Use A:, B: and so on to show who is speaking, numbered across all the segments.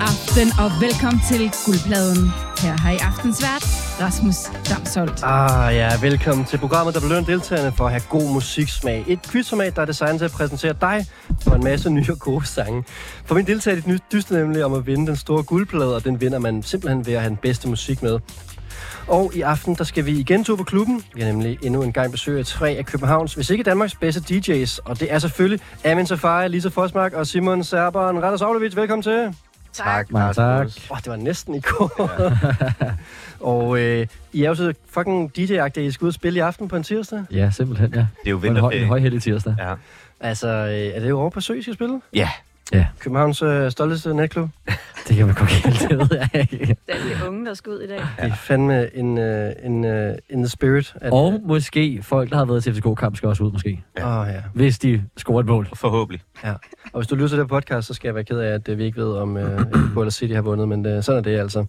A: aften, og velkommen til Guldpladen. Her har i aftens vært, Rasmus Damsholdt.
B: Ah ja, velkommen til programmet, der belønner deltagerne for at have god musiksmag. Et quizformat, der er designet til at præsentere dig for en masse nye og gode sange. For min deltager i det nye dyste nemlig om at vinde den store guldplade, og den vinder man simpelthen ved at have den bedste musik med. Og i aften, der skal vi igen tur på klubben. Vi har nemlig endnu en gang besøg af tre af Københavns, hvis ikke Danmarks bedste DJ's. Og det er selvfølgelig Amin Safari, Lisa Forsmark og Simon Serberen. Randers Avlovic, velkommen til.
C: Tak,
D: Mange tak.
B: Åh, oh, det var næsten i går. og øh, I er jo så fucking DJ-agtige, I skal ud og spille i aften på en tirsdag.
D: Ja, simpelthen, ja.
C: Det er jo
D: På en, høj, en
C: vinterferie.
D: højheldig tirsdag.
C: Ja.
B: Altså, øh, er det jo over på Sø, I skal spille?
C: ja.
B: Københavns øh, stolte natklub.
D: Det kan man godt kalde det, ved jeg ikke.
E: Det er alle de unge, der skal ud i dag.
B: Ja. Det er fandme en, øh, en øh, in the spirit. At,
D: Og måske folk, der har været til FCK-kamp, skal også ud, måske.
B: Åh, ja.
D: Hvis de scorer et mål.
C: Forhåbentlig.
B: ja. Og hvis du lytter til det podcast, så skal jeg være ked af, at øh, vi ikke ved, om øh, Boulder City har vundet, men øh, sådan er det altså.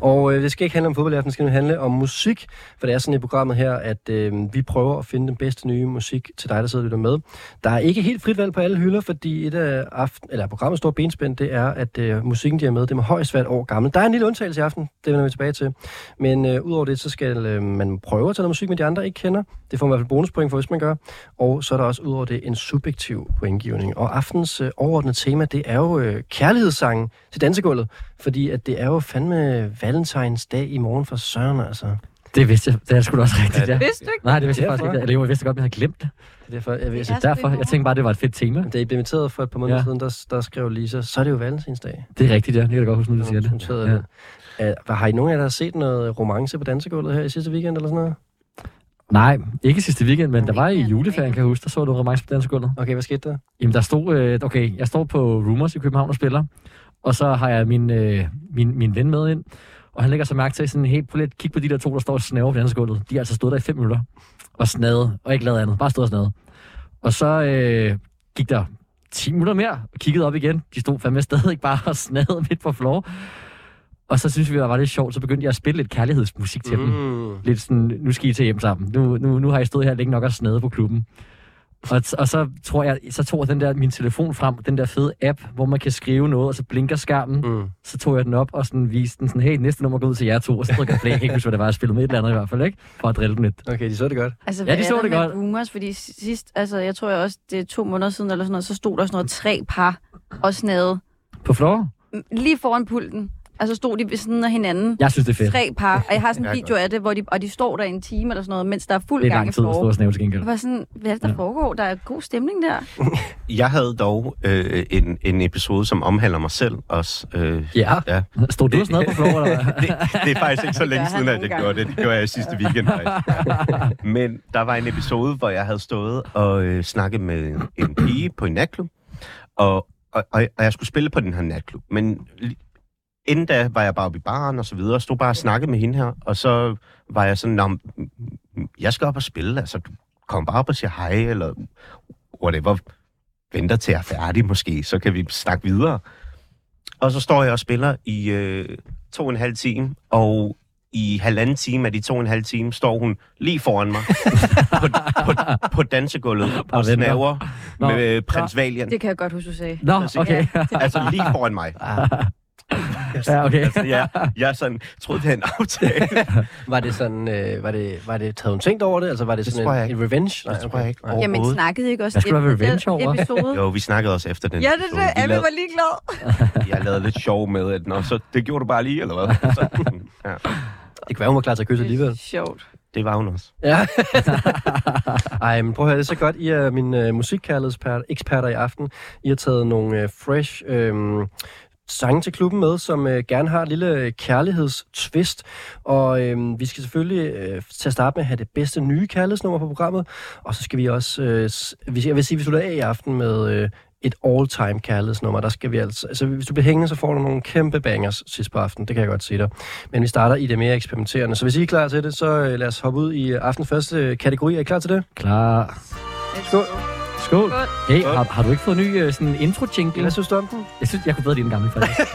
B: Og øh, det skal ikke handle om fodbold i aften, det skal nu handle om musik, for det er sådan i programmet her, at øh, vi prøver at finde den bedste nye musik til dig, der sidder og lytter med. Der er ikke helt frit valg på alle hylder, fordi et af aften, eller programmets store benspænd, det er, at øh, musikken, de har med, det må højst være et år gammel. Der er en lille undtagelse i aften, det vender vi tilbage til. Men øh, udover det, så skal øh, man prøve at tage noget musik med de andre ikke kender. Det får man i hvert fald bonuspoint for, hvis man gør. Og så er der også udover det en subjektiv pointgivning. Og aftens øh, overordnede tema, det er jo øh, kærlighedssangen til dansegulvet. Fordi at det er jo fandme Valentines dag i morgen for Søren, altså. Det
D: Det vidste jeg. Det er sgu da også rigtigt, ja.
E: Vidste du ikke?
D: Nej, det vidste jeg
B: Derfor.
D: faktisk ikke. Eller jo, jeg vidste godt, men jeg havde glemt det.
B: er derfor, jeg
E: Det
B: ved, det
D: Så
E: er sgu i
D: derfor, jeg
E: morgen.
D: tænkte bare, det var et fedt tema.
B: da I blev inviteret for et par måneder ja.
D: Ja.
B: siden, der, der skrev Lisa, så er det jo Valentinsdag.
D: Det er rigtigt, ja. Det kan jeg da godt huske, nu du siger det.
B: Noteret det. Ja. Uh, har I nogen af jer, der har set noget romance på dansegulvet her i sidste weekend eller sådan noget?
D: Nej, ikke sidste weekend, men der var i
E: Weekend,
D: juleferien, kan jeg huske, der så du romance på dansk gulvet.
B: Okay, hvad skete der?
D: Jamen, der stod, øh, okay, jeg står på Rumors i København og spiller, og så har jeg min, øh, min, min ven med ind, og han lægger så mærke til sådan, hey, prøv lige at kigge på de der to, der står og snaver på dansegulvet. De har altså stået der i fem minutter og snadet, og ikke lavet andet, bare stod og snadet. Og så øh, gik der 10 minutter mere, og kiggede op igen. De stod fandme stadig bare og snadede midt på floor. Og så synes vi, det var lidt sjovt, så begyndte jeg at spille lidt kærlighedsmusik til mm. dem
B: Mm.
D: lidt sådan, nu skal I til hjem sammen. Nu, nu, nu har I stået her længe nok og snadet på klubben. Og, t- og så tror jeg, så tog jeg den der, min telefon frem, den der fede app, hvor man kan skrive noget, og så blinker skærmen. Mm.
B: Mm.
D: Så tog jeg den op og sådan viste den sådan, hey, næste nummer går ud til jer to, og så trykker jeg play. Jeg kan ikke huske, hvad det var, jeg spillede med et eller andet i hvert fald, ikke? For at drille dem lidt.
B: Okay, de så det godt.
E: Altså,
D: Ja,
E: hvad
D: de
E: er
D: så
E: der
D: det
E: med
D: godt.
E: Boomers, fordi sidst, altså, jeg tror jeg også, det er to måneder siden, eller sådan noget, så stod der sådan noget tre par og snade
D: På floor?
E: Mm, lige foran pulten. Altså stod de ved siden af hinanden.
D: Jeg synes, det er fedt.
E: Tre par. Og jeg har sådan
C: Ja,
E: en
C: godt.
E: video af det, hvor de, og de står der i en time eller sådan noget, mens der er fuld
D: Det er
E: gang i
D: lang tid at stå
E: forår.
D: og snæve til gengæld.
E: Jeg var sådan, hvad er det, der
D: Ja.
E: foregår? Der er god stemning der.
C: Jeg havde dog øh, en, en episode, som omhandler mig selv også. Øh,
D: Ja.
C: Ja.
D: Stod du og snadet på floor, eller hvad?
C: det, det er faktisk ikke
E: Det
C: så
E: gør
C: længe
E: han
C: siden, at
E: nogle
C: jeg
E: gange.
C: gjorde det. Det gjorde jeg sidste weekend faktisk. Ja. Men der var en episode, hvor jeg havde stået og øh, snakket med en pige på en natklub. Og, og, og, og jeg skulle spille på den her natklub. Men li- inden da var jeg bare oppe i baren og så videre, og stod bare og snakkede med hende her. Og så var jeg sådan, "Nå, men, mm, jeg skal op og spille. Altså, du kommer bare op og siger hej, eller whatever. Venter til jeg er færdig måske, så kan vi snakke videre. Og så står jeg og spiller i øh, to og en halv time, og i halvanden time af de to og en halv time står hun lige foran mig på, på, på dansegulvet
D: Bare
C: og
D: venter.
C: snaver
D: Nå.
C: med øh, prins Valiant.
E: Det kan jeg godt huske, du sagde.
D: Nå,
C: Præcis.
D: okay.
C: Altså lige foran mig.
D: Ja, okay.
C: Altså, jeg, jeg sådan, troede, det var en aftale.
B: Var det sådan, øh, var, det, var det, havde hun tænkt over det? Altså var det
C: Det
B: sådan
C: tror jeg
B: en,
C: ikke.
B: en revenge?
C: Det tror jeg ikke.
B: Nej.
E: Jamen,
C: overhovedet.
E: snakkede I ikke også
D: Jeg skulle
E: efter
D: være
E: den
D: revenge over.
E: episode?
C: Jo, vi snakkede også efter den.
E: Ja, det er
C: episode.
E: det.
C: Vi
E: Alle
C: lavede,
E: var lige glade.
C: jeg lavede lidt sjov med, at Nå, så det gjorde du bare lige, eller hvad? Så, ja,
B: Det kan være, hun var klar til at kysse alligevel.
E: Sjovt.
C: det var hun også.
B: Ja. Ej, men prøv at høre, det er så godt, I er mine øh, musikkærlighedseksperter i aften. I har taget nogle øh, fresh øh, sange til klubben med, som øh, gerne har et lille øh, kærlighedstwist. Og øh, vi skal selvfølgelig øh, til at starte med at have det bedste nye kærlighedsnummer på programmet. Og så skal vi også, øh, s- vi- jeg vil sige, vi slutter af i aften med... Øh, et all-time kærlighedsnummer, der skal vi altså... Altså, hvis du bliver hængende, så får du nogle kæmpe bangers sidst på aftenen, det kan jeg godt sige dig. Men vi starter i det mere eksperimenterende. Så hvis I er klar til det, så øh, lad os hoppe ud i øh, aftenens første øh, kategori. Er I klar til det?
D: Klar.
B: Skål.
D: Skål.
E: Skål.
D: Hey, har, har du ikke fået en ny øh, sådan intro-jingle?
B: Hvad synes du om den?
D: Jeg synes, jeg kunne bedre lide den gamle, faktisk.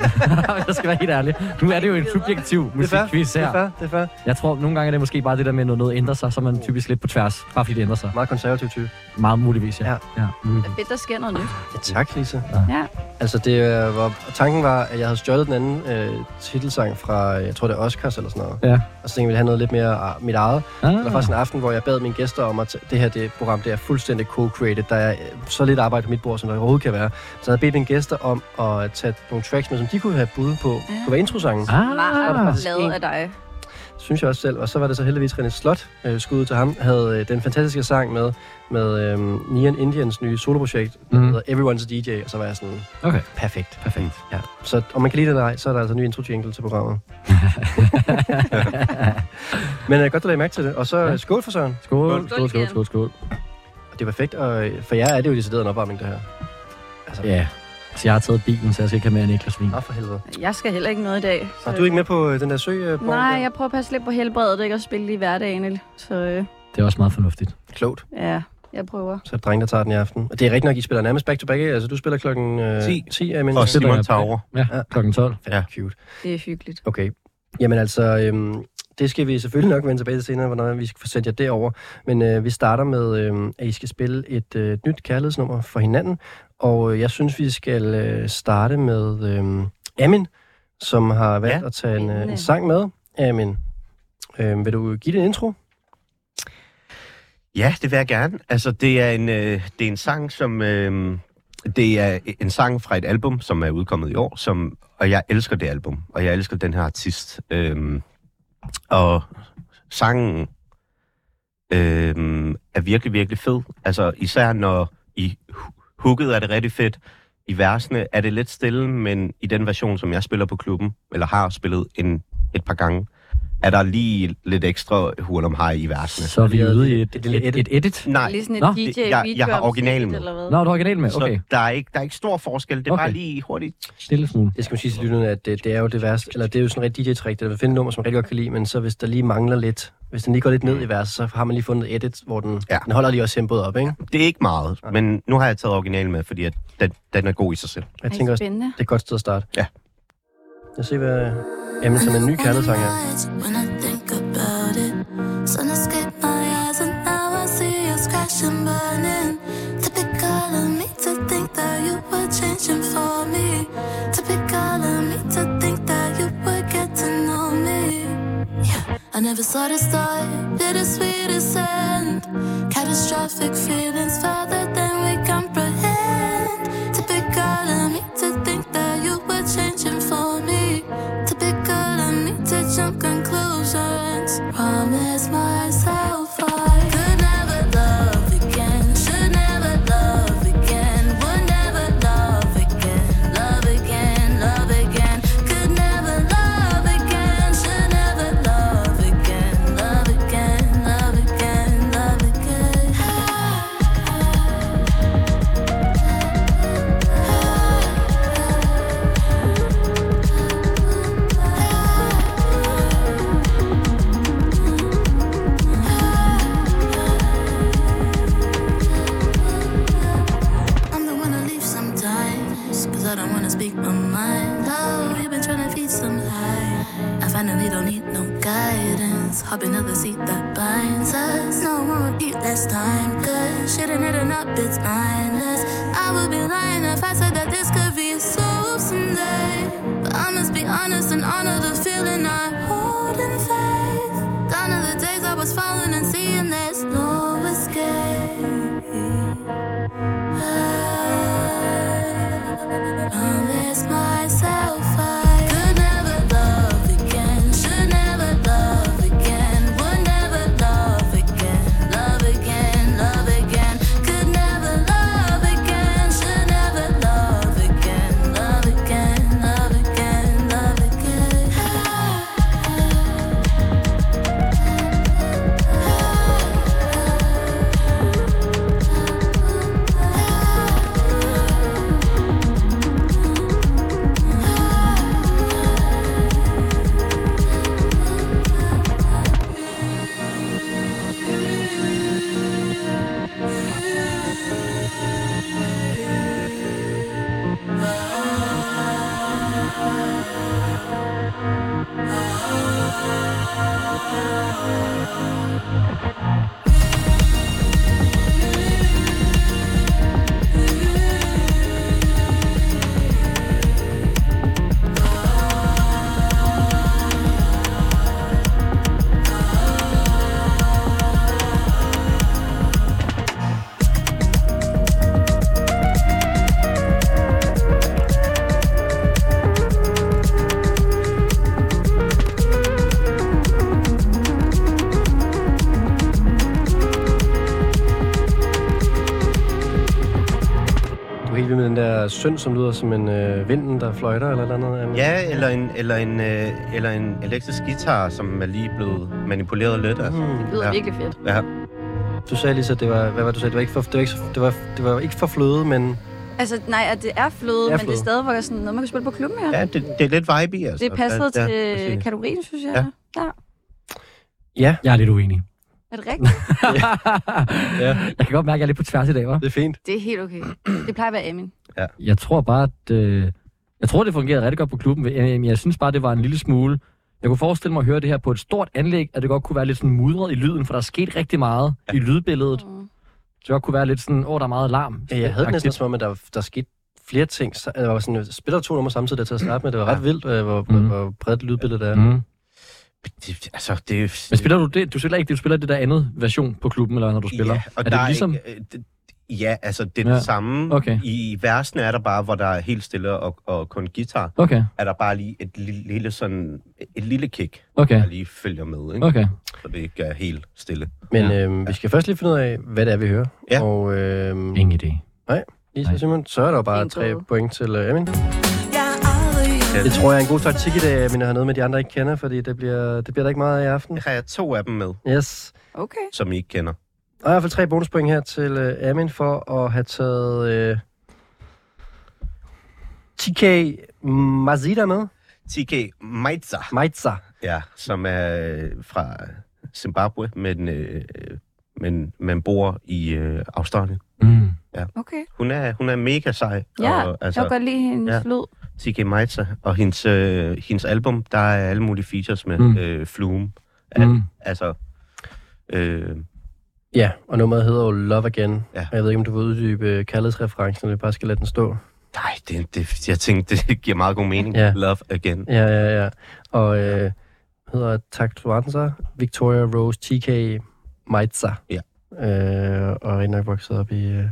D: jeg skal være helt ærlig. Nu er det jo en subjektiv musikquiz
B: det er
D: her.
B: fair, det er fair.
D: Jeg tror, nogle gange er det måske bare det der med, når noget ændrer sig, så er man typisk lidt på tværs, bare fordi det ændrer sig.
B: Meget konservativ type.
D: Meget muligvis, ja.
B: Ja.
D: ja. muligvis.
E: Fedt, der sker noget nyt.
B: Ja, tak, Lisa.
E: Ja.
B: Altså, det øh, var, tanken var, at jeg havde stjålet den anden øh, titelsang fra, øh, jeg tror det er Oscars eller sådan noget.
D: Ja.
B: Og så tænkte jeg, jeg ville have noget lidt mere øh, mit eget.
D: Ah.
B: Der var faktisk en aften, hvor jeg bad mine gæster om, at det her det program det er fuldstændig co-created. Der er øh, så lidt arbejde på mit bord, som der overhovedet kan være. Så jeg havde bedt mine gæster om at tage nogle tracks med, som de kunne have bud på, ja.
E: Ja.
B: kunne være introsangen.
D: Ah.
E: Meget lavet af dig.
B: synes jeg også selv. Og så var det så heldigvis René Slot, øh, skud ud til ham, havde øh, den fantastiske sang med, med øh, Nian Indians nye soloprojekt, mm. der
D: Mhm.
B: hedder Everyone's a DJ, og så var jeg sådan,
D: Okay.
B: perfekt.
D: Perfekt.
B: Ja. Så om man kan lide det eller ej, så er der altså en ny intro jingle til programmet. Men øh, godt, du lagde mærke til det. Og så
D: Ja.
B: ja. skål for Søren.
D: Skål,
E: Skål
D: skål, skål,
E: igen.
D: skål, skål.
B: Og det er perfekt, og øh, for jer er det jo decideret en opvarmning, det her. Altså, ja.
D: Ja. Så jeg har taget bilen, så jeg skal ikke have mere end et glas vin.
B: for helvede.
E: Jeg skal heller ikke noget i dag.
B: Og du er ikke med på øh, den der sø? Øh,
E: Nej, jeg prøver at passe lidt på helbredet, ikke? Og spille lige hverdagen, ikke? Så øh,
D: Det er også meget fornuftigt.
B: Klogt.
E: ja, jeg prøver.
B: Så er det drenge, der tager den i aften. Og det er rigtigt nok, I spiller nærmest back to back, ikke? Altså, du spiller klokken øh,
C: 10.
B: 10 er min
C: Og
D: spiller
C: Simon
D: jeg-
C: tager over.
D: Ja,
B: Ja.
D: klokken 12.
B: Ja.
C: Ja.
B: Cute.
E: Det er hyggeligt.
B: Okay. Jamen altså, øhm, det skal vi selvfølgelig nok vende tilbage til senere, hvornår vi skal få sendt jer derover. Men øh, vi starter med, øh, at I skal spille et øh, nyt kærlighedsnummer for hinanden. Og øh, jeg synes, vi skal øh, starte med øh, Amin, som har valgt ja.
C: Ja.
B: at tage en, øh, en
E: Spændende.
B: sang med. Amin, øh, vil du give det en intro?
C: Ja, det vil jeg gerne. Altså, det er en, øh, det er en sang, som... Øh, det er en sang fra et album, som er udkommet i år, som, og jeg elsker det album, og jeg elsker den her artist. Øh, og sangen øh, er virkelig, virkelig fed. Altså, især når i hu- hooket er det rigtig fedt, i versene er det lidt stille, men i den version, som jeg spiller på klubben, eller har spillet en, et par gange, er der lige lidt ekstra hurl om hej i versene.
D: Så er vi ude i et,
B: Det
D: et,
B: er lidt
D: et, et edit.
C: Nej,
E: Nej, lige sådan et
D: Nå,
E: DJ
C: det- jeg- jeg har
E: beatdrum
C: originalen
E: sæt,
C: med.
E: Eller hvad?
D: Nå, er du original med?
C: Så
D: Okay.
C: der er ikke, der er ikke stor forskel. Det er
D: Okay.
C: okay. bare lige hurtigt.
D: Stille smule.
B: Det skal man sige til lytterne, at øh, det, det er jo det værste, eller det er jo sådan en rigtig DJ-trick, det er at finde et nummer, som man rigtig godt kan lide, men så hvis der lige mangler lidt, hvis den lige går lidt ned i verset, så har man lige fundet et edit, hvor den, ja.
C: Ja.
B: den holder lige også tempoet op, ikke?
C: Det er ikke meget, men nu har jeg taget originalen med, fordi at den, den er god i sig selv.
B: Jeg
E: Ej,
B: tænker også,
E: spændende.
B: Det er et godt sted at starte.
C: Ja.
B: Lad os se, hvad Jamen, som en ny kærlighedssang her.
F: When I think about it, sun escaped my eyes, and now I see us crash and burning. Typical of me to think that you were changing for me. Typical of me to think that you would get to know me. Yeah, I never saw the start, bittersweet as end. Catastrophic feelings farther than we comprehend. Typical of me to think that you were changing for me. Typical of me to jump conclusions. Promise myself I could never love again. Should never love again. Would never love again. Love again, love again. Could never love again. Should never love again. Love again, love again, love again. I'm the one to leave sometimes. Cause I don't wanna speak my mind. Oh, we've been trying to feed some high. I finally don't need no guidance. Hop another seat that binds us. No one will eat less time. Cause shouldn't it up, it's mindless. I would be lying if I said that this could be solved someday. But I must be honest and honor the feeling I hold in faith. Gone are the days I was falling and seeing there's no escape. Promise myself I could never love again, should never love again, would never love again, love again, love again, could never love again, should never love again, love again, love again, love again.
B: Du er helt vild med den der søn, som lyder som en øh, vinden, der fløjter eller et eller andet. Anna.
C: Ja, eller en, eller, en, øh, eller en elektrisk guitar, som er lige blevet manipuleret lidt. Altså.
E: Det
B: Hmm.
E: lyder
C: Ja.
E: ja. virkelig fedt.
C: Ja.
B: Du sagde lige så, det var, hvad var det, du sagde? Det var ikke for, det var ikke, så- det var, det var ikke for fløde, men
E: Altså, nej, at det er fløde,
B: Det er
E: men det
B: fløde.
E: er stadigvæk sådan noget, man kan spille på klubben her.
C: ja, det, det er lidt vibe i, altså.
E: Det passede
C: ja,
E: til
C: præcis.
E: kategorien, synes jeg.
C: Ja.
E: Ja. ja.
B: ja,
D: Jeg er lidt uenig.
E: Er det rigtigt?
B: Ja.
D: Jeg kan godt mærke, at jeg er lidt på tværs i dag, var.
B: det er fint.
E: Det er helt okay. Det plejer at være Amin.
D: Jeg tror bare, at... Øh, jeg tror, det fungerede rigtig godt på klubben, men jeg- jeg synes bare, det var en lille smule... Jeg kunne forestille mig at høre det her på et stort anlæg, at det godt kunne være lidt sådan mudret i lyden, for der er sket rigtig meget ja. i lydbilledet.
E: Mm.
D: Så det godt kunne være lidt sådan, åh, oh, der er meget larm.
B: Ja, jeg havde det næsten
D: Agtigt.
B: som om, at der, der skete flere ting. Så- Der var sådan, øh, spiller to numre samtidig der til at starte med. Det var ret
C: Ja.
B: vildt, øh, hvor,
D: Mhm.
B: mm. hvor bredt lydbilledet er.
D: Mm.
C: Det, altså, det er...
D: Men spiller du det? Du spiller ikke det, du spiller det der andet version på klubben, eller hvad, når du spiller?
C: Ja, og
D: er
C: der
D: det ligesom?
C: Er, ikke- øh, det, ja, altså, det er
D: Ja.
C: det samme.
D: Okay.
C: I, I versene er der bare, hvor der er helt stille og, og kun guitar,
D: Okay,
C: er der bare lige et lille, lille sådan... Et lille kick,
D: okay,
C: der lige følger med, ikke?
D: okay.
C: Så det ikke er helt stille.
B: Men
D: Ja.
B: øhm, vi skal først lige finde ud af, hvad det er, vi hører.
C: Ja.
B: Og øhm,
D: Ingen idé.
B: Lisa og Simon, så er der jo bare
E: Ingen
B: tre
E: gåde.
B: point til øh, Amin.
F: Jeg er aldrig
B: Det tror jeg er en god taktik i dag, men jeg har noget med de andre ikke kender, fordi det bliver, det bliver der ikke meget af i aften.
C: Jeg har jeg to af dem med,
B: Yes.
E: Okay.
C: som I ikke kender.
B: Og i hvert fald tre bonuspoint her til øh, Amin for at have taget øh, TK Mazida med.
C: TK Maitza,
B: Maitza.
C: ja, som er øh, fra Zimbabwe, men, øh, men, men bor i øh, Australien.
D: Mm.
E: Okay.
C: Hun er, hun er mega sej.
E: Ja,
C: og,
E: Jeg kan godt lide hendes
C: Altså- Ja.
E: ja. lyd.
C: T.K. Maitza og hendes, øh, hendes album, der er alle mulige features med mm.
D: Mm.
C: øh, Flume. Ja.
D: Mm.
C: Altså, øh,
B: Ja, og nummeret hedder jo Love Again.
C: Ja.
B: Ja. Jeg ved ikke, om du vil uddybe øh, kærlighedsreferencen, eller vi bare skal lade den stå.
C: nej, det, det, jeg tænkte, det giver meget god mening.
B: Ja.
C: Love Again.
B: Ja, ja, ja. Og øh, hedder Taktuanza Victoria Rose TK Maitza.
C: Ja.
B: Øh, og rigtig nok vokset op i øh,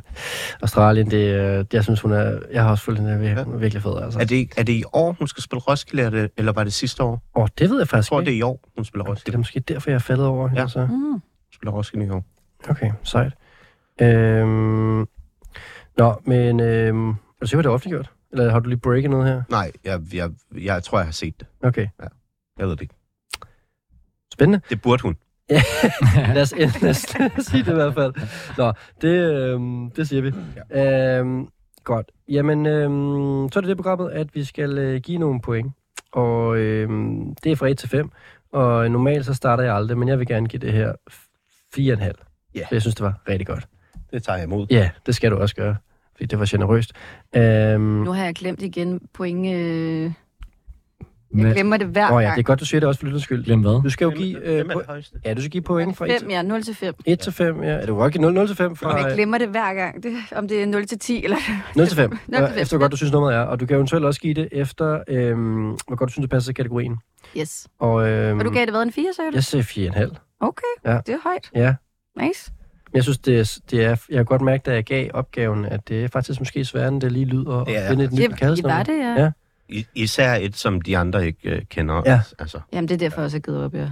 B: Australien. Det, øh, jeg synes, hun er... Jeg har også fulgt hende, ja. hun er virkelig fed, altså.
C: Er
B: Åh, det...
C: det, er det i år, hun skal spille Roskilde, er det- eller var det sidste år?
B: Oh, det ved jeg
C: Jeg
B: faktisk
C: tror,
B: ikke.
C: det er i år, hun spiller
B: Det er
C: Roskilde.
B: da måske derfor, jeg er faldet over hende.
C: Ja.
B: Ja. Så.
E: Mm.
C: Hun spiller Roskilde i år.
B: Okay, sejt. Øhm, nå, men... Øhm, er du sikker, på, at det er offentliggjort? Eller har du lige breaket noget her?
C: Nej, jeg, jeg, jeg tror, jeg har set det.
B: Okay,
C: Jeg ved det ikke.
B: spændende.
C: Det burde hun.
B: Lad os, lad os, lad os sige det i hvert fald. Nå, det, øhm, det siger vi. Ja. Øhm, godt. Jamen, øhm, så er det det programmet, at vi skal øh, give nogle point. Og øhm, det er fra 1 til 5. Og normalt så starter jeg aldrig, men jeg vil gerne give det her f- 4,5.
C: Ja.
B: For jeg synes, det var rigtig godt.
C: Det tager jeg imod.
B: Ja, det skal du også gøre. Fordi det var generøst. Øhm,
E: Nu har jeg glemt igen point. Øh... Jeg
D: Hvad?
E: glemmer det hver
B: Åh ja, det er
E: gang.
B: godt, du siger det også for lyttens skyld.
D: Glem hvad?
B: Du skal jo give, øh,
C: Hvem er det
B: po-
C: højeste?
B: ja, du skal give point fra 1
E: 5, ja. 0 til 5.
B: 1 til 5, ja. Er det Rocky 0, 0 til 5 fra...
E: Men jeg glemmer det hver gang. Det, om det er 0 til 10 eller...
B: 0 til 5.
E: 0 til
B: Ja,
E: fem.
B: efter hvor godt du synes nummeret er. Og du kan eventuelt også give det efter, øhm, hvor godt du synes, det passer til kategorien.
E: Yes.
B: Og, øhm,
E: Og du gav det hvad, en 4, sagde du?
B: Jeg siger 4,5.
E: Okay,
B: Ja.
E: det er højt.
B: Ja.
E: Nice.
B: Men jeg synes, det er, det er, jeg har godt mærket, da jeg gav opgaven, at det er faktisk måske sværere, end det lige lyder at
C: Det er-
B: finde et
E: Det,
B: nyt
E: det var
B: kaldesnummer.
E: det, ja.
B: Ja.
E: ja.
C: I- Især et, som de andre ikke øh, kender.
B: Ja.
C: Altså,
E: Jamen, det er derfor, jeg også har givet op, ja.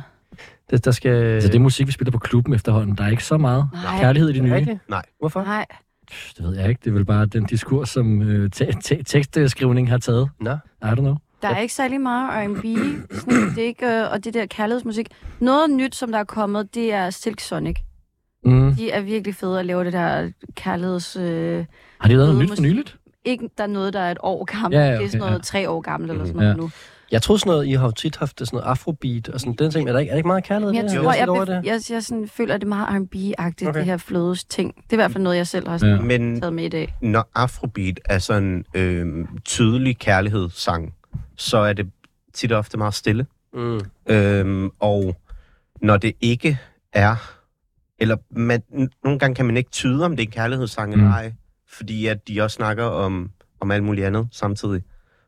B: Det, der skal...
D: Så det er musik, vi spiller på klubben efterhånden. Der er ikke så meget
E: Nej.
D: kærlighed i de
B: er det
D: nye.
B: rigtigt?
C: Nej.
B: Hvorfor?
E: Nej.
D: Pff, Det ved jeg ikke. Det er vel bare den diskurs, som øh, te- te- tekstskrivning har taget.
B: Nå.
D: I don't know.
E: Der er ikke særlig meget R&B, sådan, det er ikke, øh, og det der kærlighedsmusik. Noget nyt, som der er kommet, det er Silk Sonic.
D: Mm.
E: De er virkelig fede at lave det der kærligheds... Øh,
D: Har de lavet noget
E: Noget
D: nyt for
E: musik.
D: nyligt?
E: ikke, der er noget, der er et år gammelt.
D: Ja, ja,
E: Det
D: okay,
E: er sådan noget
D: ja.
E: tre år gammelt eller sådan
D: Mhm.
E: noget
D: Ja.
E: nu.
B: Jeg troede sådan noget, I har jo tit haft det sådan noget afrobeat og sådan den ting. Er der ikke, er der ikke meget kærlighed
E: Men
B: i
E: jeg
B: det? her?
E: tror, jeg,
B: lidt over
E: jeg,
B: det.
E: jeg, jeg, jeg sådan, føler, at det er meget R&B-agtigt,
B: Okay.
E: det her flødes ting. Det er i hvert fald noget, jeg selv har
D: Ja.
E: sådan,
C: men
E: taget med i dag.
C: når Afrobeat er sådan øh, tydelig kærlighedssang, så er det tit og ofte meget stille.
B: Mm.
C: Øh, og når det ikke er, eller man, n- nogle gange kan man ikke tyde, om det er en kærlighedssang eller
D: Mm.
C: ej, fordi at de også snakker om, om alt muligt andet samtidig.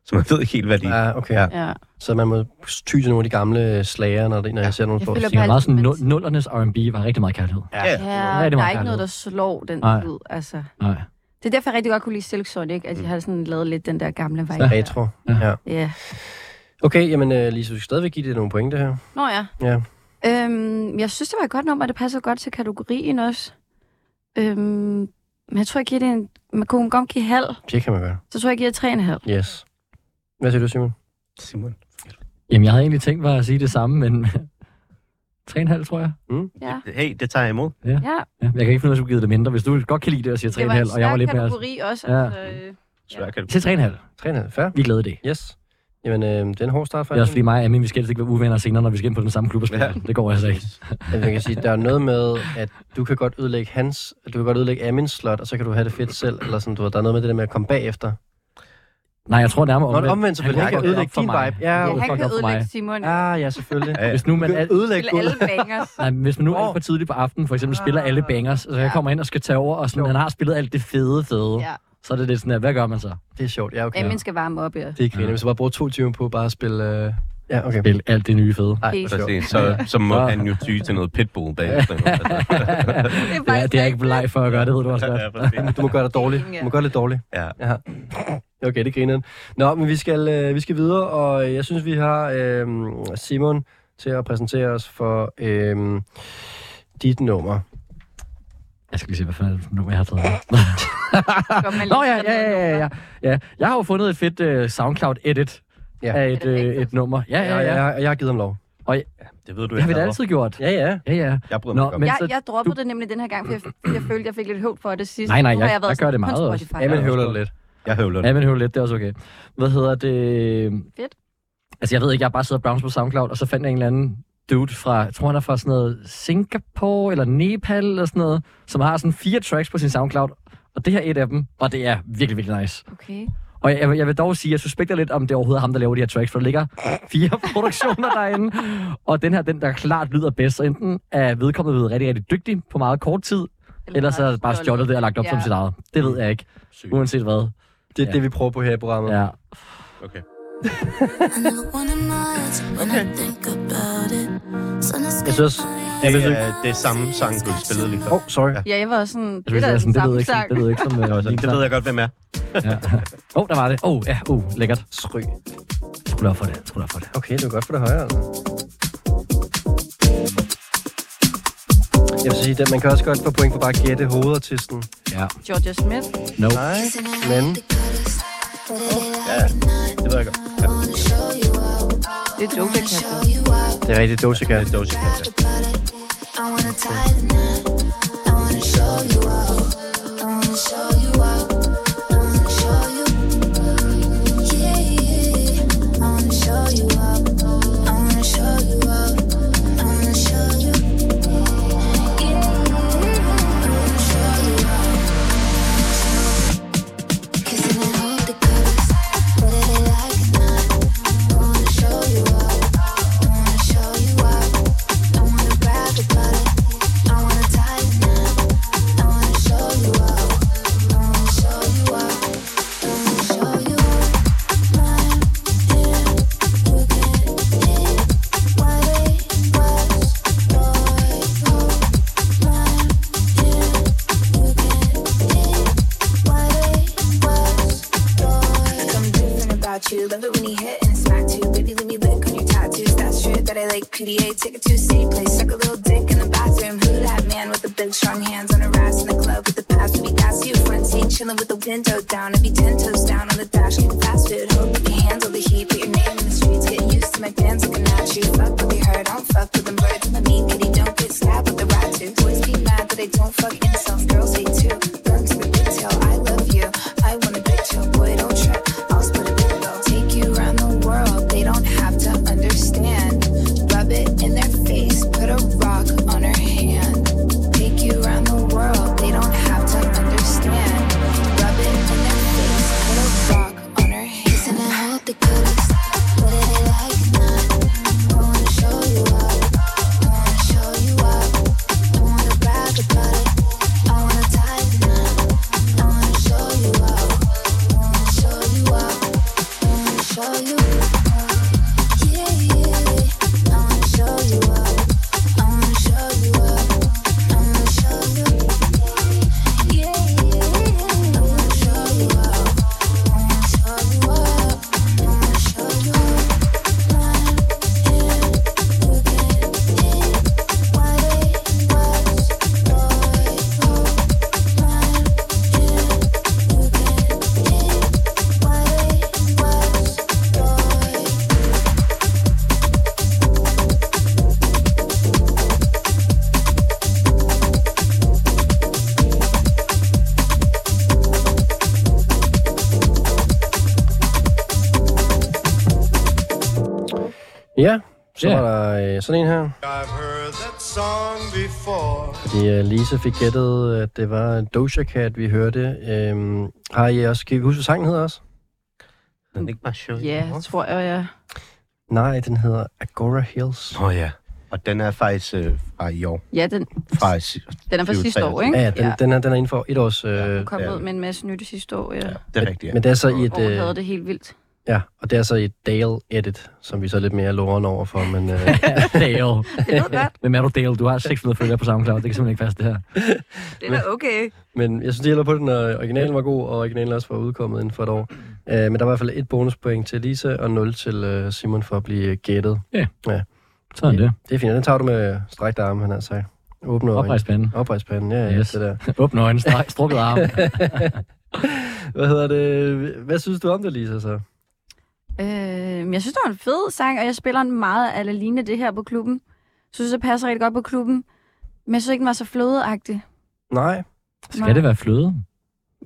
C: Så man ved ikke helt, hvad de...
B: Ja, Mm. Ah, okay.
C: Ja.
B: Ja.
E: Ja.
B: Så man må ty til nogle af de gamle slager, når, det, når jeg ser nogle
E: Jeg
B: på.
E: føler
D: Det var
E: bare
D: meget sådan,
E: altid,
D: nul- nullernes R&B var rigtig meget kærlighed.
C: Ja,
E: Ja,
C: det
E: der er
D: rigtig
E: ikke
D: meget kærlighed.
E: noget, der slår den
D: Nej.
E: ud, altså.
D: Nej.
E: Det er derfor, jeg rigtig godt kunne lide Silk Sonic, at jeg har sådan lavet lidt den der gamle vej.
B: Retro. Ja.
E: Ja.
B: Okay, jamen øh, Lise, du skal stadigvæk give det nogle point, det her.
E: Nå ja.
B: Ja.
E: Øhm, jeg synes, det var et godt nummer, det passede godt til kategorien også. Øhm, Men jeg tror, jeg giver det en... Man kunne godt give halv.
B: Det kan man gøre.
E: Så tror jeg, jeg giver tre en halv.
B: Yes. Hvad siger du, Simon?
C: Simon.
D: Jamen, jeg havde egentlig tænkt mig at sige det samme, men 3,5 tror jeg.
E: Ja.
C: Hey, det tager jeg imod.
E: Ja,
D: Ja, jeg kan ikke finde ud af, at jeg skulle give det mindre. Hvis du godt kan lide det og siger
E: det var en
D: 3,5, og jeg var
E: svær
D: lidt mere...
E: kategori også.
D: Ja.
E: Altså, øh,
C: Svær
E: Ja.
C: kan du.
D: Til 3,5.
B: 3,5. Fair.
D: Vi glæder det.
B: Yes. Jamen, øh, det er en hård start for
D: Det er også
B: Anton.
D: fordi mig og Amin, vi skal helst ikke være uvenner senere, når vi skal ind på den samme klub og spille.
C: Ja.
D: Ja. Det går altså ikke.
B: Men man kan sige, der er noget med, at du kan godt ødelægge hans, du kan godt ødelægge Amins slot, og så kan du have det fedt selv, eller sådan, du ved, der er noget med det der med at komme bagefter.
D: Nej, jeg tror nærmere
B: Nå,
D: omvendt.
B: omvendt selvfølgelig.
D: Han
B: Han kan
D: fucker
B: ødelægge
D: op for
B: din
D: mig.
B: vibe. Ja,
E: ja,
D: det
E: han
D: fucker
E: kan
D: op for
E: ødelægge
D: mig.
E: Simon.
B: Ah, ja, selvfølgelig.
C: Ja,
D: Hvis nu man
B: Du
D: al,
B: kan ødelægge
E: Til
B: gulvet.
E: alle bangers.
D: Nej, men hvis man nu
B: Åh.
D: alt for tidligt på aftenen, for eksempel, spiller alle bangers, så jeg
E: Ja.
D: kommer ind og skal tage over, og sådan,
B: Jo.
D: han har spillet alt det fede, fede.
E: Ja.
D: Så er det lidt sådan her, hvad gør man så?
B: Det er sjovt, ja, okay.
E: Amin skal varme op, ja.
B: Det er kvinde, hvis jeg bare bruger to timer på bare at spille... Øh... Ja, okay.
D: Spil alt det nye fede.
B: Nej,
E: Helt.
B: sjovt.
C: Præcis. Så, så må han jo ty til noget pitbull bagefter.
E: er
D: Det er, det er ikke bleg for at gøre, det ved du også godt.
C: Ja, præcis.
B: Du må gøre dig dårlig. Du må gøre det dårligt.
C: ja.
B: Ja. Okay, det griner Nå, men vi skal, øh, vi skal videre, og jeg synes, vi har øh, Simon til at præsentere os for øh, dit nummer.
D: Jeg skal lige se, hvad fanden nummer jeg har taget.
E: Godt,
D: Nå ja, ja, ja, ja, ja, ja. Jeg har jo fundet et fedt øh, SoundCloud-edit
B: Ja.
D: af et,
E: Er det
D: øh,
E: rigtigt?
D: et nummer. Ja, ja,
B: Og
D: ja.
B: Jeg, jeg har givet ham lov.
C: Det ved du
D: Det har vi da
C: ikke.
D: altid gjort.
B: Ja, ja.
D: Ja, ja.
C: Jeg bryder
D: Nå,
C: mig ikke om
D: men-
C: det.
E: Jeg,
D: så
E: jeg droppede det nemlig den her gang, for jeg, jeg følte, jeg fik lidt høvd for det sidste.
D: Nej, nej,
E: Nu har
D: jeg-
E: været
D: jeg gør det
E: sådan, kun
D: meget også.
E: Spotify.
B: Amen
D: Ja,
B: høvler
D: også
B: det lidt.
C: Jeg høvler det.
D: Ja, men høv lidt, det er også okay. Hvad hedder det?
E: Fedt.
D: Altså, jeg ved ikke, jeg har bare siddet og browset på SoundCloud, og så fandt jeg en eller anden dude fra, jeg tror han er fra sådan noget Singapore eller Nepal eller sådan noget, som har sådan fire tracks på sin SoundCloud, og det her er et af dem, og det er virkelig, virkelig nice.
E: Okay.
D: Og jeg, jeg vil dog sige, jeg suspekter lidt, om det overhovedet er ham, der laver de her tracks, for der ligger fire produktioner derinde. Og den her, den der klart lyder bedst, så enten er vedkommende blevet rigtig, rigtig dygtig på meget kort tid, eller så er det bare stjålet det og lagt op ja. som sit eget. Det ved jeg ikke,
C: Sygt.
D: uanset hvad.
B: Det er
D: Ja.
B: det, vi prøver på her i programmet.
D: Ja. altså,
C: Okay.
B: Jeg synes også...
C: Det er øh, det er samme sang, du spillede lige før.
B: Åh, oh, sorry.
C: Ja.
E: Ja, jeg var sådan,
D: Altså, Jeg synes, det, er sådan, det, ved jeg ikke, det ved jeg ikke, som øh,
C: Nå, så
D: min
C: Det ved jeg godt, hvem er.
D: sang. Ja. Åh, oh, der var det. Åh, oh, ja, oh, lækkert.
B: Stryg.
D: Skru da op for det, skru da op for det.
B: Okay, det var godt for det højere. altså. Jeg vil sige, at man kan også godt få point for bare at gætte hovedartisten.
D: Ja.
E: Georgia Smith.
D: No.
B: Nej, men...
C: Ja, det ved jeg godt.
E: Det er Joker Cat.
B: Det er rigtigt Doja Cat.
C: Det er Doja Cat. ja.
G: Like I'm different about you. Love it when he hit and smack you. Baby, let me lick on your tattoos. That's true that I like PDA. Take it to a city place. Suck a little dick in the bathroom. Who that man with the big strong hands on a ass in the club with the pass? We gas you front seat, chilling with the window down. I be ten toes down on the dash. Get fast food. Hope you can handle the heat. Put your name in the streets. Get used to my fans looking at you. Fuck what we heard. Don't fuck with them birds. I mean, kitty, don't get stabbed with the rat too. Boys be mad that I don't fuck incels. Girls hate too. Learn to the big tail. I love you. I want a big tail. Boy, don't trip. I'll split a window. Take you around the world. They don't have to understand. Rub it in their face. Put a rock on her hand. Take you around the world. They don't have to understand. Rub it in their face. Put a rock on her hand.
B: Ja, så
D: Ja.
B: yeah. var der øh, sådan en her.
H: I've heard that song before.
B: Fordi øh, Lise fik gættet, at det var Doja Cat, vi hørte. Øhm, har I også, kan I huske, hvad sangen hedder også?
C: Den er ikke bare sjov.
E: Ja, tror øh, jeg, ja.
B: Nej, den hedder Agora Hills.
C: Åh oh, ja. Og den er faktisk øh, fra i år.
E: Ja, den,
C: Fra, i si-
E: den er fra sidste år, ikke?
B: Ja, ja, den, ja. den, er, den er inden for et års... Øh,
E: Den kom
C: Ja.
E: ud med en masse nyt sidste år, ja.
C: ja, det er rigtigt. Ja.
B: Men det er så i et...
E: Hvor havde
B: Øh,
E: det helt vildt.
B: ja, og det er så i et Dale edit, som vi så er lidt mere loren over for, men... Øh,
D: Dale.
E: Det ved godt.
D: Hvem er du, Dale? Du har 600 følgere på SoundCloud. Det kan simpelthen ikke passe, det her.
E: Det er okay.
B: Men jeg synes, det hælder på den, og originalen var god, og originalen også var udkommet inden for et år. Uh, men der var i hvert fald et bonuspoint til Lisa, og 0 til uh, Simon for at blive gættet.
D: Sådan er det.
B: Det er fint, og den tager du med strækte arme, han altså. har sagt. Åbne øjne.
D: Oprejst panden.
B: Oprejspanden, ja, ja, yes.
D: Yes.
B: det der.
D: Åbne øjnene, stræk- strukket arm.
B: Hvad hedder det? Hvad synes du om det, Lisa, så?
E: Øh, jeg synes, det var en fed sang, og jeg spiller den meget alene det her på klubben. Jeg synes, det passer rigtig godt på klubben. Men jeg synes ikke, den var så flødeagtig.
B: Nej.
D: Skal det være fløde?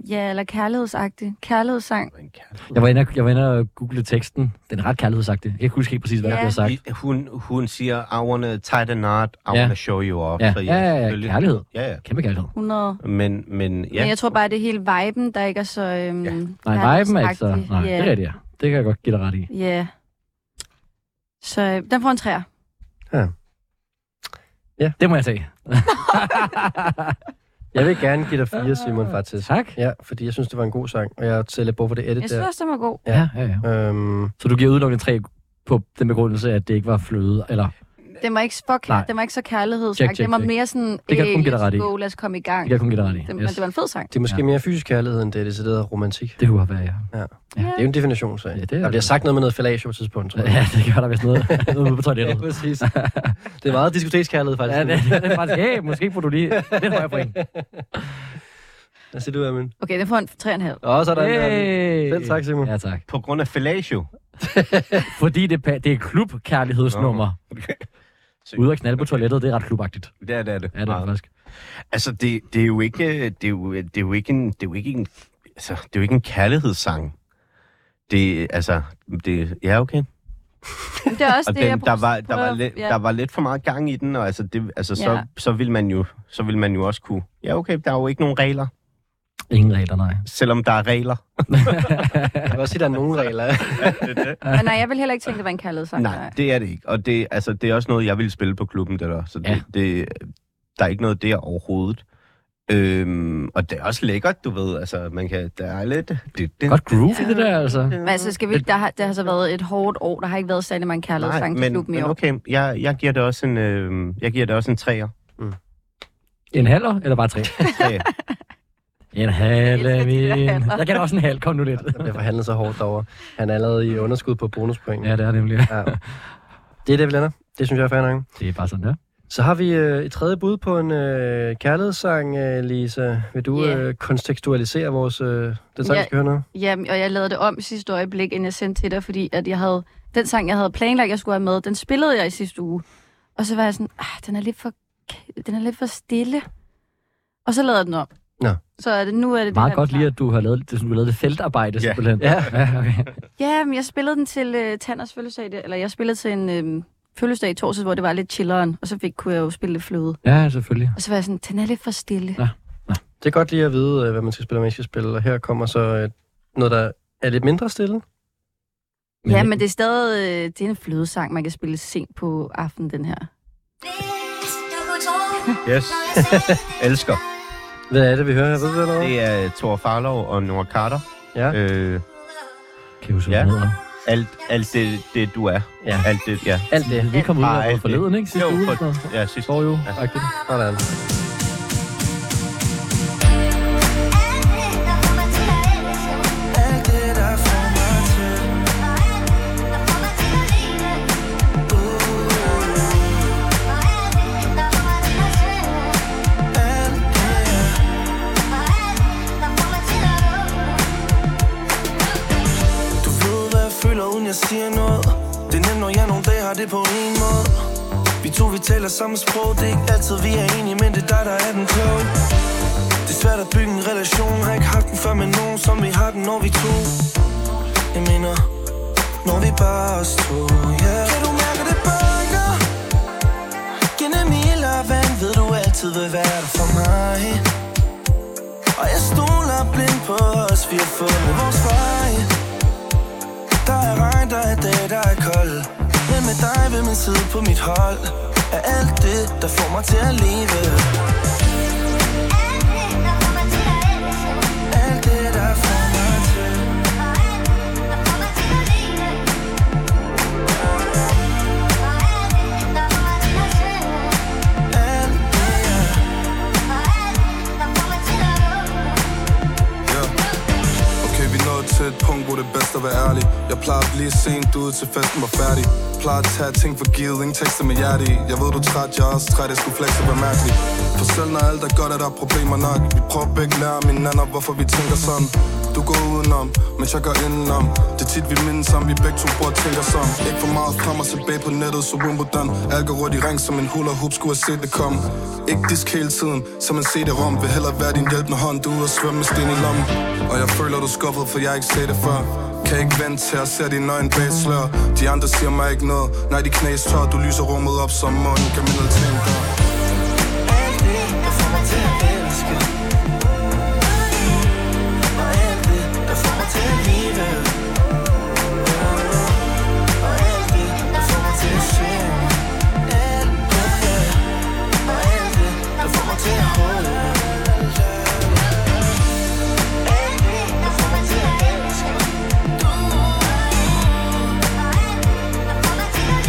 E: Ja, eller kærlighedsagtig. Kærlighedssang.
D: Jeg var inde og, jeg var inde og google teksten. Den er ret kærlighedsagtig. Jeg kan ikke huske helt præcis, hvad
E: Ja.
D: der blev sagt.
C: I- Hun, hun siger, I wanna tie the knot, I
D: Ja.
C: wanna show you off.
D: Ja,
C: Så
D: ja, ja, ja.
C: selvfølgelig-
D: kærlighed.
C: Ja, ja.
D: Kæmpe kærlighed.
E: 100.
C: Men, men ja.
E: Men jeg tror bare, det er hele viben, der ikke er så... Øhm, ja.
D: Nej, viben er ikke så... Nej, det er
E: Ja.
D: rigtigt, ja. Det kan jeg godt give dig ret i.
E: ja. Så øh, den får en træer.
D: Det må jeg tage.
B: Jeg vil gerne give dig fire, Simon, faktisk.
D: Tak.
B: Ja, fordi jeg synes, det var en god sang, og jeg ser lidt brug for det edit
E: Jeg synes
B: der.
E: også, den var god.
D: Ja, ja, ja.
B: Øhm,
D: Så du giver udelukkende tre på den begrundelse, at det ikke var fløde, eller...
E: Den var ikke, for,
D: Nej.
E: kær- den var ikke så kærlighedsagtig.
D: Check, check,
E: den var
D: check.
E: mere sådan...
D: kan jeg
E: øh,
D: kun give dig
E: let's
D: ret i.
E: Go, lad os komme i
D: Det
E: gang.
D: kan jeg kun give dig ret i.
E: Den, men
D: Yes.
E: det var en fed sang.
B: det er måske
D: Ja.
B: ja. mere fysisk kærlighed, end det er decideret romantik.
D: Det kunne godt være, ja.
B: Ja. Det er jo en definitionssag.
D: Ja,
B: Ja,
D: det er
B: der bliver
D: det.
B: sagt noget med noget fellatio på et tidspunkt, tror jeg.
D: Ja, det gør der vist noget, noget ude på toilettet.
B: præcis. det er meget diskotekskærlighed, faktisk.
D: Ja, det, det er faktisk, hey, måske får du lige lidt højere point.
B: Hvad siger du, Amin?
E: Okay, den får en tre og en halv.
B: Åh, så er der en
D: Hey.
B: Selv tak, Simon.
D: Ja, tak.
C: På grund af fellatio.
D: Fordi det, pa- det er klubkærlighedsnummer. Ude at knalde på toilettet, det er ret klubagtigt.
C: Ja, det er det.
D: Ja, det er det faktisk.
C: Altså, det, det, er jo ikke, øh, det, er jo, det er jo ikke en, det er jo ikke en, altså, det er jo ikke en kærlighedssang. Det, altså, det, ja, okay.
E: Men det er også
C: Og
E: det, jeg
C: den, der,
E: prøver-
C: var, der, var
E: prøver-
C: lidt,
E: ja.
C: der var lidt for meget gang i den, og altså, det, altså så,
E: Ja.
C: så, vil man jo, så vil man jo også kunne... Ja, okay, der er jo ikke nogen regler,
D: Ingen regler, nej.
C: selvom der er regler.
B: Jeg vil også sige, der er nogle regler.
E: Men nej, jeg vil heller ikke tænke, det var en kærlighedssang.
C: Nej, det er det ikke. Og det, altså, det er også noget, jeg ville spille på klubben, det der. Så det,
D: Ja.
C: ja. det, der er ikke noget der overhovedet. Øhm, og det er også lækkert, du ved. Altså, man kan... Der er lidt... Det, det,
D: Godt groove i det der, altså.
E: Men altså, skal vi ikke, der, har, der har så været et hårdt år. Der har ikke været særlig mange kærlighedssange til
C: men,
E: klubben i
C: men
E: år.
C: okay, jeg, jeg giver det også en, øh, jeg giver det også en træer.
D: En halver, eller bare tre?
C: Ja,
D: En halve,
E: elsker de der
D: min.
E: halver.
D: Jeg kan også en halv, kom nu lidt.
B: Der bliver forhandlet så hårdt derovre. Han er allerede i underskud på bonuspoint.
D: Ja, det er nemlig.
B: ja. Det er det, vi lander. Det synes jeg er fair nok.
D: Det er bare sådan, ja.
B: Så har vi øh, et tredje bud på en øh, kærlighedssang, øh, Lisa. Vil du
E: Ja.
B: yeah. øh, kontekstualisere vores, øh, den sang,
E: Ja.
B: vi skal høre nu?
E: Jamen, og jeg lavede det om i sidste øjeblik, inden jeg sendte til dig, fordi at jeg havde, den sang, jeg havde planlagt, jeg skulle have med, den spillede jeg i sidste uge. Og så var jeg sådan, ah, den er lidt for, k- den er lidt for stille. Og så lavede jeg den om.
B: Nå.
E: Så er det, nu er det
D: Meget
E: det, der er
D: godt
E: klar.
D: lige, at du har lavet, det, du har lavet det feltarbejde,
C: Ja.
D: simpelthen.
B: Ja.
D: ja okay.
E: Ja, men jeg spillede den til øh, Tanders fødselsdag, der- eller jeg spillede til en øh, fødselsdag i torsdags, hvor det var lidt chilleren, og så fik, kunne jeg jo spille lidt fløde.
D: ja, selvfølgelig.
E: Og så var jeg sådan, den er lidt for stille.
B: Det er godt lige at vide, øh, hvad man skal spille, og hvad man ikke skal spille. Og her kommer så øh, noget, der er lidt mindre stille.
E: Ja, men det er stadig øh, det er en flødesang, man kan spille sent på aftenen, den her.
C: yes. Elsker.
B: Hvad er det, vi hører her? Ved du, hvad det er?
C: Det er øh, Thor Farlov og Nora Carter.
B: Ja.
C: Øh,
D: Kan jeg huske,
C: Ja.
D: hvad den hedder?
C: alt, alt det, det, du er.
B: Ja.
C: Alt det, ja.
B: Alt det.
D: Vi kom ud
C: Bare
D: over
C: alt
D: forleden,
C: det.
D: ikke? Sidste
C: Jo,
D: uge.
C: for-
D: For...
C: Ja, sidste
D: Står jo.
B: Agtigt. Sådan.
H: Du ved, hvad jeg føler, uden jeg siger noget Det er nemt, når jeg nogle dage har det på en måde Vi to, vi taler samme sprog Det er ikke altid, vi er enige, men det er dig, der er den kloge Det er svært at bygge en relation Har ikke haft den før med nogen, som vi har den, når vi to Jeg mener, når vi bare er os to, yeah. Kan du mærke det? altid vil være der for mig Og jeg stoler blind på os, vi har fundet vores vej Der er regn, der er dag, der er kold Men med dig ved min side på mit hold Er alt det, der får mig til at leve Alt det, der får mig til Alt det, jeg
I: Ja. Okay, vi nåede til et punkt, hvor det er bedst at være ærlig Jeg plejer at blive sent ude til festen var færdig Plejer at tage ting for givet, ingen tekster med hjerte i Jeg ved, du er træt, jeg er også træt, jeg skulle flexe være mærkelig For selv når alt er godt, er der problemer nok Vi prøver begge lære hinanden, hvorfor vi tænker sådan Du går udenom, mens jeg går indenom Det er tit, vi mindes om, vi begge to bruger ting der som Ikke for meget frem og tilbage på nettet, så Wimbledon Alt går rundt i ring, som en hula hoop skulle have set det komme Ikke disk hele tiden, som en CD-rom Vil hellere være din hjælpende hånd, du er ude at svømme med sten i lommen Og jeg føler, du er skuffet, for jeg har ikke set det før Kan ikke vente til at se dine øjne bag et slør De andre siger mig ikke noget, nej de knæs tør Du lyser rummet op, som månen kan mindre til en dør
H: Alt det, der får mig til at elske Og alt det, der får mig til at leve Og alt det, der får mig til at synge Alt det, og alt det, der får mig til at holde Alt det, der får mig til at elske Alt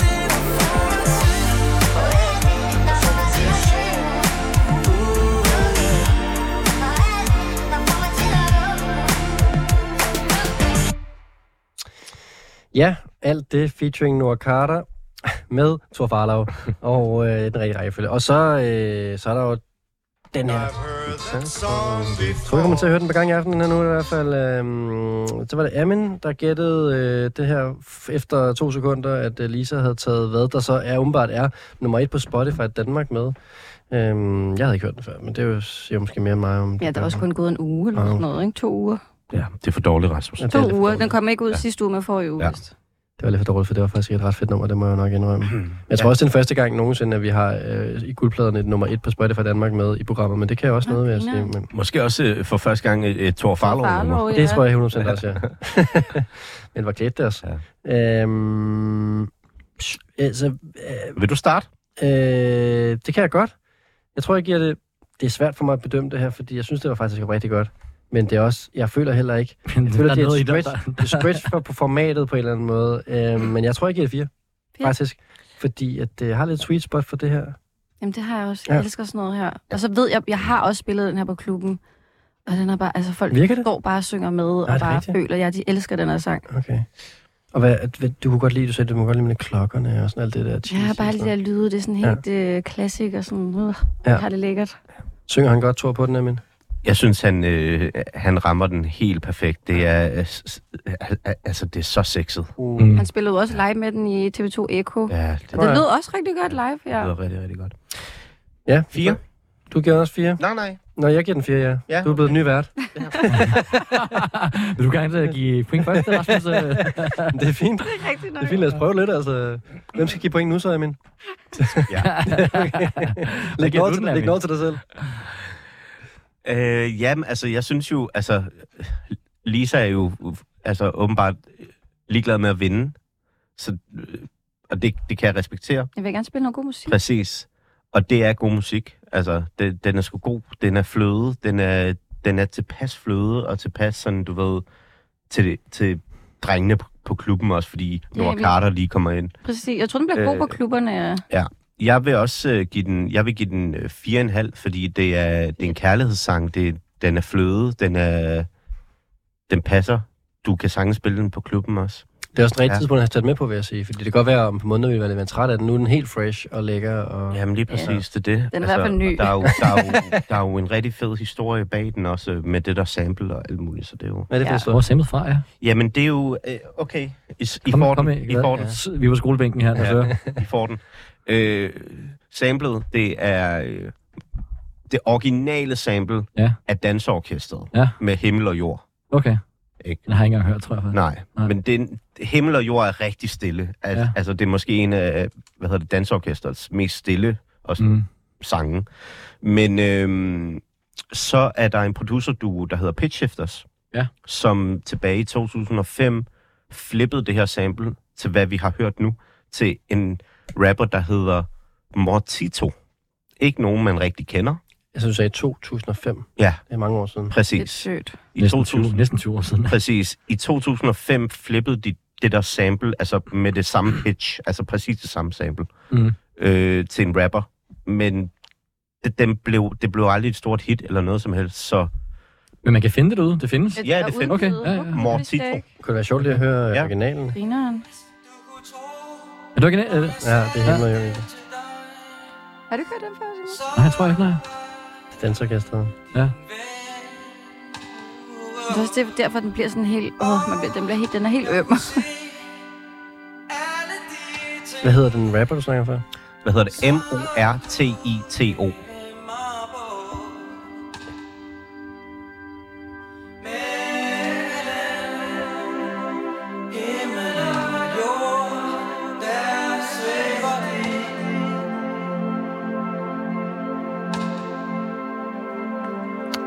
H: det, der får mig til Og alt det, der får mig til at synge
B: Ja, alt det featuring Noah Carter med Thor Farlov og øh, den rigtige rækkefølge. Og så, øh, så er der jo den her. Jeg tror, vi kommer til at høre den på gang i aftenen her nu i hvert fald. Øh, så var det Amin, der gættede øh, det her f- efter to sekunder, at øh, Lisa havde taget hvad der så er umiddelbart er nummer et på Spotify Danmark med. Øh, jeg havde ikke hørt den før, men det er jo siger måske mere mig om
E: Ja, der er også kun gået en uge eller
B: Ja.
E: sådan noget, ikke? To uger.
C: Ja, det er for dårligt, Rasmus.
B: Ja, det er lidt
E: To
B: for
E: uger.
B: dårligt.
E: Den kom ikke ud
C: Ja.
E: sidste uge, men forrige uge.
C: Ja.
E: Ja.
B: Det var lidt for dårligt, for det var faktisk et ret fedt nummer, det må jeg jo nok indrømme. Men jeg tror også, det er den første gang nogensinde, at vi har øh, i guldpladerne et nummer et på Spotify Danmark med i programmet, men det kan jeg også
E: Nå,
B: noget ved at sige.
E: grineren.
B: Men
C: Måske også øh, for første gang et, et Thor Farlow.
E: Farlov, ja.
B: det tror jeg 100% også, ja. men hvor klædte det os. Ja. Øhm, psh, altså, øh,
C: Vil du starte?
B: øh, det kan jeg godt. Jeg tror, jeg giver det... Det er svært for mig at bedømme det her, fordi jeg synes, det var faktisk rigtig godt. Men det er også... Jeg føler heller ikke...
D: Men
B: Jeg føler,
D: der er
B: det er
D: noget i
B: et
D: det,
B: stretch,
D: der...
B: det er stretch for, på formatet på en eller anden måde. Øh, men jeg tror, jeg giver det fire.
E: Fire?
B: Faktisk. Fordi at, øh, jeg har lidt sweet spot for det her.
E: Jamen, det har jeg også. Jeg
B: Ja.
E: elsker sådan noget her. Og så ved jeg, jeg har også spillet den her på klubben. Og den er bare, altså folk
B: Virker det?
E: går bare og synger med, og
B: er det
E: bare
B: rigtigt?
E: føler, ja, de elsker den her sang.
B: Okay. Og hvad, at- hvad, du kunne godt lide, du sagde, du kunne godt lide med klokkerne og sådan alt det der. cheesy
E: Ja,
B: og
E: bare
B: sådan
E: alle de der
B: noget.
E: lyde, det er sådan
B: Ja.
E: helt øh, klassik og sådan, uh,
B: Ja.
E: ja. har det lækkert.
B: Synger han godt, tror på den, Amin?
C: Jeg synes, han, øh, han rammer den helt perfekt. Det er, øh, s- al- al- altså, det er så sexet.
D: Mm.
E: Han spillede jo også live med den i TV2 Echo. Ja.
C: Ja, Uh, det
E: Det lød også rigtig godt live, ja.
C: lyder rigtig, rigtig godt.
B: Ja.
C: Fire?
B: Du giver den også fire?
C: Nej, nej.
B: Nå, jeg giver den fire, ja.
C: Ja,
B: du er blevet ny vært.
D: Vil du gerne øh, give point først, Rasmus? Øh,
B: Men det er fint. Det
E: Rigtig nok.
B: er fint, lad os prøve lidt, altså. Hvem skal give point nu så, Amin?
C: Ja.
B: Læg
D: giver
B: noget,
D: du
B: til,
D: den,
B: læg
D: Amin?
B: noget til dig selv.
C: Øh, jamen, altså, jeg synes jo, altså, Lisa er jo øh, altså, åbenbart øh, ligeglad med at vinde. Så, øh, og det, det kan jeg respektere.
E: Jeg vil gerne spille noget god musik.
C: Præcis. Og det er god musik. Altså, det, den er sgu god. Den er fløde. Den er, den er tilpas fløde og tilpas, sådan, du ved, til, til drengene på, på klubben også, fordi
E: Ja,
C: Nora
E: vi-
C: Carter lige kommer ind.
E: Præcis. Jeg tror, den bliver god
C: Øh,
E: på klubberne. ja.
C: Jeg vil også øh, give den, jeg vil give den øh, 4,5, fordi det er, det er en kærlighedssang. Det, den er fløde, den er, den passer. Du kan sagtens spille den på klubben også.
B: Det er også en rigtig
C: Ja.
B: tidspunkt, at have taget med på, vil jeg sige. Fordi det kan godt være, om på måneder vi vil være træt af den. Nu er den helt fresh og lækker. Og...
C: Jamen lige præcis, ja. det er det. Altså,
E: Den er i hvert fald ny.
C: og Der er, jo, der, er jo, der er jo en rigtig fed historie bag den også, øh, med det der sample og alt muligt, så det er jo...
B: Hvad er det
E: Ja.
B: for ja.
D: Hvor er
B: historie?
D: samlet fra, ja.
C: Jamen det er jo... Øh, okay, I, s- I
D: Kom,
C: får
D: kom
C: den,
D: med,
C: I får
D: ja.
C: den.
D: S- Vi er på skolebænken her. altså. Ja.
C: Ja, I får den. Øh, samplet, det er øh, det originale sample
D: Ja.
C: af dansorkestret
D: Ja.
C: med himmel og jord.
D: Okay.
C: Ikke?
D: Den har jeg ikke engang hørt, tror jeg. faktisk.
C: Nej,
D: Nej.
C: Nej. men den, himmel og jord er rigtig stille. Al,
D: Ja.
C: ja. Altså, det er måske en af, hvad hedder det, dansorkestrets mest stille og sådan
D: Mm.
C: sange. Men øhm, så er der en producerduo, der hedder Pitch Shifters,
D: Ja.
C: som tilbage i 2005 flippede det her sample til, hvad vi har hørt nu, til en rapper, der hedder Mortito. Ikke nogen, man rigtig kender.
B: Jeg synes, du sagde 2005.
C: Ja,
B: Det er mange år siden.
E: Det er
C: præcis.
E: sødt.
C: I
D: Næsten 20,
C: 2000,
D: næsten 20 år siden.
C: Præcis. I 2005 flippede de det der sample, altså med det samme pitch, altså præcis det samme sample,
D: Mm.
C: øh, til en rapper. Men det, den blev, det blev aldrig et stort hit eller noget som helst, så
D: Men man kan finde det derude. Det findes.
C: Ja, det findes.
D: Okay, ja, ja.
C: Mortito.
B: Kunne det være sjovt lige at høre ja.
C: Ja.
B: originalen?
E: Grineren.
D: Er du ikke en af-
B: Ja, det er helt med ja.
E: Har du kørt den før, Simon?
D: Nej, jeg tror ikke, nej.
B: Dansorkestret.
D: Ja.
E: Det er også det- derfor, den bliver sådan helt... Åh, man bliver, den, bliver helt, den er helt øm.
B: Hvad hedder den rapper, du snakker for?
C: hvad hedder det? M-O-R-T-I-T-O.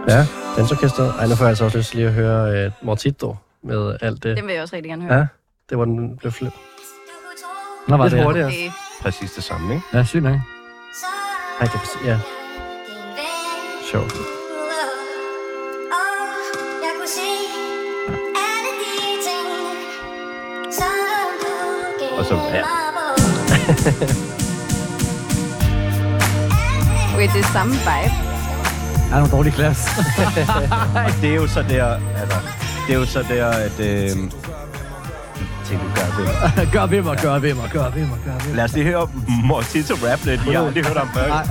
B: Ja, Dansorkestret. Ej, nu får jeg altså også lyst til lige at høre uh, Mortito med alt det.
E: Den vil jeg også rigtig gerne høre.
B: Ja, det var den blev flippet.
D: Nå, var
B: Lidt
D: det.
B: hurtigere.
E: Okay.
C: Præcis det samme, ikke?
D: Ja, sygt nok.
B: Ej, det er ja, sjovt.
F: E
C: Og så- ja.
E: okay, det er samme vibe.
D: Er nogle dårlige klasse.
C: Og det er jo så der, altså, det er jo så der, at... Øh, tænk, du gør det.
D: gør ved mig, gør ved mig, gør ved mig, gør ved mig.
C: Lad os lige høre Mortito rap lidt. Jeg har aldrig hørt ham før.
H: at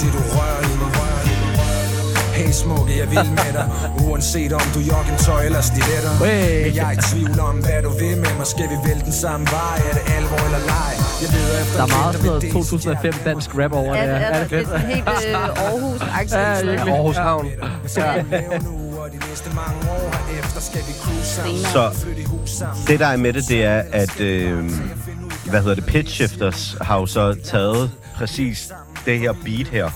H: det du rører i mig Hey smukke, jeg vil med dig Uanset om du jogger tøj eller stiletter
D: Hey.
H: Men jeg er i tvivl om, hvad du vil med mig Skal vi vælge den samme vej? Er det alvor eller leg? Jeg leder efter
D: Der er meget sådan noget
H: vinter med
D: 2005 dansk rap over det.
E: Ja,
D: her.
E: det er, der.
D: Er det
E: det
D: fedt?
E: er helt øh, Aarhus-aktigt.
D: Ja,
E: Ja,
D: virkelig.
B: Aarhus Havn.
H: Så er det lave nu, og de næste mange år herefter Skal vi cruise sammen
C: Så
H: Flytte i hus sammen
C: Det, der er med det, det er, at øh, hvad hedder det, Pitch Shifters har jo så taget præcis det her beat her,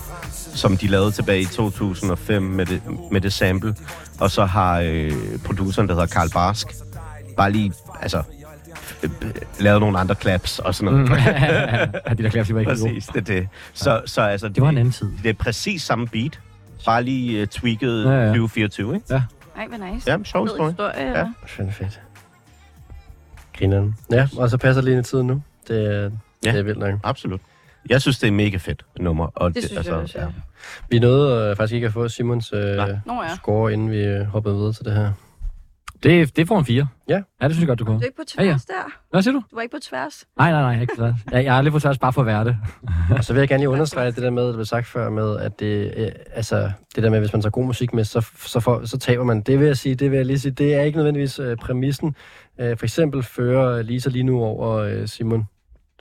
C: som de lavede tilbage i 2005 med det, med det sample. Og så har øh, produceren, der hedder Karl Barsk, bare lige, altså, øh, lavet nogle andre claps og sådan noget. Mm.
D: ja, de der klasse, de var ikke gode.
C: præcis, det er det. Så, så altså,
D: Det var en anden tid.
C: det er præcis samme beat, bare lige uh, tweaked
D: Ja,
C: ja,
D: ja.
C: ja. 2024, ikke?
E: Ej, hvor nice.
C: Ja, sjov
E: Fed
C: historie.
E: historie.
C: Ja.
E: Ja.
B: Fandme fedt. Grineren. Ja, og så passer det lige ind i tiden nu. Det, er-
C: Ja.
B: det er vildt nok.
C: Absolut. Jeg synes, det er mega fedt nummer. Og altså,
E: Det synes jeg også, ja.
B: Vi nåede øh, faktisk ikke at få Simons øh,
E: Nå ja.
B: score, inden vi øh, hoppede videre til det her.
D: Det, det får en 4.
B: Ja.
D: Ja, det synes jeg godt, du
E: Du
D: kunne.
E: er ikke på
D: Ja, ja. Mm.
E: tværs der.
D: Hvad siger du?
E: Du var ikke på tværs.
D: Nej, nej, nej, ikke for Jeg, jeg er lidt for tværs bare for at være det.
B: Og så vil jeg gerne lige understrege det der med, der blev sagt før med, at det, øh, altså, det der med, hvis man tager god musik med, så, så, for, så taber man. Det vil jeg sige, det vil jeg lige sige. Det er ikke nødvendigvis øh, præmissen. Øh, for eksempel fører Lisa lige nu over øh, Simon,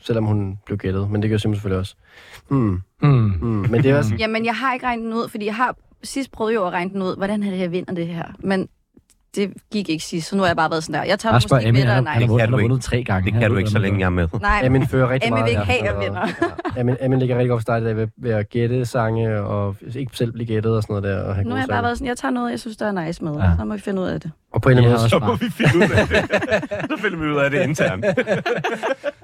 B: selvom hun blev gættet. Men det gør Simon selvfølgelig også. Hmm,
D: Hmm.
B: hmm. Men det er også...
E: Jamen, jeg har ikke regnet den ud, fordi jeg har sidst prøvet jo at regne den ud. Hvordan er det, jeg vinder det her? Men det gik ikke sidst, så nu har jeg bare været sådan der. Jeg tager
D: Jeg
E: måske
D: spørger
E: ikke
D: Emmy,
E: med
D: han,
E: dig,
D: har- han,
E: nej.
D: har vundet-
C: Det kan
D: han
C: du
D: har
C: ikke.
D: vundet tre gange.
C: Det
D: Han
C: kan du
D: ved,
C: ikke, så
D: hvad man
C: længe jeg
D: gør.
C: er med.
E: Nej,
B: Amin fører rigtig
E: Emmy
B: meget.
E: vil ikke have, at jeg
B: og- ja, Amin, Amin ligger rigtig godt for dig der ved, ved at gætte sange, og ikke selv blive gættet og sådan noget der. Og have
E: nu har
B: gode
E: jeg bare
B: sange.
E: været sådan, jeg tager noget, jeg synes, der er nice med.
D: Ja.
E: Ja. Så må vi finde ud af det.
B: Og på en eller
D: Jeg
B: anden
D: har
B: måde,
D: også
C: Så
D: bare.
C: må vi finde ud af det. Så finder vi ud af det internt.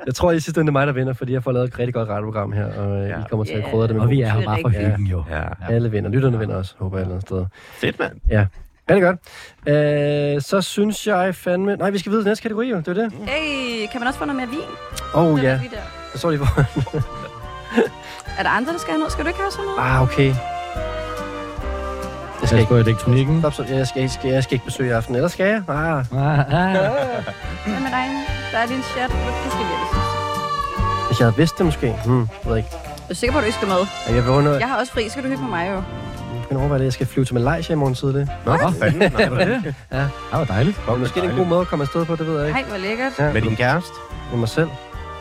B: jeg tror i sidste ende, det er mig, der vinder, fordi jeg får lavet et rigtig godt radioprogram her, og ja.
C: Ja.
B: I kommer til at
E: Ja.
B: krydre det med
D: Og vi
B: god
D: er her
B: musik.
D: bare for
E: Det
B: er rigtigt.
D: hyggen, jo.
C: Ja.
B: Alle vinder. Lytterne vinder også, håber jeg et eller andet sted.
C: Fedt, mand.
B: Ja. Rigtig godt. Øh, så synes jeg fandme... Nej, vi skal videre til næste kategori, jo. Det er det.
E: Hey, kan man også få noget mere vin?
B: Åh, oh,
E: Den er
B: ja.
E: lige der.
B: Jeg så lige for...
E: Er der andre, der skal have noget? Skal du ikke have sådan noget?
B: Ah, okay. Jeg
D: Jeg
B: skal ikke...
D: spørger elektronikken.
B: Stop, så- Jeg skal, jeg, skal, jeg skal ikke besøge i aften. Eller skal jeg? Ah,
D: Ah, ah.
E: Hvad med dig? Der er din chat. Du skal virkelig.
B: hvis jeg havde vidst det måske. Hmm, jeg ved ikke.
E: Jeg er sikker på, at du ikke skal med.
B: Jeg begynder,
E: Jeg har også fri. Skal du hygge med mig jo?
B: jeg begynder at overveje det. Jeg skal flyve til Malaysia i morgen tidlig.
C: Nå, for fanden. Nej, hvor er det?
D: Det var dejligt.
B: Og måske er det en god måde at komme afsted på, det ved jeg ikke.
E: Nej, hvor lækkert.
B: Ja,
C: Med din kæreste?
B: med mig selv.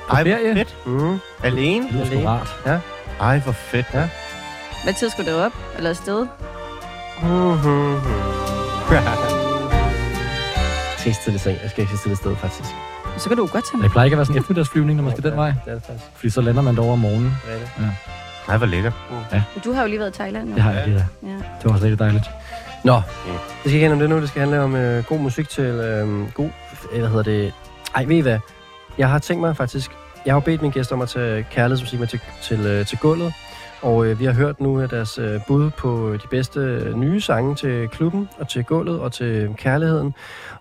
C: Ej, hvor
D: ferie?
C: fedt.
B: Mm.
C: Alene?
D: Det var sgu
B: Alene.
D: rart.
C: Ej, hvor fedt.
B: Ja.
C: Ja.
E: Hvad tid skal du op? Eller afsted?
B: Mm-hmm. Jeg skal ikke sidde i seng. Jeg skal ikke sidde i sted, faktisk.
E: Så kan du jo godt tage
D: Det plejer ikke at være sådan en eftermiddagsflyvning, når man skal den vej.
B: Det er det faktisk.
D: Fordi så lander man derovre om morgenen.
B: Rigtigt.
C: Nej, hvor lækkert.
E: mig. Du har jo lige været i Thailand nu.
D: Det har jeg det der.
E: Ja.
D: Det var også rigtig dejligt.
B: Nå, det skal ikke handle om det nu. Det skal handle om øh, god musik til øh, god... Øh, hvad hedder det? Ej, ved I hvad? Jeg har tænkt mig faktisk... Jeg har jo bedt mine gæster om at tage kærlighedsmusik med til, til, øh, til gulvet. Og øh, vi har hørt nu af deres øh, bud på de bedste øh, nye sange til klubben og til gulvet og til kærligheden.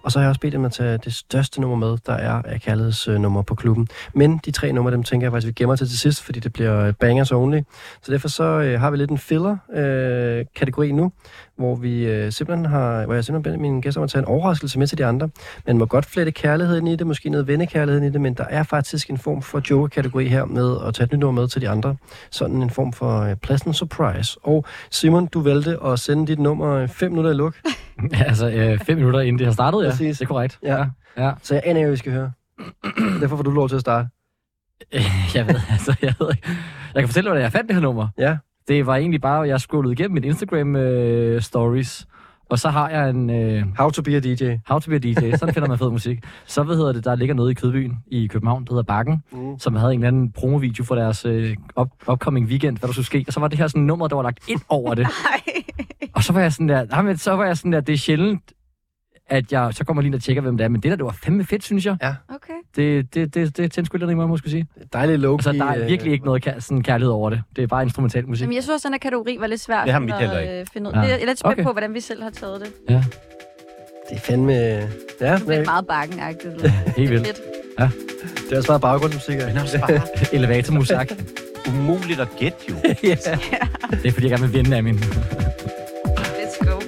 B: Og så har jeg også bedt dem at tage det største nummer med, der er af kærlighedsnummer på klubben. Men de tre numre, dem tænker jeg faktisk, vi gemmer til til sidst, fordi det bliver øh, bangers only. Så derfor så øh, har vi lidt en filler-kategori nu, hvor vi øh, simpelthen har, hvor jeg simpelthen beder mine gæster om at tage en overraskelse med til de andre. Man må godt flette kærligheden i det, måske noget vennekærligheden i det, men der er faktisk en form for joker-kategori her med at tage et nyt nummer med til de andre. Sådan en form for øh, pleasant surprise. Og Simon, du valgte at sende dit nummer 5 minutter i luk,
D: altså, øh, fem minutter inden det har startet, ja.
B: Præcis.
D: Det er korrekt.
B: Ja.
D: ja.
B: så jeg aner ikke, hvad vi skal høre. Derfor får du lov til at starte.
D: Jeg ved, altså, jeg ved ikke. Jeg kan fortælle, hvordan jeg fandt det her nummer.
B: Ja.
D: Det var egentlig bare, at jeg scrollede igennem mit Instagram-stories, og så har jeg en... Øh,
B: How to be a DJ.
D: How to be a DJ, sådan finder man fed musik. Så hvad hedder det, der ligger noget i Kødbyen i København, der hedder Bakken,
B: Mm.
D: mm. som havde en eller anden promovideo for deres øh, op upcoming weekend, hvad der skulle ske. Og så var det her sådan nummer, der var lagt ind over det. og så var jeg sådan der, nej, men så var jeg sådan der, det er sjældent, at jeg så kommer lige ind og tjekker, hvem det er. Men det der, det var fandme fedt, synes jeg.
E: Okay.
D: Det, det, det, det tændte sgu lidt, må jeg måske sige.
B: Dejlig øh, low
D: Okay, øh, så Altså, der er virkelig ikke noget kær- sådan kærlighed over det. Det er bare instrumental musik.
E: Jamen, jeg synes også, den her kategori var lidt svært
C: Det har Michael
E: at
C: ikke.
E: øh, finde ud
D: Nej.
E: af. Jeg er lidt spændt
D: Okay.
E: okay. på, hvordan vi selv har taget det.
B: Det er fandme... Ja,
E: Du
B: men-
E: blev meget bakkenagtigt.
D: Helt vildt.
E: Lidt.
B: det er også bare baggrundsmusik.
C: Men også bare
D: Elevatormusik.
C: umuligt at gætte, jo.
D: det er fordi, jeg gerne vil vinde af min.
E: Let's go.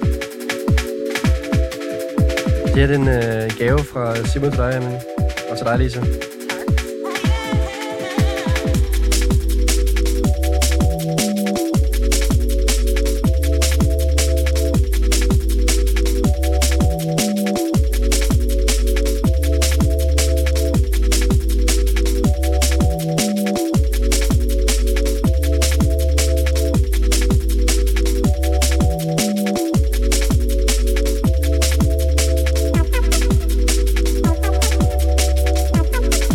B: Det er en øh, gave fra Simon til dig, Amin. Og til dig, Lisa.
F: Thank you.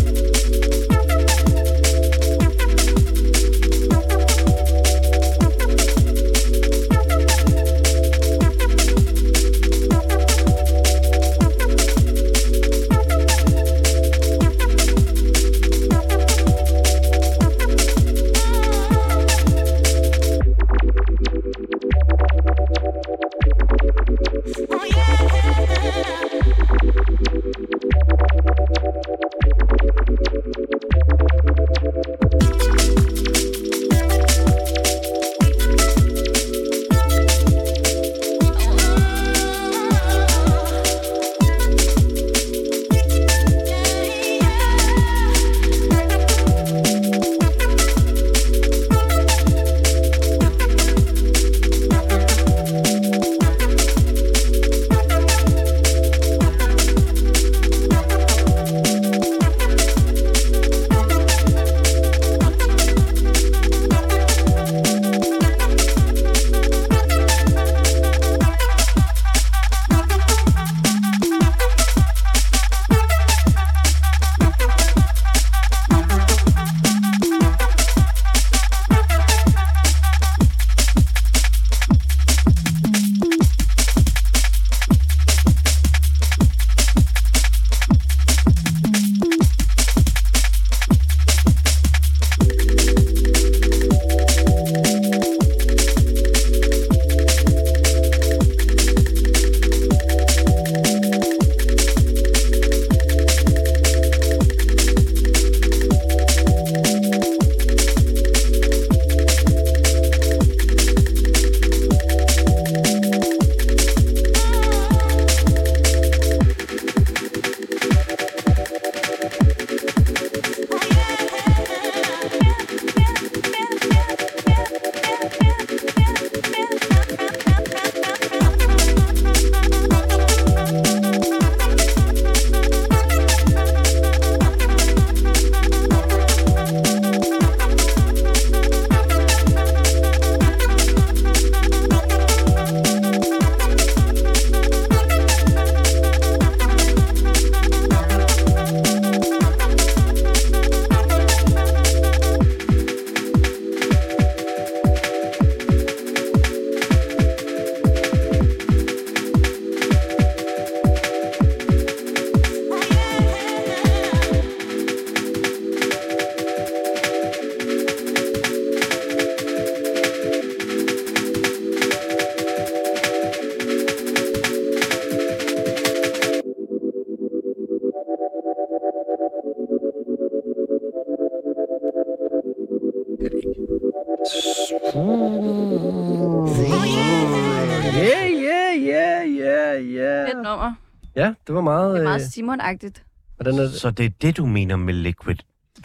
B: ja.
E: Fedt nummer.
B: Ja, det var meget...
E: Det er
B: øh,
E: meget Simon-agtigt.
B: hvordan er det?
C: Så det er det, du mener med liquid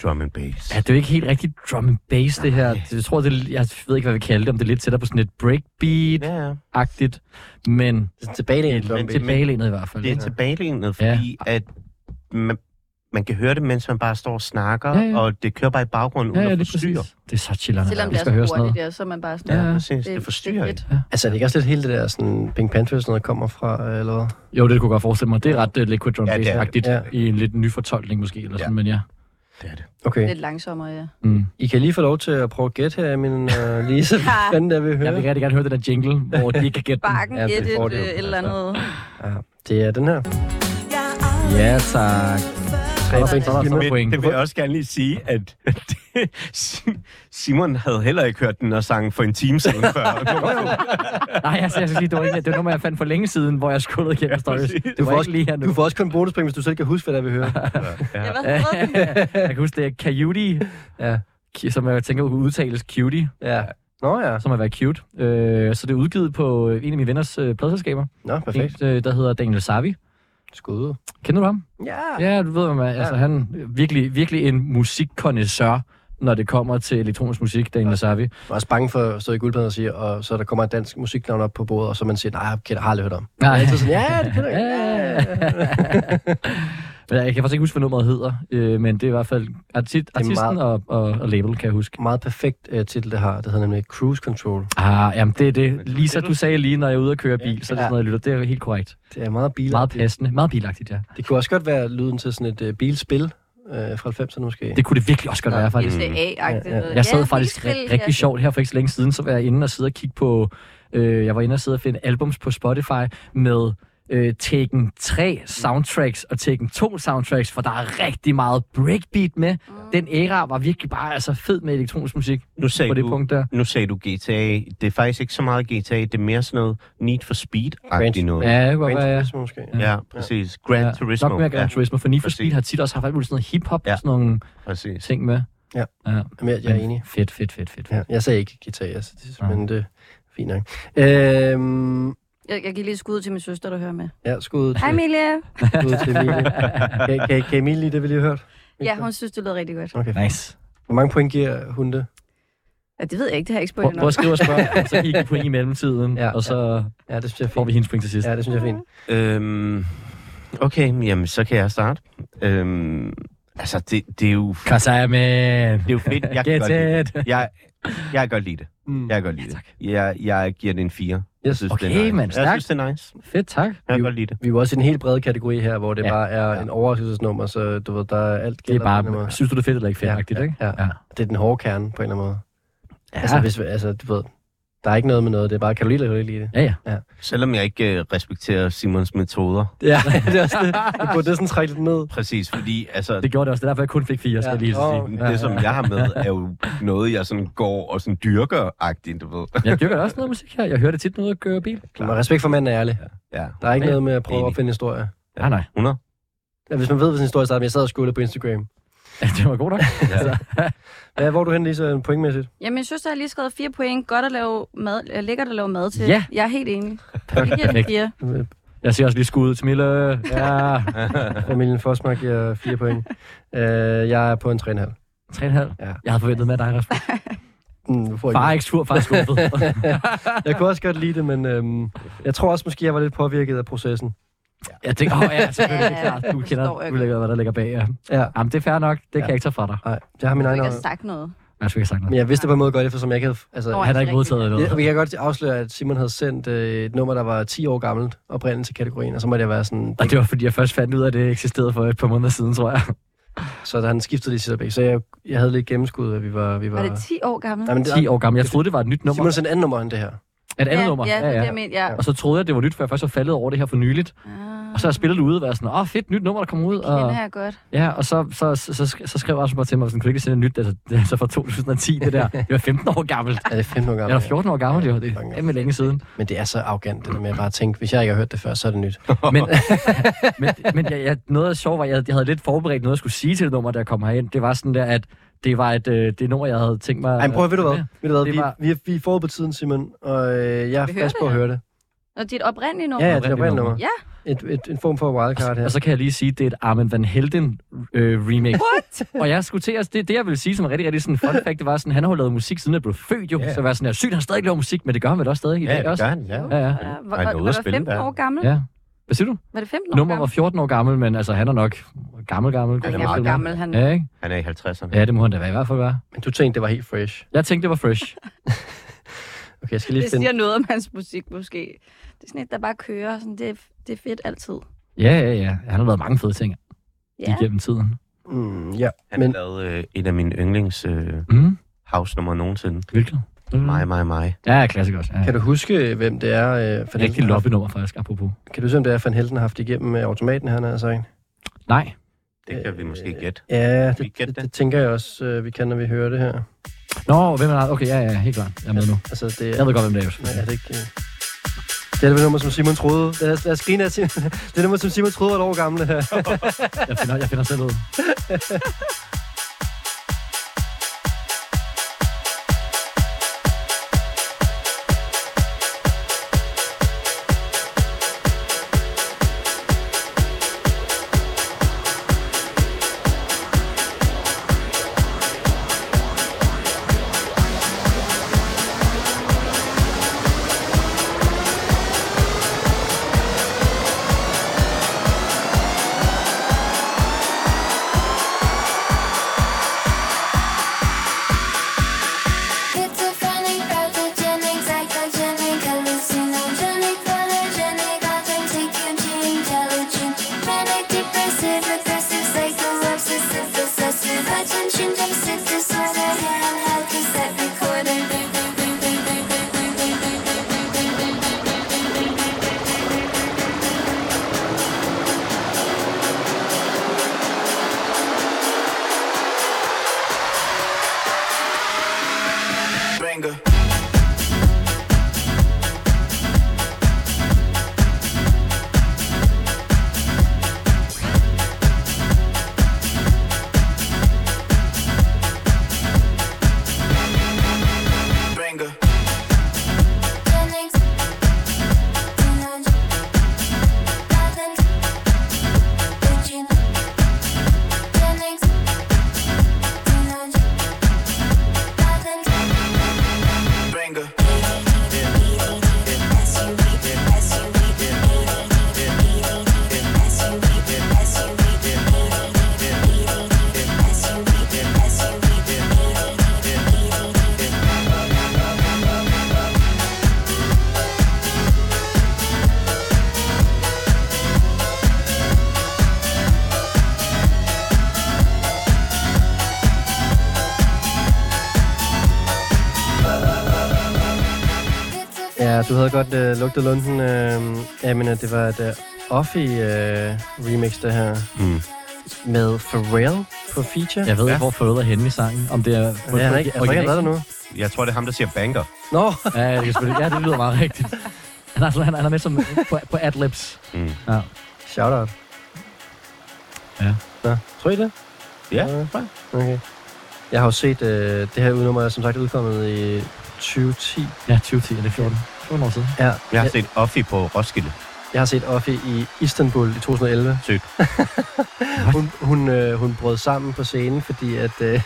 C: drum and bass.
D: Ja, det er jo ikke helt rigtig drum and bass, det her. Jeg tror, det, er- jeg ved ikke, hvad vi kalder det, om det er lidt tættere på sådan et breakbeat-agtigt,
C: ja.
D: men
B: Tilbagelænet
C: Men
B: drum
C: til-
B: beat.
D: tilbagelænet i hvert fald.
C: Det er
D: ikke?
C: tilbagelænet, fordi ja. at man, man kan høre det, mens man bare står og snakker,
D: Ja,
C: ja,
D: ja.
C: ja. og det kører bare i baggrunden
D: Ja,
C: uden
D: ja,
C: at
D: lige
C: forstyrre.
D: præcis. Det er så chillerne.
E: Selvom det
D: vi
E: er
D: skal høre
E: så
D: sådan noget.
E: hurtigt der, så er man bare sådan...
D: Ja,
C: Ja,
D: ja.
C: præcis. Det, forstyrrer
E: fedt.
C: ikke.
B: Altså, er det ikke også lidt hele det der sådan, Pink Panther, sådan noget, kommer fra, øh, eller hvad?
D: Jo, det kunne jeg godt forestille mig. Det er ret uh, liquid drum
C: Ja, det er det.
D: bass-agtigt
B: Ja.
D: i en lidt ny fortolkning måske, eller sådan, men ja.
C: Det er det.
B: Okay.
E: Lidt langsommere, ja.
D: Mm.
B: I kan lige få lov til at prøve at gætte her, min øh, Lise. Hvad fanden der vil høre?
D: Jeg vil rigtig gerne høre den der jingle, hvor de ikke kan gætte den.
E: Bakken,
B: Ja, det
E: et, et,
B: får det jo.
E: øh,
D: altså.
E: et eller andet.
B: Ja, det er den her.
D: Ja, tak.
B: Tre point
D: der er
B: til
D: så-
B: Simon.
D: point.
C: Men det vil jeg også gerne lige sige, at Simon havde heller ikke hørt den og sang for en time siden før.
D: Nej, altså, jeg skal sige, det var ikke det var nummer, jeg fandt for længe siden, hvor jeg skuldrede igennem ja, stories.
C: præcis.
D: Det var
B: Du får,
D: ikke
B: også,
D: lige her nu.
B: du får også kun bonuspoint, hvis du selv kan huske, hvad der vil høre.
E: Ja,
C: ja.
E: hvad hedder den?
D: jeg kan huske, det er Coyote,
B: Ja.
D: ki- som jeg tænker kunne udtales cutie,
B: ja. Nå ja.
D: som har været cute. Øh, så det er udgivet på øh, en af mine venners øh, pladselskaber,
B: Nå, perfekt.
D: En, øh, der hedder Daniel Savi.
B: Skud.
D: Kender du ham?
B: Ja.
D: Ja, du ved, hvad altså, han er virkelig, virkelig en musikkonnoisseur, når det kommer til elektronisk musik, Daniel Savi.
B: Jeg var også bange for at stå i guldpladen og sige, og så der kommer et dansk musiknavn op på bordet, og så man siger, nej, jeg kender- har aldrig hørt om.
D: Nej.
B: Så sådan, ja, det kender jeg. Ja.
D: Men Jeg kan faktisk ikke huske, hvad nummeret hedder, øh, men det er i hvert fald artist,
B: er
D: artisten
B: meget-
D: og, og, og label, kan jeg huske.
B: Meget perfekt uh, titel, det har. Det hedder nemlig Cruise Control.
D: Ah, jamen det er det.
C: det er
D: Lisa,
C: det, du
D: du sagde lige, når jeg er ude og køre bil, så er det
B: Ja.
D: sådan noget, jeg lytter. Det er helt korrekt.
B: Det er meget bil.
D: Meget passende. Meget bilagtigt, ja.
B: Det kunne også godt være lyden til sådan et uh, bilspil uh, fra 90'erne måske.
D: Det kunne det virkelig også godt være, faktisk.
E: USA-agtigt.
B: Ja, ja.
E: noget.
D: Jeg sad
E: Ja,
D: faktisk
E: bilspil,
D: ri- rigtig sjovt her for ikke så længe siden, så var jeg inde og sidde og kigge på, øh, jeg var inde og sidde og finde albums på Spotify med øh, Taken 3 soundtracks og Taken 2 soundtracks, for der er rigtig meget breakbeat med. Den æra var virkelig bare altså, fed med elektronisk musik
C: Nu sagde
D: på det
C: du-
D: punkt der.
C: Nu sagde du GTA. Det er faktisk ikke så meget GTA. Det er mere sådan noget Need for Speed-agtigt
B: Grand-
C: noget.
D: Ja, det kunne godt
B: Gran
D: være, ja.
B: Turismo måske.
C: Ja, præcis. Gran
D: Ja,
C: Turismo.
D: Nok mere Gran Turismo, for Need for Speed
C: præcis.
D: har tit også haft alt muligt sådan noget hip-hop
C: Ja.
D: og sådan nogle
C: Ja, præcis.
D: ting med.
B: Ja.
D: ja.
B: Jamen, jeg, jeg er enig.
D: Fedt, fedt, fedt, fedt.
B: Ja, Ah.
D: fedt.
B: jeg sagde ikke guitar, jeg, det,
D: Nej.
B: men det er fint nok. Øhm,
E: Jeg, jeg giver lige et skud til min søster, der hører med.
B: ja, skud
E: Hej,
B: til,
E: Emilie.
B: skud til Emilie. Kan, kan, kan Emilie det, vi lige har hørt?
E: Ja, hun synes, det lyder rigtig godt.
B: Okay.
D: Nice.
B: Hvor mange point giver hun det?
E: Ja, det ved jeg ikke, det har jeg ikke
D: Prøv,
E: spurgt
D: prøv
E: nok.
D: at skrive og spørge, så giver I point i mellemtiden,
B: Ja.
D: ja, og så
B: Ja, det synes jeg er
D: får vi
B: fint.
D: hendes point til sidst.
B: Ja, det synes jeg er fint.
C: Øhm, okay, jamen, så kan jeg starte. Øhm, altså, det, det er jo...
D: Kasai, man.
C: Det er jo fedt. Jeg kan
D: Get
C: godt lide
D: it.
C: det. Jeg, jeg kan godt lide det.
B: Mm.
C: Jeg kan godt lide
D: tak.
C: det. Jeg, jeg giver den en 4. Jeg
B: Yes.
C: synes, det
D: Okay,
C: er nice.
D: mand,
C: jeg
D: stærkt.
C: synes, det er nice.
D: Fedt, tak.
C: Jeg kan
B: Jo.
C: godt lide det.
B: Vi er jo også i en helt bred kategori her, hvor det
D: Ja.
B: ja. bare er en overraskelsesnummer, så du ved, der er alt
D: Det er
B: gælder på en eller anden
D: bare,
B: måde.
D: synes du det er fedt eller ikke fedt,
B: Ja,
D: rigtigt,
B: ja,
D: ikke?
B: ja. Det er den hårde kerne på en eller anden måde. Ja. Altså, hvis, altså, du ved, der er ikke noget med noget, det er bare, kan du lide det, eller kan du ikke lide det?
D: Ja, ja.
C: Selvom jeg ikke øh, respekterer Simons metoder.
B: Ja, det er også det. Du burde næsten trække lidt ned.
C: Præcis, fordi altså,
D: Det gjorde det også. Det er derfor, jeg kun fik fire, skal jeg lige så
B: Ja.
D: sige.
B: Åh,
C: det, som jeg har med, er jo noget, jeg sådan går og sådan dyrker-agtigt, du ved.
D: Jeg dyrker også noget musik her. Jeg hører det tit, når jeg kører bil.
B: Men respekt for manden er ærlig.
C: Ja,
B: Der er ikke
D: Ja.
B: noget med at prøve at
C: Enig.
B: opfinde historie.
D: Nej, nej.
C: 100.
B: Ja, hvis man ved, hvad sin historie starter, men jeg sad og skuldte på Instagram.
D: Det var godt nok.
C: Ja.
B: Ja, hvor er du hen, Lisa, pointmæssigt?
E: Ja, min søster har lige skrevet fire point. Godt at lave mad. øh, Lækkert at lave mad til.
D: Ja.
E: Jeg er helt enig. Jeg giver den
D: Perfekt.
E: fire.
D: Jeg ser også lige skud til Mille. Ja.
B: Familien Fosmark giver 4 point. Uh, jeg er på en 3,5.
D: 3,5.
B: Ja.
D: Jeg havde forventet med dig, Rasmus.
B: Mm, du får ikke
D: Far er ikke sur, far er skuffet.
B: Jeg kunne også godt lide det, men øhm, jeg tror også måske, jeg var lidt påvirket af processen.
D: Jeg tænkte, åh ja, selvfølgelig, det er
E: Ja,
D: klart.
E: det
D: Du
E: forstår
D: kender,
E: jeg
D: du lægger, hvad der ligger bag. Ja.
B: Ja,
D: Jamen, det er fair nok. Det kan
B: Ja.
D: jeg ikke tage fra dig.
B: nej, jeg har min
E: Du
B: egen
E: ikke har sagt noget.
D: Jeg skulle ikke have sagt
B: Men
D: noget.
B: jeg vidste det på en måde godt, eftersom jeg ikke havde... Altså,
E: Nå,
D: Han har ikke
E: Rigtigt.
D: modtaget noget.
B: jeg, vi kan godt afsløre, at Simon havde sendt øh, et nummer, der var 10 år gammelt, oprindeligt til kategorien, og så måtte jeg være sådan...
D: Og det var, fordi jeg først fandt ud af, at det eksisterede for et par måneder siden, tror jeg.
B: Så da han skiftede det i Sitterbæk, så jeg, jeg havde lidt gennemskud, at vi var... Vi var,
E: Var det 10 år gammel?
B: Nej, men det,
D: 10 år gammel. Jeg troede, det var et nyt nummer.
B: Simon sendte andet nummer end det her.
D: Et andet nummer.
E: Ja, ja, det er det, jeg mener. Ja.
D: Og så troede jeg, det var nyt, for jeg først var faldet over det her for nyligt.
E: Ah,
D: Og så har jeg spillet det ude og været sådan, åh oh, fedt, nyt nummer, der kommer ud.
E: kender
D: Og,
E: jeg godt.
D: ja, og så, så, så, så, sk- så skrev Rasmus bare til mig, sådan, kan du ikke sende nyt, altså, det er altså fra 2010, det der. Det var 15 år gammelt.
B: Er det 15 år
D: Jeg var
B: gammelt?
D: 14 år gammel, det var det.
B: Fucking
D: Fandme længe siden.
B: Men det er så arrogant, det der med at bare tænke, hvis jeg ikke har hørt det før, så er det nyt.
D: Men, men, men jeg, jeg, noget af sjovt var, jeg, jeg havde lidt forberedt noget, jeg skulle sige til det nummer, der kom herind. Det var sådan der, at det var et, øh, det nummer, jeg havde tænkt mig...
B: Ej, men prøv at ved du hvad? Ved du hvad?
D: Det
B: Vi,
D: var-
B: vi, er- vi er forud på tiden, Simon, og øh, jeg er
E: Vi hører
B: fast
E: det
B: på at
E: her.
B: høre det.
E: Når dit oprindelige nummer.
B: Ja, ja, det
D: Oprindeligt
B: er oprindeligt nummer.
D: nummer.
E: Ja.
B: Et, et, en form for wildcard her.
D: Og så kan jeg lige sige, at det er et Armin Van Helden øh, remake. What? Og jeg skulle til at, det, det jeg vil sige, som er rigtig, rigtig sådan fun fact, det var sådan, han har jo lavet musik, siden han blev født jo.
C: Ja.
D: Yeah. Så var jeg sådan, jeg sygt, han stadig laver musik, men det gør han vel også stadig i dag
C: Ja, det
D: også.
C: gør han, ja.
D: Ja, ja.
E: Ja, var,
C: Ej,
E: var,
C: noget
E: var,
C: at
E: du
C: spille,
E: 15
C: der.
E: år gammel?
D: ja. Hvad siger du?
E: Var det 15 år
D: Nummer var
E: gammel?
D: 14 år gammel, men altså, han er nok gammel, gammel.
E: Han
C: er
E: er
C: meget
E: meget gammel. Han,
D: Ja, ikke?
C: Han er i 50'erne.
D: Ja, det må han da være, i hvert fald være.
B: Men du tænkte, det var helt fresh.
D: Jeg tænkte, det var fresh.
B: Okay, jeg skal lige
E: det
B: finde...
E: siger noget om hans musik, måske. Det er sådan et, der bare kører. Sådan, det, er- det er fedt altid.
D: Ja, ja, ja. Han har lavet mange fede ting
E: Ja.
D: igennem tiden.
B: Mm, ja,
C: Han har
B: men
C: lavet øh, et af mine yndlings øh,
D: Mm.
C: house-numre nogensinde.
D: Hvilket? Mm.
C: Mig, mig, mig.
D: Ja, klassiker også. Ja.
B: kan du huske, hvem det er, øh, Van
D: Rigtig
B: Helden har haft?
D: loppenummer, faktisk, apropos.
B: Kan du se, om det er, Van Helden har haft igennem øh, automaten, han har sagt?
D: Nej.
C: Det kan vi måske gætte.
B: Ja, det,
C: Vi gætte
B: det,
C: det?
B: det tænker jeg også, øh, vi kan, når vi hører det her.
D: Nå, hvem er der? Okay, ja, ja, helt klart. Jeg er med nu.
B: Altså, det
D: Jeg ved godt, hvem det er.
B: Nej, er det ikke... øh, Det er det nummer, som Simon troede. Lad os, lad os grine af Simon. Det er nummer, som Simon troede var et år gamle.
D: Jeg finder, jeg finder selv ud.
F: Schizophrenic, pathogenic, psychogenic, hallucinogenic, polygenic, authentic, eugenic, telegenic, manic, depressive, aggressive, psycho, obsessive, possessive, attention deficit disorder, handheld cassette recorder.
I: Banger. Banger. Banger.
B: ja, du havde godt øh, lugtet lunden, øh, Amina. Det var et øh, Offie-remix, det her.
C: Mm.
B: Med Pharrell på feature.
D: Jeg ved ikke, hvor Føde er henne i sangen. Om det er...
B: Ja, han er ikke, jeg tror ikke, han har været der nu.
C: Jeg tror, det er ham, der siger banker.
B: Nå,
D: Ja, det, kan selvfølgelig- ja, det lyder meget rigtigt. Han er, sådan- han er med som på, på adlibs.
C: Mm.
D: Ja.
B: shout-out.
D: Ja.
B: Nå, tror I det?
C: Ja,
B: Okay. Jeg har jo set, øh, det her nummer er som sagt udkommet i 2010.
D: Ja, 2010, er det 14? 14 år siden.
B: Ja,
C: Jeg har
B: jeg,
C: set Offie på Roskilde.
B: jeg har set Offie i Istanbul i 2011.
C: Sødt.
B: Hun, hun, øh, hun brød sammen på scenen, fordi at... Øh, jeg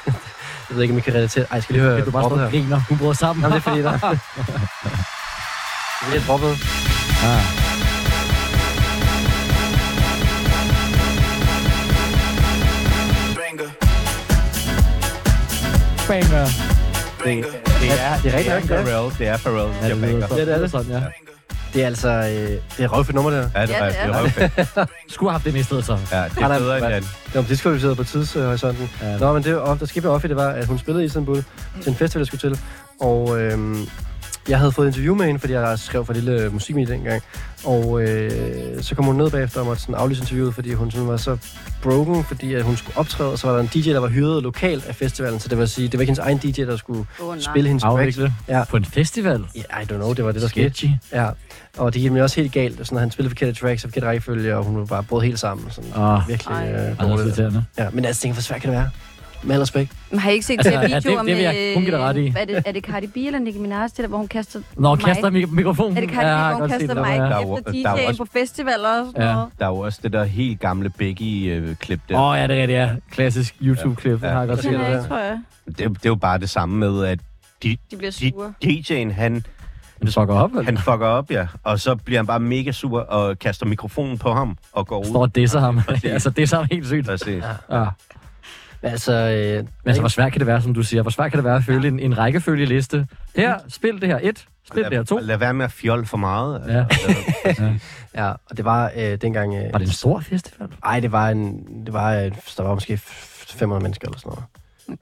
B: ved ikke, om I kan relatere... Ej, jeg skal lige høre
D: Kan du bare stå
B: droppet
D: og
B: her.
D: griner? Hun bryder sammen.
B: Jamen, det er fordi, der... det er droppet.
D: Ja.
I: Banger.
D: Banger.
I: Banger.
C: Det er,
B: det er rigtigt nok,
C: det
B: ja.
C: er Pharrell. Det er Pharrell, der
D: Ja,
C: siger
D: det lyder sådan.
C: banker.
B: Ja, det er det.
D: sådan, ja.
I: Banger.
B: Det er altså... Øh, det er røvfedt nummer, det her.
C: Ja, det
E: Ja,
C: er, ja,
E: det er
C: det er
E: det.
C: røvfedt.
D: Skulle have haft den i stedet så.
C: Ja, det
B: Ej, nej,
C: er bedre end
B: hvad?
C: den.
B: Nå, men det skulle vi sidde på tidshorisonten.
D: Ja.
B: Nå, men det, og der skete med Offie, det var, at hun spillede i Istanbul til en festival, jeg skulle til. Og øhm, jeg havde fået et interview med hende, fordi jeg skrev for lille øh, musikmedie dengang. Og øh, så kom hun ned bagefter og måtte sådan aflyse interviewet, fordi hun sådan var så broken, fordi at hun skulle optræde. Og så var der en DJ, der var hyret lokalt af festivalen, så det vil sige, det var ikke hendes egen DJ, der skulle
E: Åh, nej.
B: spille hendes tracks.
D: Afvikle.
B: Ja.
D: På en festival.
B: Ja, I don't know, det var det, der skete.
D: Sketchy.
B: Ja, og det gik mig også helt galt. Sådan, at han spillede forkerte tracks og forkerte rækkefølge, og hun var bare brudt helt sammen. Sådan,
D: Åh,
B: virkelig
E: Ej.
B: øh,
D: ej, det er
B: dårligt.
D: irriterende.
B: Ja, men altså, tænker, hvor svært kan det altså, være? Med al respekt.
E: Men har I ikke set
D: Altså,
E: altså, de her videoer
D: ja, det- det vil jeg
E: med...
D: kun give dig ret i.
E: Er det, er det Cardi B eller Nicki Minaj, det der, hvor hun kaster
D: Nå,
E: mig?
D: kaster mik- mikrofonen.
E: Er det Cardi B,
D: jeg
E: ja,
D: har
E: hvor hun
D: godt set
E: kaster
D: det, der var, ja.
E: mig
C: Der er
E: efter
C: jo- der er jo
E: DJ'en
C: også-
E: på festivaler og sådan
D: Ja.
E: noget?
C: Der er jo også det der helt gamle Becky-klip der.
D: Åh, oh, ja, det er rigtigt, ja. Klassisk YouTube-klip, ja.
C: Ja.
D: har jeg godt set
E: Den
D: det
E: er
D: der.
E: ikke, tror jeg.
C: Det, er jo- det er jo bare det samme med, at de,
E: De bliver
C: de,
E: sure.
C: DJ'en, han,
D: Men det sukker op, eller?
C: han fucker op, ja. Og så bliver han bare mega sur og kaster mikrofonen på ham og går
D: Står
C: ud.
D: og disser ham.
C: Præcis.
D: altså, disser ham helt sygt.
C: Præcis.
D: Ja.
B: Men altså, øh,
D: Men altså, hvor svært kan det være, som du siger? Hvor svært kan det være at følge en, en rækkefølgeliste? Her, spil det her et, spil det her to.
C: Og Lad være med at fjolle for meget. altså.
D: Ja.
B: ja, og det var øh, dengang... Øh,
D: Var det en stor festival?
B: Ej, det var en... Det var, øh, der var måske f- 500 mennesker eller sådan noget.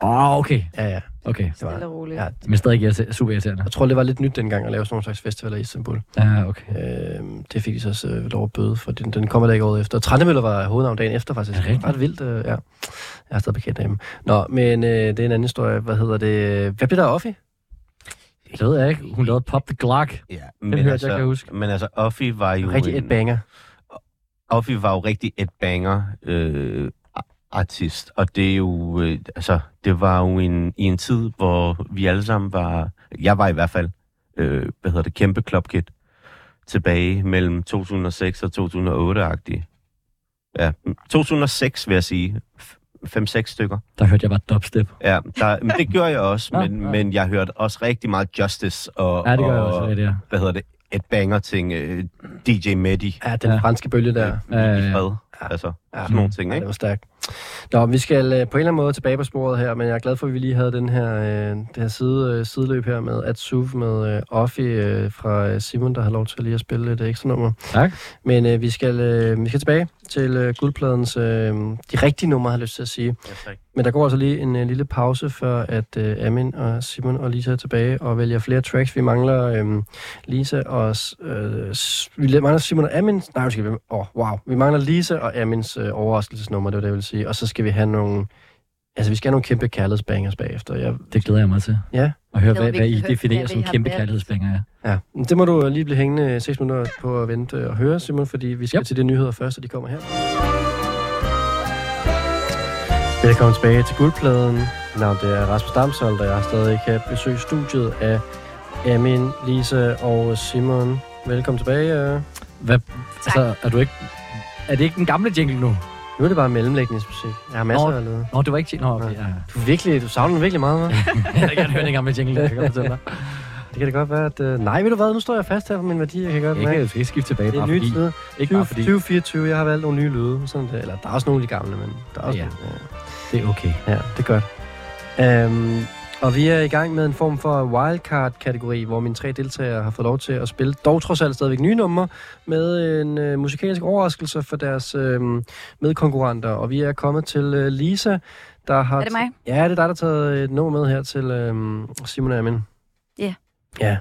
D: Åh, oh, okay.
B: Ja, ja.
D: Okay.
B: Det var,
E: Stille og roligt.
B: ja,
D: Men stadig irriter- super irriterende.
B: jeg tror, det var lidt nyt dengang at lave sådan nogle slags festivaler i Istanbul.
D: Ja, okay.
B: Øh, det fik de så også øh, lov at bøde, for den, den kommer der ikke året efter. Og Trandemøller var hovednavn dagen efter, faktisk.
D: Er det rigtigt?
B: Ret vildt, øh, ja. Jeg er stadig bekendt af ham. Nå, men øh, det er en anden historie. Hvad hedder det? Hvad blev der off i?
D: Det ved jeg ikke. Hun lavede Pop the Glock.
C: ja
D: hørte jeg, kan jeg huske.
C: Men altså, Offie var jo
B: Rigtig
C: en-
B: et banger.
C: Offie var jo rigtig et banger øh, artist, og det er jo, øh, altså, det var jo en, i en tid, hvor vi alle sammen var, jeg var i hvert fald, øh, hvad hedder det, kæmpe klubkid tilbage mellem 2006 og 2008-agtig. Ja, 2006 vil jeg sige. 5-6 stykker.
D: Der hørte jeg bare dubstep.
C: Ja, der, men det gjorde jeg også,
D: Nå,
C: men,
D: ja.
C: men jeg hørte også rigtig meget Justice og,
D: Ja, det gør jeg
C: og
D: også. Det der.
C: hvad hedder det, et banger-ting, øh, DJ Medi,
B: Ja, den
D: Ja.
B: ja. franske bølge der.
C: ja.
D: Ja,
C: i
D: ja.
C: fred. Altså,
B: Ja.
C: sådan nogle ting,
B: Ja, det
C: ikke?
B: var stærkt. Nå, vi skal øh, på en eller anden måde tilbage på sporet her, men jeg er glad for, at vi lige havde den her, øh, det her side, øh, sideløb her med Atsuf med øh, Offi øh, fra øh, Simon, der har lov til lige at spille et ekstra nummer.
D: Tak.
B: Men øh, vi, skal, øh, vi skal tilbage til øh, guldpladens, øh, de rigtige numre, har jeg lyst til at sige. Men der går altså lige en øh, lille pause, før at øh, Amin og Simon og Lisa er tilbage og vælger flere tracks. Vi mangler øh, Lisa og... s- Øh, s- vi la- mangler Simon og Amin... Nej, undskyld. vi- Åh, oh, wow. Vi mangler Lisa og Amins øh, overraskelsesnummer, det var det, jeg ville sige. Og så skal vi have nogle... Altså, vi skal have nogle kæmpe kærlighedsbangers bagefter. Jeg,
D: Det glæder jeg mig til.
B: Ja.
D: At høre,
E: Jeg
D: hvad,
E: ved
D: hvad
E: ikke,
D: I
E: hvad-
D: definerer
E: hvad vi
D: som
E: har
D: kæmpe
E: valgt.
D: kærlighedsbanger. Ja.
B: ja. Men Det må du øh, lige blive hængende øh, seks minutter på at vente og høre, Simon, fordi vi skal
D: Yep.
B: yep. til de nyheder først, og de kommer her. Velkommen tilbage til Guldpladen. Mit navn det er Rasmus Damsholdt, og jeg har stadig kan besøge studiet af Amin, Lisa og Simon. Velkommen tilbage. øh.
D: Hvad, altså, er du ikke... Er det ikke den gamle jingle nu?
B: Nu er det bare mellemlægningsmusik. Jeg har masser
D: Nå.
B: af lavet.
D: Nå, det var ikke jingle. Nå, okay. Ja.
B: Du, er virkelig, du savner den virkelig meget, hva'?
D: Jeg kan gerne høre den gamle jingle, jeg kan godt fortælle dig.
B: Det kan da godt være, at... Øh, nej, ved du hvad? Nu står jeg fast her på min værdi. Jeg kan godt
D: Jeg
B: mærke,
D: kan ikke skifte tilbage,
B: det er
D: bare
B: en ny
D: fordi.
B: tid.
D: Ikke bare fordi.
B: 2024, jeg har valgt nogle nye lyde. Sådan der. Eller der er også nogle af de gamle, men der er også
D: Ja.
B: ja. Nogle, øh,
D: Det er okay.
B: ja. ja, det er godt. Øhm, og vi er i gang med en form for wildcard-kategori, hvor mine tre deltagere har fået lov til at spille, dog trods alt stadigvæk nye numre, med en øh, musikalsk overraskelse for deres øh, medkonkurrenter. Og vi er kommet til øh, Lisa, der har...
E: Er det mig?
B: Ja, det er dig, der har taget et nummer med her til øhm, Simon og Amin.
E: Ja.
B: Ja.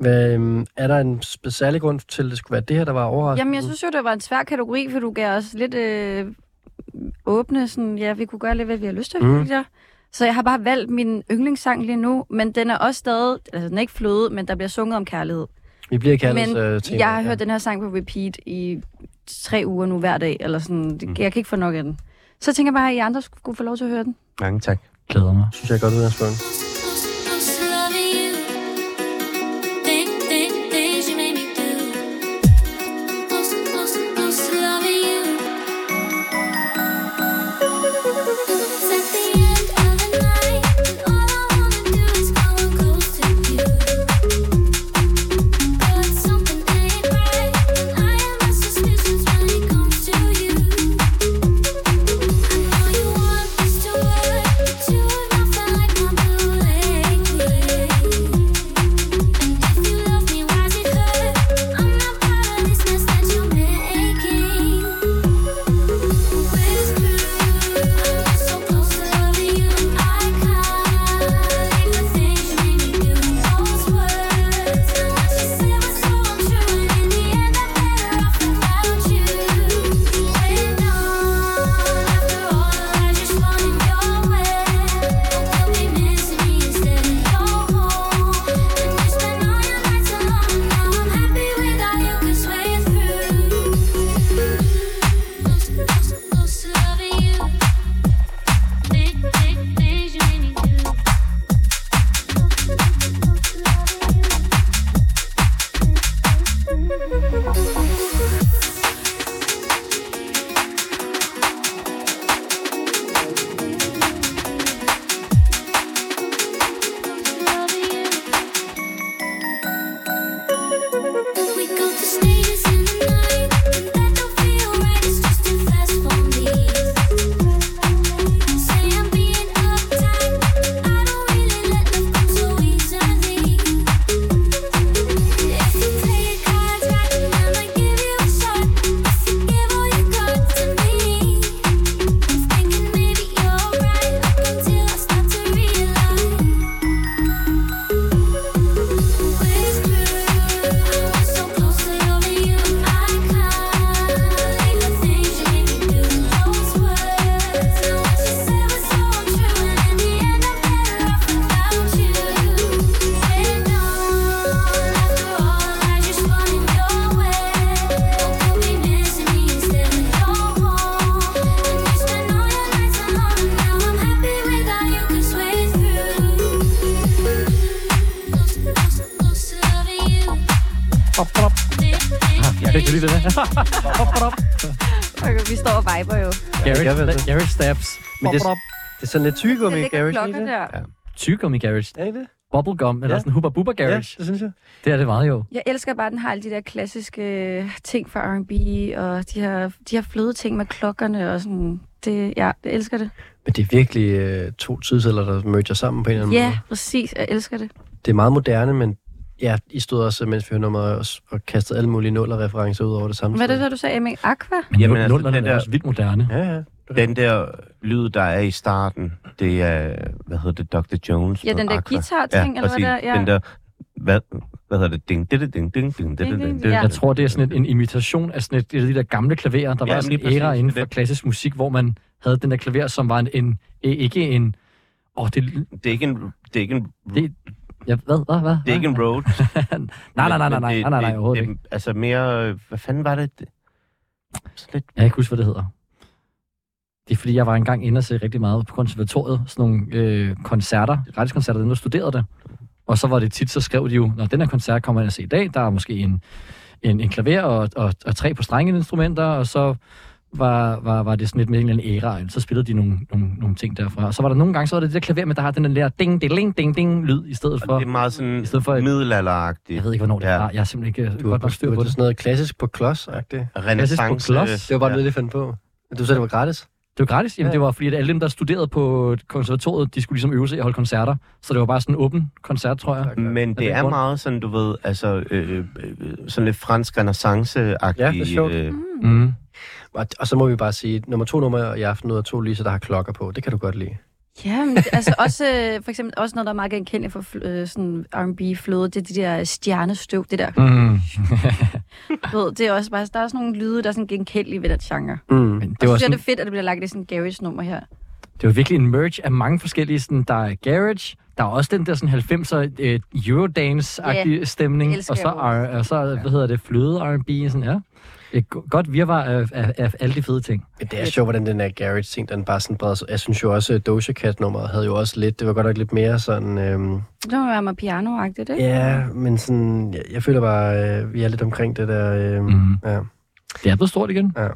B: Hvad, øhm, er der en sp- særlig grund til, at det skulle være det her, der var overraskende?
E: Jamen, jeg synes jo, det var en svær kategori, for du gav os lidt øh, åbne, sådan, ja, vi kunne gøre lidt, hvad vi har lyst til.
B: Mm.
E: Mm. Så jeg har bare valgt min yndlingssang lige nu, men den er også stadig, altså den er ikke fløde, men der bliver sunget om kærlighed.
B: Vi bliver kaldet
E: Men
B: øh, tema.
E: jeg har hørt den her sang på repeat i tre uger nu hver dag, eller sådan, Det- jeg kan ikke få nok af den. Så tænker jeg bare, at I andre skulle få lov til at høre den.
C: Mange tak.
D: Glæder mig.
B: Det synes jeg er godt udgangspunkt.
F: you I know you want this to work, but you are not like my blue
D: Kan du lide det der? Hop, hop, hop.
E: Okay, vi står og viber jo.
D: Garage,
B: gør vi altså.
D: garage stabs.
B: Men det-
D: Bop, bop.
B: Det er sådan lidt tyggegummi,
E: Det ligger
B: Garage.
E: klokker
B: ikke det?
E: der.
D: Tygum i garage.
B: Er I det?
D: Bubblegum, eller
B: Ja.
D: sådan hubba bubba
B: Ja,
D: garage.
B: det synes jeg.
D: Det er det meget jo.
E: Jeg elsker bare, at den har alle de der klassiske øh, ting fra R&B, og de her, de her fløde ting med klokkerne og sådan. Det, ja, jeg elsker det.
B: Men det er virkelig øh, to tidsalder, der merger sammen på en eller anden måde.
E: Ja, præcis. Jeg elsker det.
B: Det er meget moderne, men ja, I stod også, øh, mens vi hørte nummeret, og, og kastede alle mulige nuller-referencer ud over det samme
E: Hvad er det,
B: sted.
E: der du sagde, Emil? Aqua?
D: Men
C: Jamen,
D: Jamen,
C: altså,
D: altså, nullerne
C: den
D: er
C: der-
D: også vildt moderne.
B: Ja, ja.
C: Den der lyd, der er i starten, det er, hvad hedder det, Dr. Jones?
E: Ja, den
C: med
E: der
C: Aqua.
E: guitar-ting, eller hvad
C: præcis.
E: det er, ja.
C: Den der, hvad, hvad hedder det, ding, ding, ding, ding, ding,
E: Ding,
C: ding,
E: ding,
C: ding,
E: ja.
D: Jeg tror, det er sådan et, en imitation af sådan et, et af de der gamle klaverer. Der
C: Ja,
D: var
C: men
D: sådan
C: lige
D: en æra
C: præcis.
D: inden for
C: Det-
D: klassisk musik, hvor man havde den der klaver, som var en, en ikke en... Åh, oh, det,
C: Det er ikke en, det er ikke en,
D: Det- jeg, hvad, hvad, hvad?
C: det er ikke en road.
D: nej, nej, nej, nej,
C: men
D: nej,
C: det-
D: nej, nej, nej,
C: det-
D: overhovedet
C: det-
D: ikke.
C: Altså mere, øh, hvad fanden var det? Det- Sådan lidt,
D: Jeg kan ikke huske, hvad det hedder. Det er fordi, jeg var engang inde og se rigtig meget på konservatoriet, sådan nogle øh, koncerter, gratiskoncerter, dem der studerede det. Og så var det tit, så skrev de jo, når den her koncert kommer ind og se i dag, der er måske en, en, en klaver og, og, og tre på strengeinstrumenter, og så var, var, var det sådan lidt med en eller anden æra, så spillede de nogle, nogle, nogle ting derfra. Og så var der nogle gange, så var det det der klaver, men der har den der lærer ding, ding, ding, ding, lyd i stedet for.
C: det er meget sådan
D: i stedet for et-
C: middelalderagtigt.
D: Jeg ved ikke, hvornår det
C: Ja.
D: var. Jeg er simpelthen ikke
B: Du
D: godt
B: var,
D: nok
B: du
D: styr på
B: var
D: det.
B: sådan noget klassisk på klods -agtigt.
D: Klassisk på
C: Renaissance. øh,
D: klods.
B: Det var bare noget, jeg fandt på. Du sagde, det var gratis.
D: Det var gratis. Jamen,
B: Ja.
D: ja. det var fordi, at alle dem, der studerede på konservatoriet, de skulle ligesom øve sig i at holde koncerter. Så det var bare sådan en åben koncert, tror jeg.
C: Men det
D: det
C: er
D: grund?
C: meget sådan, du ved, altså øh, øh, sådan lidt fransk renaissance-agtigt.
B: Ja, det er sjovt.
C: øh,
E: Mhm.
D: Mm.
B: Og, og så må vi bare sige, nummer to nummer i aften ud af to Lisa, der har klokker på. Det kan du godt lide.
E: Ja, men det- altså også, øh, for eksempel, også noget, der er meget genkendeligt for fl- øh, sådan R&B-fløde, det er de der stjernestøv, det der,
D: Mm.
E: du ved, det er også bare, der er sådan nogle lyde, der er sådan genkendelige ved den genre.
B: Mm.
D: Men
E: Det og
D: det, var
E: så synes jeg,
D: sådan,
E: det er fedt, at det bliver lagt i sådan en garage-nummer her.
D: det var virkelig en merge af mange forskellige. Sådan, der er garage, der er også den der sådan 90'er øh, Eurodance-agtige yeah. stemning.
E: det elsker
D: Og så,
E: jeg
D: er, og så hvad hedder det, fløde R&B. Sådan, ja. Et go- godt virvar af, af, af, alle de fede ting.
B: Men det er sjovt, hvordan den der garage-ting, den bare sådan breder sig. Jeg synes jo også, at Doja Cat-nummeret havde jo også lidt, det var godt nok lidt mere sådan, øhm,
E: Det må være meget piano-agtigt, ikke?
B: ja, men sådan, jeg, jeg føler bare, øh, vi er lidt omkring det der, øhm, mm.
D: Mm.
B: ja.
D: Det er blevet stort igen. Det,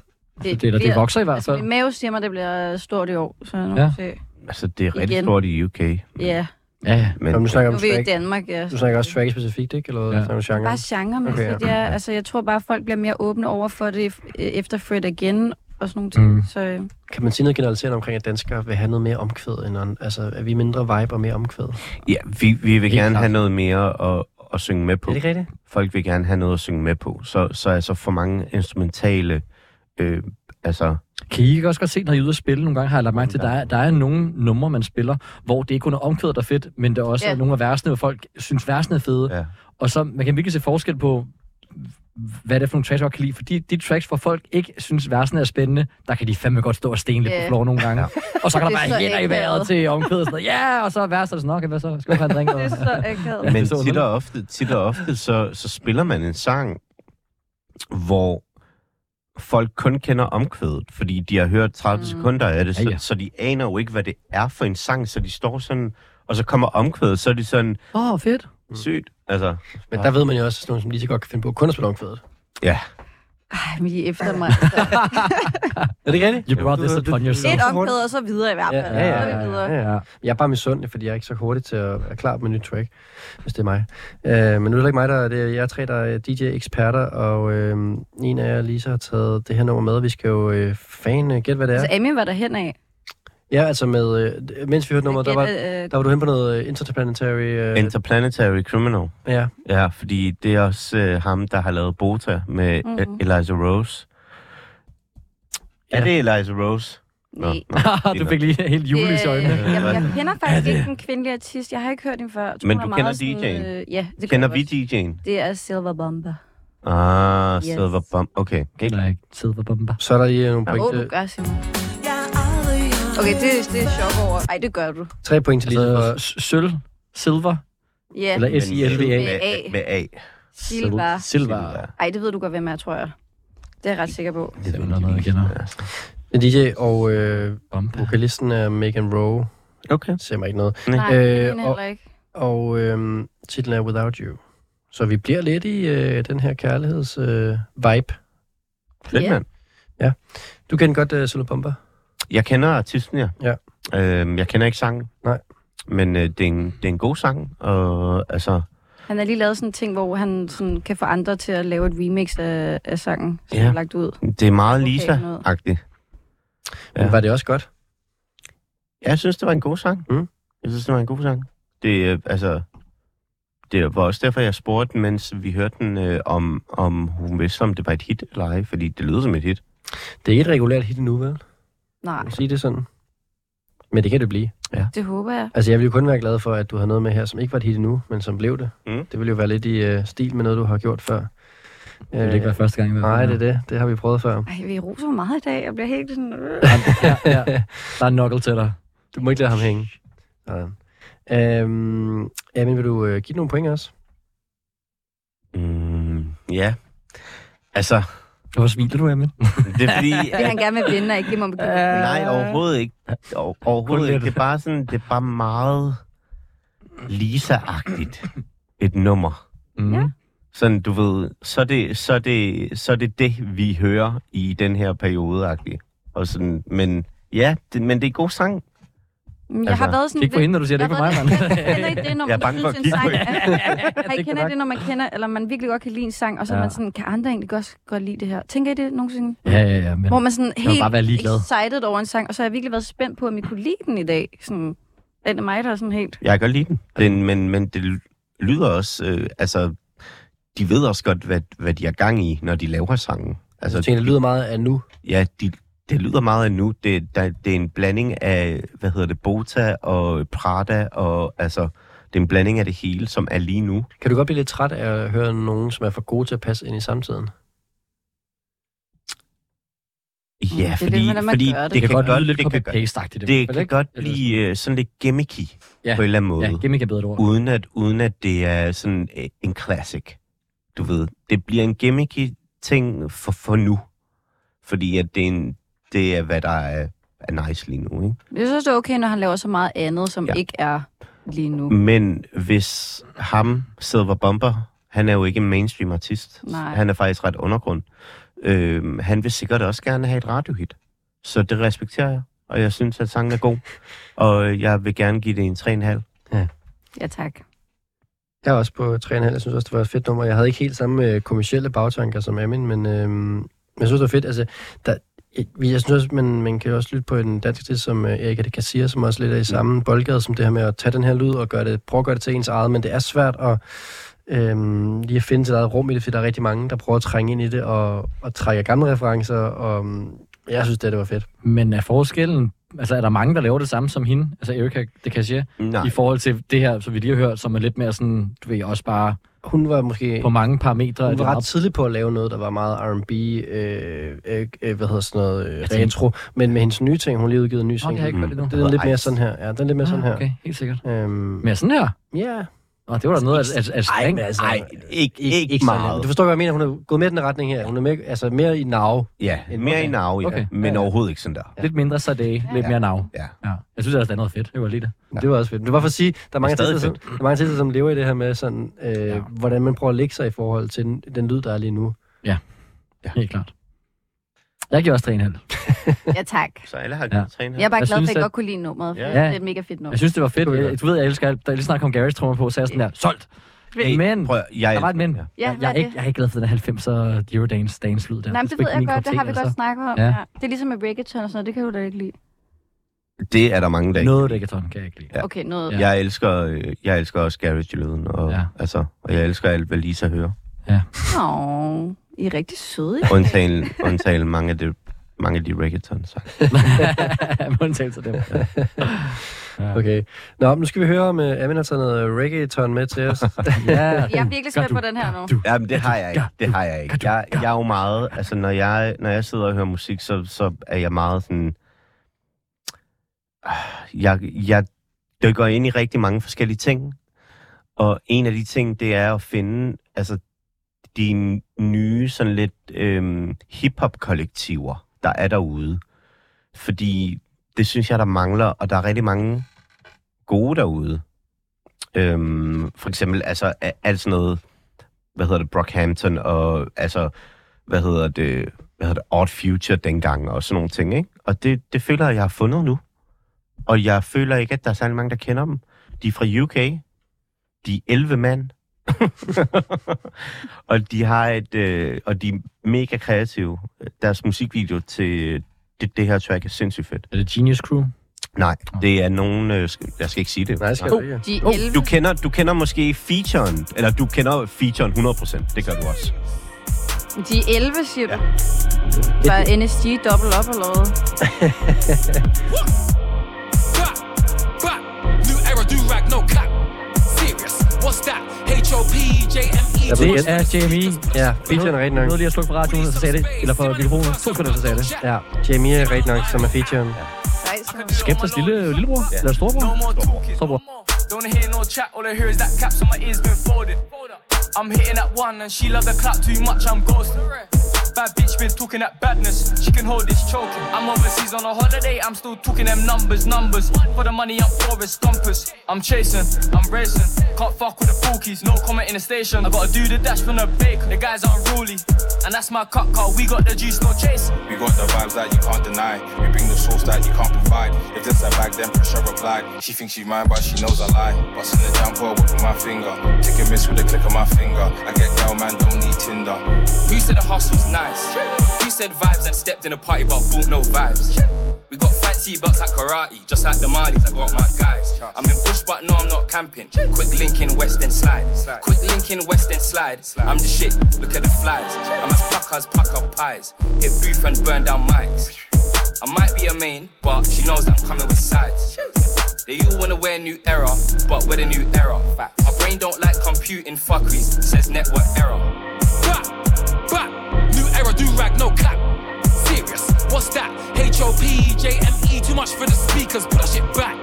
D: det, det
E: bliver-
D: vokser i hvert
E: Altså,
D: fald.
E: min mave siger mig, det bliver stort i år, så nu ja.
D: Ja.
E: se.
C: Altså, det er rigtig
E: Igen.
C: stort i UK.
E: Ja,
D: Ja, ja.
C: Men,
B: Nå, men nu snakker
E: nu
B: vi
E: er
B: om
E: vi jo i
B: track.
E: Danmark, ja.
B: Du snakker også track specifikt, ikke? Eller
D: Ja.
B: ja. snakker du genre?
E: Bare genre, men
B: Okay,
E: okay,
B: ja.
E: ja. det er, altså, jeg tror bare, folk bliver mere åbne over for det øh, efter Fred Again og sådan nogle ting. Mm.
D: Mm.
E: Så øh,
B: Kan man sige noget generaliserende omkring, at danskere vil have noget mere omkvæd end andre? Altså, er vi mindre vibe og mere omkvæd?
C: ja, vi, vi vil
D: Helt
C: gerne
D: klart.
C: have noget mere at, at synge med på.
B: Er det ikke rigtigt?
C: Folk vil gerne have noget at synge med på. Så, så altså for mange instrumentale... Øh, altså,
D: Kan I ikke også godt se, når I er ude at spille nogle gange, har jeg lagt mærke til, der er, der er nogle numre, man spiller, hvor det ikke kun er omkvædet, der er fedt, men der også
E: Ja.
D: er nogle af versene, hvor folk synes, versene er fede.
C: Ja.
D: Og så man kan virkelig se forskel på, hvad det er for nogle tracks, jeg godt kan lide. Fordi de tracks, hvor folk ikke synes, versene er spændende, der kan de fandme godt stå og sten lidt
E: Ja.
D: på floor nogle gange. Og så kan
E: Det
D: der
E: er
D: være
E: så
D: hænder i
E: akavet.
D: vejret til omkvædet og sådan noget. Ja, og så er verset sådan, okay, hvad så? Skal vi have en drink?
E: det er
D: Og-
E: så akavet.
C: men
D: så
C: tit
D: underligt.
C: og ofte, tit og ofte så, så spiller man en sang, hvor folk kun kender omkvædet, fordi de har hørt 30
E: Mm.
C: mm. sekunder af det, så,
D: Ja,
C: ja,
D: ja.
C: så de aner jo ikke, hvad det er for en sang, så de står sådan, og så kommer omkvædet, så er de sådan,
D: Åh, oh, fedt.
C: sygt, altså...
B: Men der ved man jo også, at sådan nogen, som lige så godt kan finde på kun at spille omkvædet.
E: Ej, men I er efter mig. altså.
B: Er det ikke rigtigt?
D: You brought this upon yourself.
E: Et omkvæd, og så videre i hvert fald.
B: Ja, ja,
E: Så er vi videre.
B: Ja, ja. Jeg er bare misundelig, fordi jeg er ikke så hurtig til at være klar med nyt track, hvis det er mig. Øh, men nu er det ikke mig, der er det. Jeg er tre, der er DJ-eksperter, og øh, en af jer, Lisa, har taget det her nummer med. Vi skal jo øh, fan øh, gætte, hvad det er.
E: Altså, Amy var der hen af.
B: Ja, altså med... Øh, mens vi hørte nummeret, der var, der var du hen på noget øh, interplanetary... Øh,
C: Interplanetary Criminal.
B: ja,
C: Ja, fordi det er også øh, ham, der har lavet Bota med
E: Mhm.
C: mm-hmm. Eliza Rose. Ja.
B: Ja.
C: Er det Eliza Rose? Nå,
E: Nej.
C: nå.
D: Ah, du fik lige helt julelys i øjnene.
E: Øh, jeg, jeg kender faktisk ikke en kvindelig artist. Jeg har ikke hørt hende før. Jeg tror,
C: Men
E: hun
C: du
E: er
C: kender
E: meget sådan,
C: DJ'en?
E: øh, ja, det
C: Kender
E: gør
C: vi
E: jeg godt.
C: DJ'en?
E: Det er Silver Bomber.
C: Ah,
E: Yes.
C: yes. Silver Bomb. Okay. okay.
D: Eller ikke. Silver bomber.
B: så er der lige øh, nogle point
E: Åh, oh,
B: til,
E: du gør Simon.
F: Jeg er aldrig young.
E: Okay, det, det er sjov over. Ej, det gør du.
B: tre point til Lisa.
D: Altså,
B: For,
D: s- sølv, silver,
E: Ja,
D: eller S-I-L-V-A.
E: Med A.
C: Med, med A.
E: Silva.
D: Silver.
E: Ej, det ved du godt, hvem er, tror jeg. Det er jeg ret sikker på.
D: Det er noget, jeg kender.
B: DJ og øh,
D: Bombe.
B: vokalisten er Megan Rowe.
C: Okay.
B: Det ser mig ikke noget.
E: Nej,
B: Øh,
E: det er hende
B: og-
E: heller ikke.
B: Og øhm, øh, titlen er Without You. Så vi bliver lidt i øh, den her kærligheds øh, vibe
C: Fedt,
E: Ja.
C: mand.
B: Du kender godt uh, Solo Bomba.
C: Jeg kender artisten, ja.
B: Ja.
C: Øhm, jeg kender ikke sangen.
B: Nej.
C: Men øh, det, er en, det er en god sang, og altså...
E: Han har lige lavet sådan en ting, hvor han sådan kan få andre til at lave et remix af, af sangen, som
C: Ja.
E: ja. er lagt ud.
C: Det er meget
E: Okay,
C: Lisa-agtigt.
B: Ja. Men
C: Ja.
B: var det også godt?
C: Ja, jeg synes, det var en god sang.
B: Mm.
C: Jeg synes, det var en god sang. Det, øh, altså, det var også derfor, jeg spurgte, mens vi hørte den, øh, om, om hun vidste, om det var et hit eller ej, fordi det lyder som et hit.
B: Det er ikke et regulært hit endnu, vel?
E: Nej,
B: Kan sige det sådan. Men det kan det blive.
E: det håber jeg.
B: Altså, jeg ville jo kun være glad for, at du har noget med her, som ikke var et hit endnu, men som blev det.
C: Mm.
B: Det ville jo være lidt i øh, stil med noget, du har gjort før. Øh,
D: Det vil ikke være første gang. i hvert fald.
B: Nej, det er det. Det har vi prøvet før.
E: Ej, vi roser meget i dag. Jeg bliver helt sådan... Øh.
D: ja, ja. Der er en knuckle til dig.
B: Du må ikke lade ham hænge. Sådan. Øhm, Amin, vil du øh, give nogle point også?
C: Mm, ja. Altså,
D: Hvorfor smiler du, Emil?
C: det er fordi...
E: Det han gerne vil vinde, og ikke give mig bekymring.
C: Nej, overhovedet ikke. O-
D: Kun
C: overhovedet
D: lidt.
C: ikke. Det er bare sådan, det er bare meget Lisa-agtigt et nummer.
D: Mm.
E: Ja.
C: Sådan, du ved, så er det, så er det, så er det, det, vi hører i den her periode -agtigt. Og sådan, men ja, det, men det er en god sang.
E: Mm, Jeg
C: Altså,
E: har været sådan...
D: Kig på hende, når du siger det
E: Jeg
D: er ikke på
E: har
D: mig,
E: været-
D: mand.
E: Kender I det, når
C: Jeg er
E: man
C: bange for
E: synes,
C: at
E: en
C: kigge på
E: sang er... Hey,
D: kan
E: kender I
D: nok.
E: det, når man kender, eller man virkelig godt kan lide en sang, og så ja.
D: Ja.
E: er man sådan, kan andre egentlig godt, godt lide det her? Tænker I det nogensinde?
D: Ja, ja, ja. Men
E: Hvor man sådan
D: må
E: helt
D: bare være ligeglad.
E: excited over en sang, og så har jeg virkelig været spændt på, om I kunne lide den i dag. Sådan, er det mig, der er sådan helt...
C: Jeg kan godt lide den, den men, men det ly- lyder også... Øh, altså, de ved også godt, hvad, hvad de er gang i, når de laver sangen.
B: Altså, jeg tænker, det lyder meget af nu.
C: Ja, de, det lyder meget af nu. Det, der, det er en blanding af, hvad hedder det, Bota og Prada, og altså, det er en blanding af det hele, som er lige nu.
B: Kan du godt blive lidt træt af at høre nogen, som er for gode til at passe ind i samtiden?
E: Mm, det
C: Ja,
E: er
C: fordi,
E: lidt, hvordan man
C: fordi
E: gør det.
C: det, kan godt,
D: lyde lidt
C: det, kan, godt-
D: copy-paste-agtigt.
C: det
D: vel
C: kan
D: ikke?
C: godt
D: Eller
C: blive øh, sådan lidt gimmicky
D: Ja,
C: på en eller anden måde,
D: Ja, gimmick er bedre et ord.
C: uden, at, uden at det er sådan øh, en classic. Du ved, det bliver en gimmicky ting for, for nu, fordi at det, er en, det er, hvad der er, er nice lige nu, ikke?
E: Jeg synes, det er okay, når han laver så meget andet, som
C: Ja.
E: ja. ikke er lige nu.
D: Mm.
C: Men hvis ham, Silver Bomber, han er jo ikke en mainstream artist.
E: Nej.
C: Han er faktisk ret undergrund. Øhm, han vil sikkert også gerne have et radiohit. Så det respekterer jeg. Og jeg synes, at sangen er god. Og jeg vil gerne give det en 3,5.
E: Ja, tak.
B: Jeg er også på 3,5. Jeg synes også, det var et fedt nummer. Jeg havde ikke helt samme øh, kommersielle bagtanker som Amin, men øh, jeg synes, det var fedt. Altså, der, jeg, jeg synes også, man, man kan jo også lytte på en dansk artist som øh, Erika de Kassir, som også lidt er i samme boldgade som det her med at tage den her lyd og gøre det, prøve at gøre det til ens eget, men det er svært at øhm, lige at finde sit eget rum i det, fordi der er rigtig mange, der prøver at trænge ind i det og, og trække gamle referencer, og øhm, jeg synes, det, det var fedt.
D: Men er forskellen... Altså, er der mange, der laver det samme som hende? Altså, Erika, det kan jeg
C: Nej.
D: I forhold til det her, som vi lige har hørt, som er lidt mere sådan, du ved, også bare
B: Hun var måske...
D: på mange parametre.
B: Hun
D: er det
B: var ret
D: meget-
B: tidlig på at lave noget, der var meget R&B, øh, øh, øh, hvad hedder sådan noget, øh,
D: tænker-
B: retro. Men med hendes nye ting, hun lige udgivet en ny
D: Nå, det
B: single.
D: har jeg ikke hørt
C: Mm.
D: endnu.
B: Det er den lidt
C: Ice.
B: mere sådan her. Ja, den er lidt mere sådan
D: Ah,
B: her.
D: Okay, helt sikkert.
B: Øhm,
D: Men sådan her?
B: ja.
D: Nå, det var da noget af, af, af
B: Ej,
D: streng.
B: men altså,
C: Nej, ikke, ikke, ikke
B: så lidt.
C: meget.
B: Du forstår, hvad jeg mener. Hun er gået mere i den retning her. Hun er mere, altså, mere i nav.
C: Ja, mere i arve,
D: Okay.
C: ja. Okay. Men overhovedet ikke sådan der.
D: Lidt mindre Sade, lidt mere nav.
C: Ja.
D: ja. Jeg synes også, det er noget fedt. Jeg var lige det.
B: Ja. Det var også fedt. Men Det var for at sige, der er mange,
C: Det er
B: artister, som,
C: stadig
B: der er mange artister, som lever i det her med, sådan, øh, ja.
D: Ja.
B: hvordan man prøver at lægge sig i forhold til den, den lyd, der er lige nu.
D: Helt klart. Jeg giver også 3,5.
E: Ja, tak.
C: Så alle har
D: Ja.
C: givet 3,5.
E: Jeg er bare
D: Jeg
E: glad for, at
D: synes,
E: jeg
D: at-
E: godt kunne lide nummeret, for
C: Ja.
E: ja. det er et mega fedt nummer.
D: Jeg synes, det var fedt.
B: Det var
D: Jeg, du ved, jeg elsker alt. Da jeg lige snart kom Garys trommer på, så er jeg sådan der, solgt!
C: Hey,
D: Men,
C: Prøv, at- jeg,
D: der var et men.
C: Ja.
E: Ja,
D: jeg,
E: hvad
D: jeg,
E: er
D: er ikke, jeg er ikke glad for den her 90'er Eurodance dance lyd der.
E: Nej, men det ved
D: sgu
E: jeg
D: ikke min
E: godt,
D: kop altså.
E: det
D: te,
E: har vi godt snakket om.
D: Ja.
E: Ja. Det er ligesom med reggaeton og sådan noget, det kan du da ikke lide.
C: Det er der mange, der ikke
D: Noget reggaeton kan jeg ikke lide.
C: Ja.
E: Okay, noget.
D: Ja.
E: Ja.
C: Jeg elsker, øh, jeg elsker også garage-lyden, og,
D: Ja.
C: ja. altså, og jeg elsker alt, hvad Lisa hører.
E: Nå, I er rigtig søde.
C: Undtagen, undtagen mange af de, mange af de reggaeton-sange.
D: Med undtagelse af dem. Ja.
B: Okay. Nå, men nu skal vi høre, om øh, Amin har taget noget reggaeton med til os.
D: Ja.
E: Jeg er virkelig spændt på den her nu.
C: Jamen, det har jeg ikke. Det har jeg ikke. Jeg, jeg er jo meget... Altså, når jeg, når jeg sidder og hører musik, så, så er jeg meget sådan... øh, Jeg, jeg dykker ind i rigtig mange forskellige ting. Og en af de ting, det er at finde altså, de nye, sådan lidt øhm, hip-hop-kollektiver, der er derude. Fordi det synes jeg, der mangler, og der er rigtig mange gode derude. Øhm, for eksempel, altså, a- alt sådan noget hvad hedder det, Brockhampton og altså, hvad hedder det, hvad hedder det, Odd Future dengang og sådan nogle ting, ikke? Og det, det føler jeg, jeg har fundet nu. Og jeg føler ikke, at der er særlig mange, der kender dem. De er fra UK. De er 11 mand. og de har et, øh, og de er mega kreative. Deres musikvideo til det, det her track er sindssygt fedt.
D: Er det Genius Crew?
C: Nej, det er nogen... Øh, sk- jeg skal ikke sige det.
B: Nej, det skal
C: Nå.
B: du ikke.
E: De
C: Oh,
E: 11.
C: du, kender, du kender måske featuren, eller du kender featuren 100%, det gør du også.
E: De er 11, siger du? Var NSG dobbelt op eller hvad?
J: Bop, bop. New era, do rack, no cop. Serious. What's that? H O P J M E.
B: Jeg ved
D: Det er Jamie.
B: Ja, featuren er rigtig
D: Nu
B: nok.
D: nåede lige at slukke for radioen, og så sagde det. Eller for mikrofonen. To sekunder, så sagde det.
B: Ja, Jamie er rigtig nok, som er featuren.
D: Skeptisk lille, lillebror? Ja. Eller storebror?
J: No more talking.
D: Stop.
J: Don't hear no chat, all I hear is that cap, so my ears been folded. I'm hitting that one, and she love the clap too much, I'm ghosted. Bad bitch been talking that badness, she can hold this choking. I'm overseas on a holiday, I'm still talking them numbers, numbers. For the money, I'm for is stompers. I'm chasing, I'm racing. Can't fuck with the bookies, no comment in the station. I gotta do the dash from the big, the guys unruly. And that's my cut car, we got the juice, no chase.
K: We got the vibes that you can't deny. We bring the sauce that you can't provide. If this a bag, then pressure applied. She thinks she's mine, but she knows I lie. What's in the jumper, whip with my finger. Take a miss with a click of my finger. I get girl, man, don't need Tinder.
J: Who said a hustle's nice? Who said vibes and stepped in a party but bought no vibes? We got fancy belts like karate, just like the Marlies, I got my guys. I'm in bush but no, I'm not camping. Quick link in West End slide. Quick link in West End slide. I'm the shit, look at the flies. I'm as pluck as pack up pies. Hit booth and burn down mics. I might be a main, but she knows I'm coming with sides. They all wanna wear new era, but we're the new era. Our brain don't like computing fuckeries, says network error. Bop, bop. New era, do rag, no cap. Serious, what's that? H O P J M E, too much for the speakers, push it back.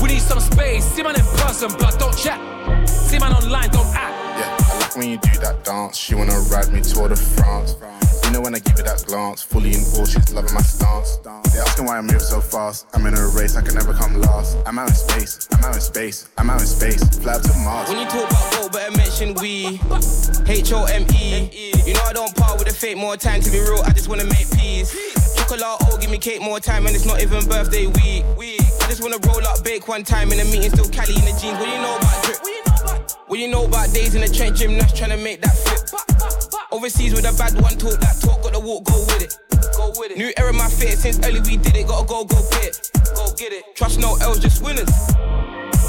J: We need some space, see man in person, blood, don't chat. See man online, don't act.
K: Yeah, I like when you do that dance. She wanna ride me Tour de France. You know when I give you that glance, fully in awe, she's loving my stance. They asking why I move so fast. I'm in a race, I can never come last. I'm out in space, I'm out in space, I'm out in space. Fly up to Mars.
J: When you talk about gold, better mention we. H O M E. You know I don't part with the fake more time to be real, I just wanna make peace. Chocolate, oh, give me cake more time, and it's not even birthday week. I just wanna roll up, bake one time in a meeting, still Cali in the jeans. What do you know about drip? What do you know about days in the trench gym, that's trying to make that flip? Overseas with a bad one, talk that talk, got the walk, go with it. Go with it. New era, my fit, since early we did it, gotta go, go get it. Go get it. Trust no L's, just winners.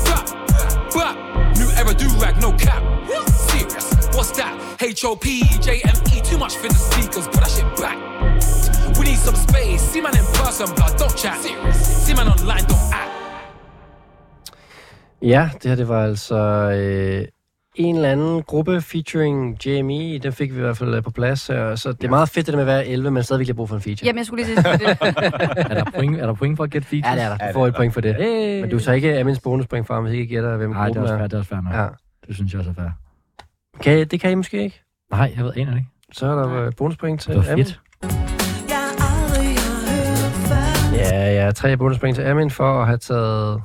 J: Bop, bop. New era, do rag, no cap. Serious, what's that? H O P J M E, too much for the speakers, put that shit back. We need some space. See man in person, blood, don't chat. Serious. See man online, don't act.
B: Ja, det her det var altså øh, en eller anden gruppe featuring Jamie. Den fik vi i hvert fald øh, på plads. her. Så det er meget fedt det der med at være 11, men stadigvæk har brug for en feature.
E: Jamen, jeg skulle lige sige det.
D: Er der point, er der point for at gætte features?
B: Ja, det er der. Du får et point for det.
D: Hey.
B: Men du tager ikke Amins bonuspoint fra, hvis I ikke gætter, hvem
D: Nej, det er
B: gruppen
D: også fair,
B: er.
D: det er også fair nok.
B: Ja.
D: Det synes jeg også er fair.
B: Kan, I- det kan I måske ikke.
D: Nej, jeg ved aner det ikke.
B: Så er der øh, bonuspoint til
D: Det var
B: Amin.
D: fedt.
B: Ja, ja. Tre bonuspoint til Amin for at have taget...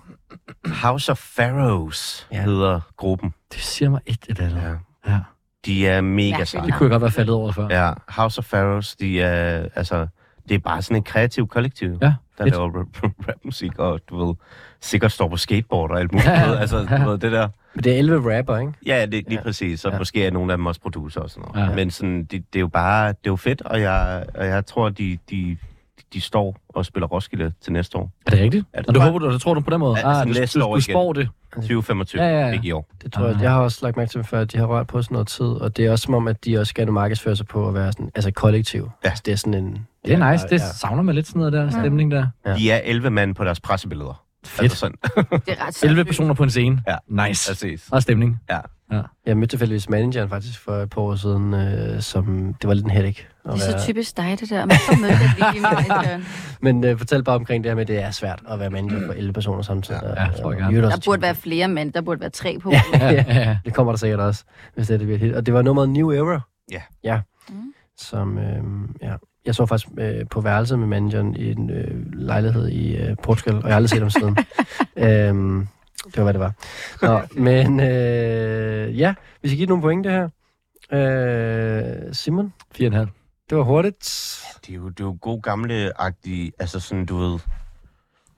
C: House of Pharaohs
B: Ja.
C: ja. hedder gruppen.
D: Det siger mig et eller andet.
C: Ja.
D: Ja.
C: De er mega
E: Mærkeligt
D: Det
C: seje.
D: kunne jeg godt være faldet over før.
C: Ja, House of Pharaohs, de er, altså, det er bare sådan en kreativ kollektiv,
D: Ja,
C: der
D: fedt.
C: laver rap, rapmusik, og du ved, sikkert står på skateboard og alt muligt. Ja, altså, du ved, det der.
B: Men det er 11 rapper, ikke?
C: Ja, det, lige ja. præcis. Så ja. måske er nogle af dem også producer og sådan noget.
D: Ja.
C: Ja. Men sådan, det, det, er jo bare, det er jo fedt, og jeg, og jeg tror, de, de, de står og spiller Roskilde til næste år.
D: Er det rigtigt?
C: Ja, det
D: Og du
C: tror jeg.
D: håber, du, du tror du på den måde? Ah,
C: Ja, altså
D: du,
C: næste
D: du,
C: år
D: du
C: igen.
D: spår det.
C: 2025,
D: Ja,
C: ja,
D: ja, ja.
C: ikke i år.
B: Det tror
D: Ah.
B: jeg, jeg har også lagt mærke til dem før, at de har rørt på sådan noget tid, og det er også som om, at de også gerne markedsføre sig på at være sådan, altså kollektiv.
C: Ja.
B: Altså, det er sådan en...
D: Det er nice. Det
B: Ja.
D: savner mig lidt sådan noget der stemning der.
B: Ja.
C: De er 11 mand på deres pressebilleder. Fedt. Altså sådan,
E: Det er ret
D: 11
E: sindssygt.
D: personer på en scene.
C: Ja.
D: Nice.
C: præcis.
D: Og stemning.
B: Jeg mødte tilfældigvis manageren faktisk for et par år siden, øh, som det var lidt en headache. at
E: Det er
B: være-
E: så typisk dig, det der. Man får med det lige i manageren.
B: Men øh, fortæl bare omkring det her med, at det er svært at være manager for 11 personer samtidig.
D: Ja, jeg tror
B: Og-
D: jeg
B: og
D: gerne.
B: Jylland
E: Der
B: også
E: burde
B: tænker-
E: være flere mænd. Der burde være tre på.
D: Ja, ja, ja.
B: Det kommer der sikkert også, hvis det er det bliver et hit. Og det var nummeret New Era.
C: Ja.
B: Ja.
E: Mm.
B: Som, øh, ja. Jeg så faktisk øh, på værelset med manageren i en øh, lejlighed i øh, Portugal, og jeg har aldrig set ham siden. øhm, det var, hvad det var. Nå, men øh, ja, vi skal give det nogle point, det her. Øh, Simon?
D: 4,5.
B: Det var hurtigt.
C: Det er jo, det er jo god gamle-agtige, altså sådan, du ved...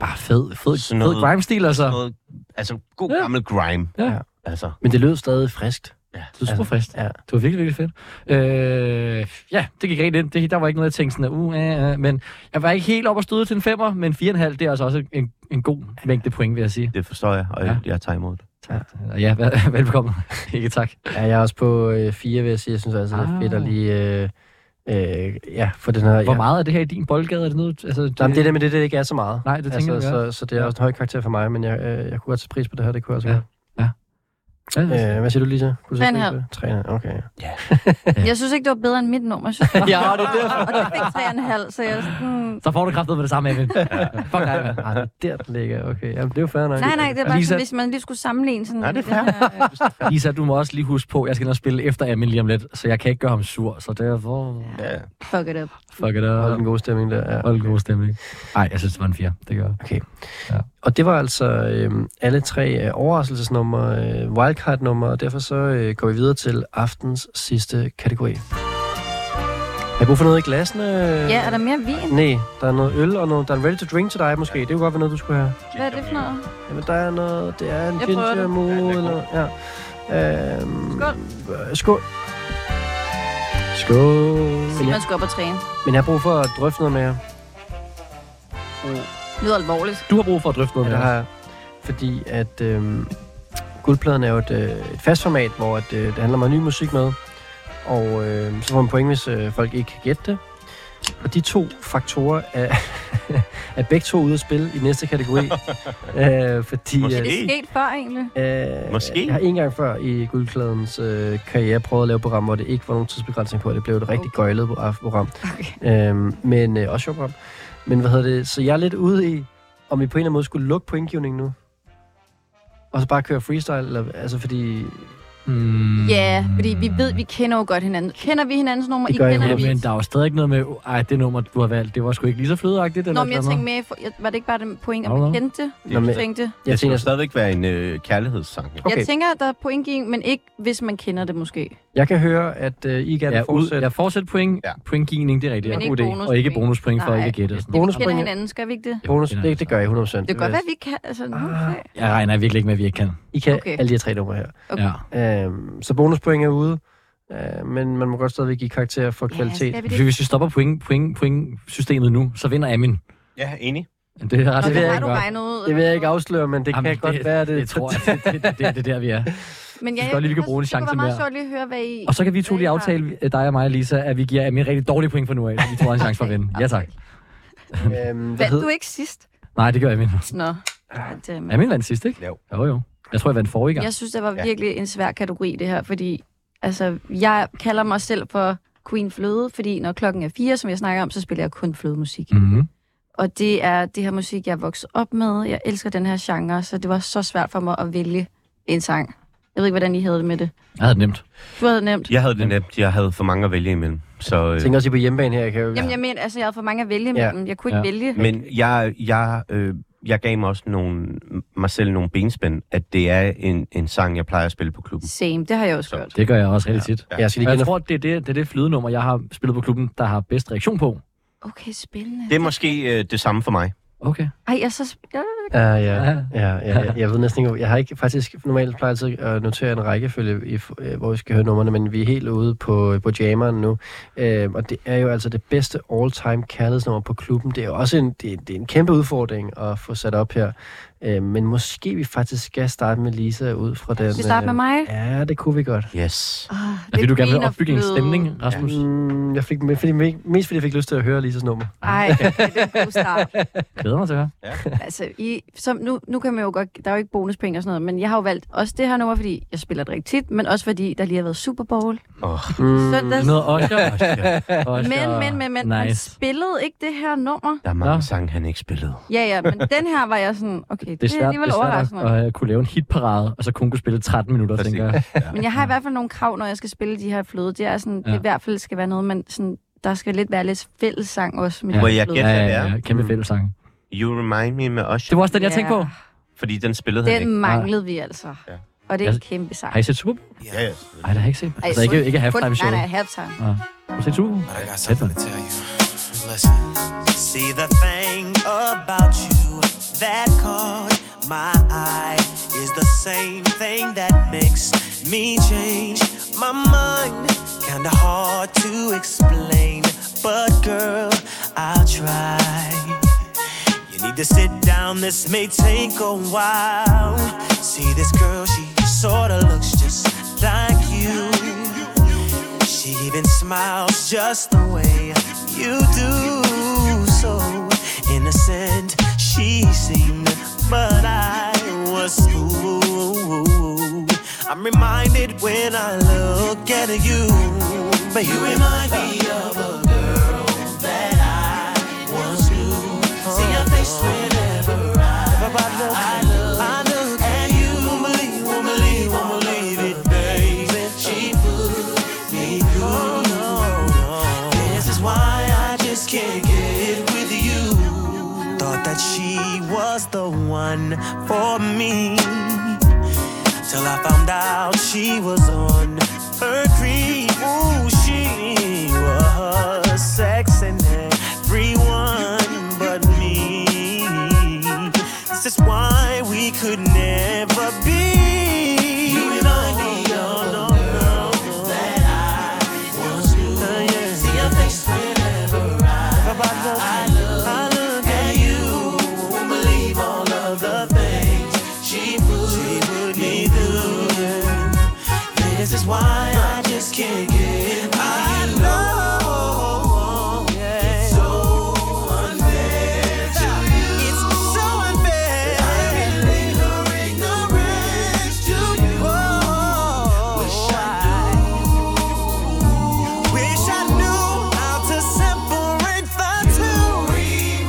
D: Bare fed, fed,
C: Sådan
D: fed
C: noget-
D: grime-stil, altså.
C: Sådan noget, altså, god
D: Ja.
C: gammel grime.
D: Ja.
C: Altså,
B: Men det lød stadig friskt. Altså,
C: ja.
D: Det var super frist.
B: Ja.
D: Det var virkelig, virkelig fedt. Øh, ja, det gik rent ind. Det, der var ikke noget, jeg tænkte sådan, uh, uh, uh, men jeg var ikke helt op og støde til en femmer, men 4,5, det er altså også en, en god mængde point, vil jeg sige.
C: Det forstår jeg, og
D: Ja.
C: ja. jeg, jeg tager imod det.
D: Tak. Ja, vel- velbekomme. ikke tak.
B: Ja, jeg er også på øh, fire, vil jeg sige. Jeg synes altså, det er
D: Ah.
B: fedt at lige... Øh, øh, ja, for den her...
D: Hvor
B: ja.
D: meget er det her i din boldgade? Er det noget, altså, det,
B: Jamen, det er det med det, det ikke er så meget.
D: Nej, det tænker
B: altså,
D: jeg, det
B: så, så det er
D: Ja.
B: også en høj karakter for mig, men jeg, øh, jeg kunne godt tage pris på det her, det kunne jeg også
D: Ja.
B: ja.
D: Ja,
B: Øh, hvad siger du, Lisa? Kunne du
E: Tre og en
B: pris
E: halv.
B: på det? Tre og en halv, okay.
E: Jeg synes ikke, det var bedre end mit nummer. Jeg synes, det var-
D: Ja, det er derfor.
E: Og det fik tre og en halv, så jeg er sådan... hmm.
D: Så får du kraftet med det samme, Evan. Fuck dig, mand.
B: Ah, det er der, den ligger. Okay, Jamen, det er jo fair nok.
E: Nej, nej, det er bare
D: Lisa-
E: sådan, hvis man lige skulle sammenligne sådan... øh,
C: Nej, det er
E: den her-
D: Lisa, du må også lige huske på, at jeg skal ind og spille efter Evan lige om lidt, så jeg kan ikke gøre ham sur, så derfor...
C: Ja. ja.
E: Fuck it up.
D: Fuck it
B: Hold
D: up.
B: en god stemning der. Ja.
D: Hold en god stemning. Nej, jeg synes, det var en fire. Det gør jeg.
B: Og det var altså øh, alle tre øh, overraskelsesnummer, øh, wildcard-nummer, og derfor så øh, går vi videre til aftens sidste kategori. Har I brug for noget i glassene?
E: Ja, er der mere vin?
B: Nej, der er noget øl og noget, der er en ready to drink til dig måske. Det kunne godt være noget, du skulle have.
E: Hvad er det for noget?
B: Jamen, der er noget, det er en
E: Jeg prøver
B: ginger
E: det.
B: mood,
C: Ja, det er
B: eller, ja. Øhm,
E: Skål.
B: øh, skål. Skål. Men
E: Simon
B: jeg,
E: skal op og træne.
B: men jeg har brug for at drøfte noget med jer.
E: Det lyder alvorligt.
D: Du har brug for at drøfte noget
B: Ja,
D: med
B: det
D: os.
B: har jeg. Fordi at øh, guldpladen er jo et, øh, et fast format, hvor at, øh, det handler om at have ny musik med. Og øh, så får man point, hvis øh, folk ikke kan gætte det. Og de to faktorer er, er begge to ude at spille i næste kategori. øh, fordi,
C: Måske.
E: Er
B: at-
E: det sket før, egentlig?
B: Øh,
C: Måske.
B: Jeg har en gang før i Guldkladens øh, karriere prøvet at lave et program, hvor det ikke var nogen tidsbegrænsning på, og det blev et rigtig gøjlet pro- af- program. Okay. Øhm, men øh, også sjovt program. Men hvad hedder det? Så jeg er lidt ude i, om vi på en eller anden måde skulle lukke pointgivningen nu. Og så bare køre freestyle, eller, altså fordi...
D: Mm.
E: Ja, fordi vi ved, vi kender jo godt hinanden. Kender vi hinandens nummer?
B: Det
E: I
B: gør jeg
E: kender
B: hundrede
E: vi.
D: Men der er jo stadig ikke noget med, ej, det nummer, du har valgt, det var sgu ikke lige så flødeagtigt.
E: Nå,
D: eller
E: men jeg
D: sådan
E: tænkte mere, for- jeg- var det ikke bare den point, at
D: Nå,
E: man
D: nå.
E: kendte det?
B: Nå, men,
E: Jeg tænkte,
B: jeg
C: det skal
B: tænker,
C: jo stadigvæk være en øh, kærlighedssang. jo.
B: Okay.
E: jeg tænker, at der er pointgivning, men ikke, hvis man kender det måske.
B: jeg kan høre, at øh, I gerne
D: noget.
B: ja,
D: Ja, ud,
B: fortsætter.
D: ja, fortsæt point,
C: Ja.
D: ja. pointgivning, det er rigtigt.
E: Men
D: Ja,
E: ikke
D: god idé.
E: bonuspoint.
D: Og ikke bonuspoint for
E: Nej.
D: ikke at gætte. og sådan noget.
E: Vi kender
B: Bonuspoint-
E: hinanden, skal vi ikke det?
B: Bonus,
D: Jo,
B: det, det gør jeg 100%.
E: Det kan godt være, vi kan. Altså, nu, okay.
D: Jeg regner virkelig ikke med, at vi ikke kan.
B: I kan okay.
E: Okay.
B: alle de her tre numre her.
E: Okay.
D: Ja.
B: Øhm, så bonuspoint er ude, øh, men man må godt stadigvæk give karakter for kvalitet.
E: skal vi
D: Fordi
E: det?
D: hvis vi stopper point, point, point systemet nu, så vinder Amin.
C: Ja, enig.
D: Det er ret
E: Nå,
B: det ved
E: det
B: jeg
E: har
B: ikke
E: du
D: godt.
E: regnet ud.
B: Det vil jeg ikke afsløre, men det Jamen,
D: Jamen,
B: kan godt være, det,
D: Jeg tror, at det, det, det, det, det er der, vi er.
E: Men
D: synes godt lige, vi kan bruge en
E: Det
D: chance
E: kunne være meget
D: mere.
E: sjovt lige at høre, hvad I...
D: Og så kan vi to
E: hvad I
D: lige
E: har.
D: aftale, øh, dig og mig og Lisa, at vi giver Amin rigtig dårlige point for nu af, så vi tror, han har en chance for at vinde. Ja, tak.
B: øhm, hvad
E: Vandt du
B: hed,
E: ikke sidst?
D: Nej, det gør Amin.
E: Nå. øhm, Damn.
D: Amin vandt sidst, ikke?
C: Jo.
D: Jo, jo. Jeg tror, jeg vandt forrige gang.
E: Jeg synes, det var
C: Ja.
E: virkelig en svær kategori, det her, fordi altså, jeg kalder mig selv for Queen Fløde, fordi når klokken er fire, som jeg snakker om, så spiller jeg kun flødemusik. Mm.
D: Mm-hmm.
E: Og det er det her musik, jeg er vokset op med. Jeg elsker den her genre, så det var så svært for mig at vælge en sang. Jeg ved ikke, hvordan I havde det med det.
D: Jeg havde det nemt.
E: Du havde det nemt.
C: Jeg havde det nemt. Jeg havde for mange at vælge imellem. Så, øh,
B: tænker også I er på hjemmebane her, jeg kan jo...
E: Jamen, jeg mener, altså, jeg havde for mange at vælge
B: Ja.
E: ja. dem. Jeg kunne ikke
D: Ja.
E: ja. vælge.
C: men jeg, jeg, øh, jeg gav mig også nogle, mig selv nogle benspænd, at det er en, en sang, jeg plejer at spille på klubben.
E: Same, det har jeg også
C: Så-
E: gjort.
D: Det gør jeg også rigtig tit.
B: Ja, jeg skal
D: Og
B: lige
D: jeg
B: genop...
D: tror, det er det, det, er det flydenummer, jeg har spillet på klubben, der har bedst reaktion på.
E: Okay, spændende.
C: Det er måske øh, det samme for mig.
D: Okay.
E: Ej, jeg er så... sp- Ja,
B: Ja, ja, ja, ja, jeg, jeg ved næsten ikke, hvor- jeg har ikke faktisk, normalt plejer jeg altid at notere en rækkefølge, i, f- øh, hvor vi skal høre numrene, men vi er helt ude på, på jammeren nu, øhm, og det er jo altså det bedste all-time kærlighedsnummer på klubben, det er jo også en, det, det er en kæmpe udfordring at få sat op her, øhm, men måske vi faktisk skal starte med Lisa ud fra den... øh,
E: Skal vi starte med mig?
B: Altså, Ja, det kunne vi godt.
C: Yes.
E: Oh,
D: Er det, du gerne vil opbygge en stemning, Rasmus?
B: Mm, jeg fik, fordi, mest fordi jeg fik lyst til at høre Lisas nummer.
E: Ej, det er en god start.
D: Glæder mig til at høre.
E: Altså, I, som nu, nu kan man jo godt, der er jo ikke bonuspenge og sådan noget, men jeg har jo valgt også det her nummer, fordi jeg spiller det rigtig tit, men også fordi der lige har været Super Bowl.
C: Oh,
B: Mm.
E: Søndags.
D: Noget Oscar. Oscar.
E: Men, men, men, men, han
D: Nice.
E: spillede ikke det her nummer.
C: der er mange
D: Nå.
C: sange, han ikke spillede.
E: Ja, ja, men den her var jeg sådan, okay, det,
D: Det er
E: det er
D: svært, det
E: alligevel
D: er
E: overraskende.
D: svært at, at kunne lave en hitparade, og så kun kunne spille 13 minutter,
C: Præcis.
D: tænker jeg.
E: Men jeg har i hvert fald nogle krav, når jeg skal spille de her fløde. Det er sådan,
D: Ja.
E: det i hvert fald skal være noget, man sådan, der skal lidt være lidt fællessang også med
D: Ja.
E: ja.
C: Må jeg gætte,
D: Ja,
C: hvad det
D: ja,
C: er?
D: ja. Kæmpe
B: Mm.
D: fællesang.
C: You Remind Me med Usher,
D: Det var også den, jeg tænkte på.
C: fordi den spillede han ikke.
E: Den manglede vi altså.
C: Ja.
E: Og det er en
D: Jeg-
E: kæmpe sang.
D: Har I set Super Bowl?
C: Ja, ja.
D: Nej, det har jeg ikke set. Altså, ikke, ikke halftime show.
E: Nej, nej, halftime.
D: Nå. Måske super.
L: But I got
D: Fedt,
L: something
D: mand.
L: to tell you. Listen. See the thing about you that caught my eye is the same thing that makes me change my mind. Kinda hard to explain, but girl, I'll try. You need to sit down, this may take a while. See this girl, she sorta looks just like you. She even smiles just the way you do. So innocent she seemed, but I was fooled. I'm reminded when I look at you, but you remind me of a girl that I once knew. See your face whenever I, I look. I look at you, won't believe, won't believe, won't believe it, baby. She put me through. This is why I just can't get with you. Thought that she was the one for me. Till I found out she was on her creep. Ooh, she was sexing everyone but me. This is why we could never be. You remind me of a girl that I once knew. See your face whenever I, I look, I look at you. Won't believe all of the things she put, she put me through. This is why I just can't get by. I know it's so unfair to you. It's so unfair. I've been ignorant to you. Wish I knew. Wish I knew how to separate the two. You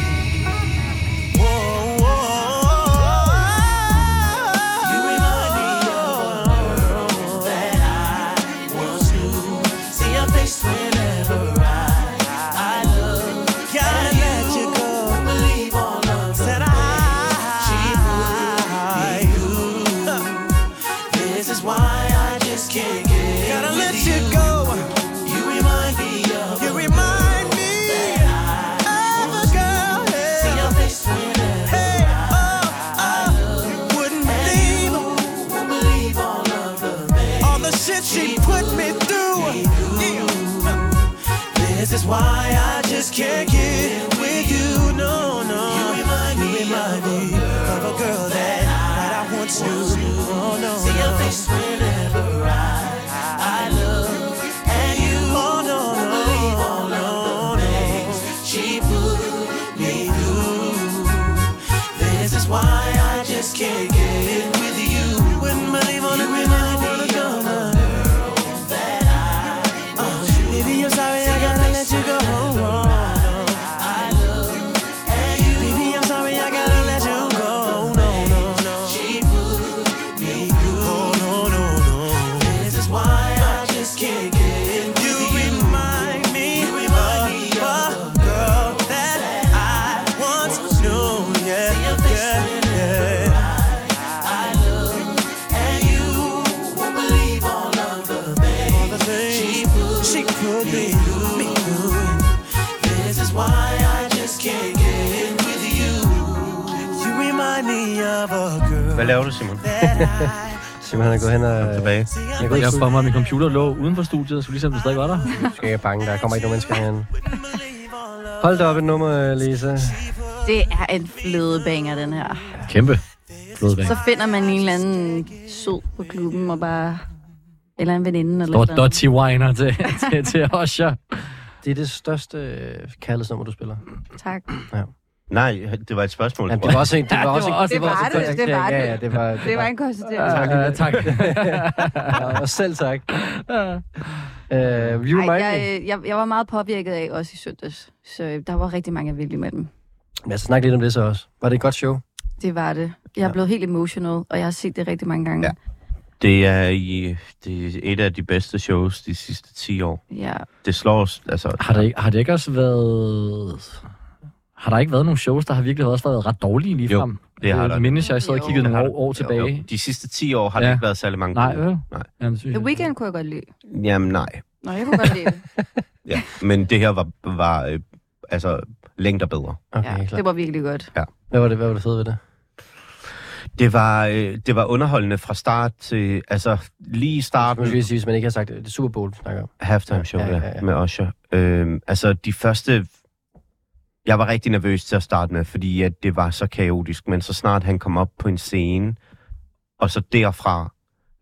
L: remind. Whoa, whoa. You remind me of a girl that I once knew. See your face whenever I, I look. Gotta let you go. Believe all of that I. She would be you. This is why I just can't get Gotta let you, go. You remind me of You remind me of a girl. See your face whenever hey, oh, oh, wouldn't believe, won't believe all of the things all the shit she, put me through. Yeah. This is why I just can't get with you. No, no. You remind me, remind me of a girl that, that I once knew. Oh no. See your face whenever I, I look at you. Oh no, no. Oh, Believe all of the things she put me through. This is why I just can't get with you. Wouldn't believe on it, remind me of a girl that I once knew. Baby, I'm sorry, I gotta let you go. oh, I look at you. Baby, I'm sorry, I gotta let you go. oh, No, no, no. She put me through. Oh, no, no, no. This is why I just can't get you. Remind me, you remind me of a girl that I once knew. Yeah, yeah, yeah. I look at you, won't believe all of the things she put, she put me, through. This is why I just can't get with you. You remind me of a girl.
C: Hvad laver du, Simon?
B: Simon, han er gået hen og...
C: Kom tilbage.
D: Jeg går ikke for mig, at min computer lå uden for studiet, så ligesom det stadig var der.
B: Du skal ikke have bange, der kommer ikke nogen mennesker herinde. Hold da op et nummer, Lisa.
E: Det er en flødebanger, den her.
D: Kæmpe. Flodbæk.
E: Så finder man en eller anden sød på klubben og bare... Eller en veninde eller
D: Og
E: et eller andet.
D: Dotty Winer til, til, til Osha.
B: Det er det største øh, kærlighedsnummer, du spiller.
E: Tak.
C: Nej, det var et spørgsmål.
B: Ja, det var også en, det
D: Ja,
B: var
D: det
B: også en,
D: var også-
B: også en
E: Det var det, det
B: konstatering.
E: var det.
B: Ja, ja, det var, det
E: Det var
B: var,
E: en konstatering.
D: Tak. Uh, tak.
B: ja, og selv tak. Uh, you
E: Ej,
B: remind me.
E: jeg, jeg, jeg var meget påvirket af også i søndags, så øh, der var rigtig mange, jeg ville med dem.
B: Men altså, snak lidt om det så også. Var det et godt show?
E: Det var det. Jeg er blevet helt emotional, og jeg har set det rigtig mange gange.
C: Ja. Det er, i, det er et af de bedste shows de sidste 10 år.
E: ja.
C: Det slår os, altså...
D: Har der, ikke- har det ikke også været... Har der ikke været nogle shows, der har virkelig også været ret dårlige lige frem?
C: Det har der.
D: mindes jeg, jeg sad og kiggede nogle år, år tilbage.
C: De sidste 10 år har ja.
D: Ja.
C: der ikke været særlig mange.
D: Nej,
C: gode.
D: vel?
C: Nej.
D: Jamen, det synes
E: The
D: jeg.
E: Weeknd kunne jeg godt lide.
C: Jamen nej.
E: Nå, jeg kunne godt lide det.
C: Ja. Men det her var, var øh, altså, længder bedre.
B: Okay,
E: ja,
B: klart.
E: det var virkelig godt.
B: Hvad var det, hvad var det fede ved det?
C: Det var, øh, det var underholdende fra start til, altså lige i
B: Nu skal
C: starten,
B: jeg sige, hvis man ikke har sagt det, det er Super Bowl, vi snakker om.
C: halftime show ja, ja, ja. med Usher. Øhm, altså de første, jeg var rigtig nervøs til at starte med, fordi at det var så kaotisk, men så snart han kom op på en scene, og så derfra,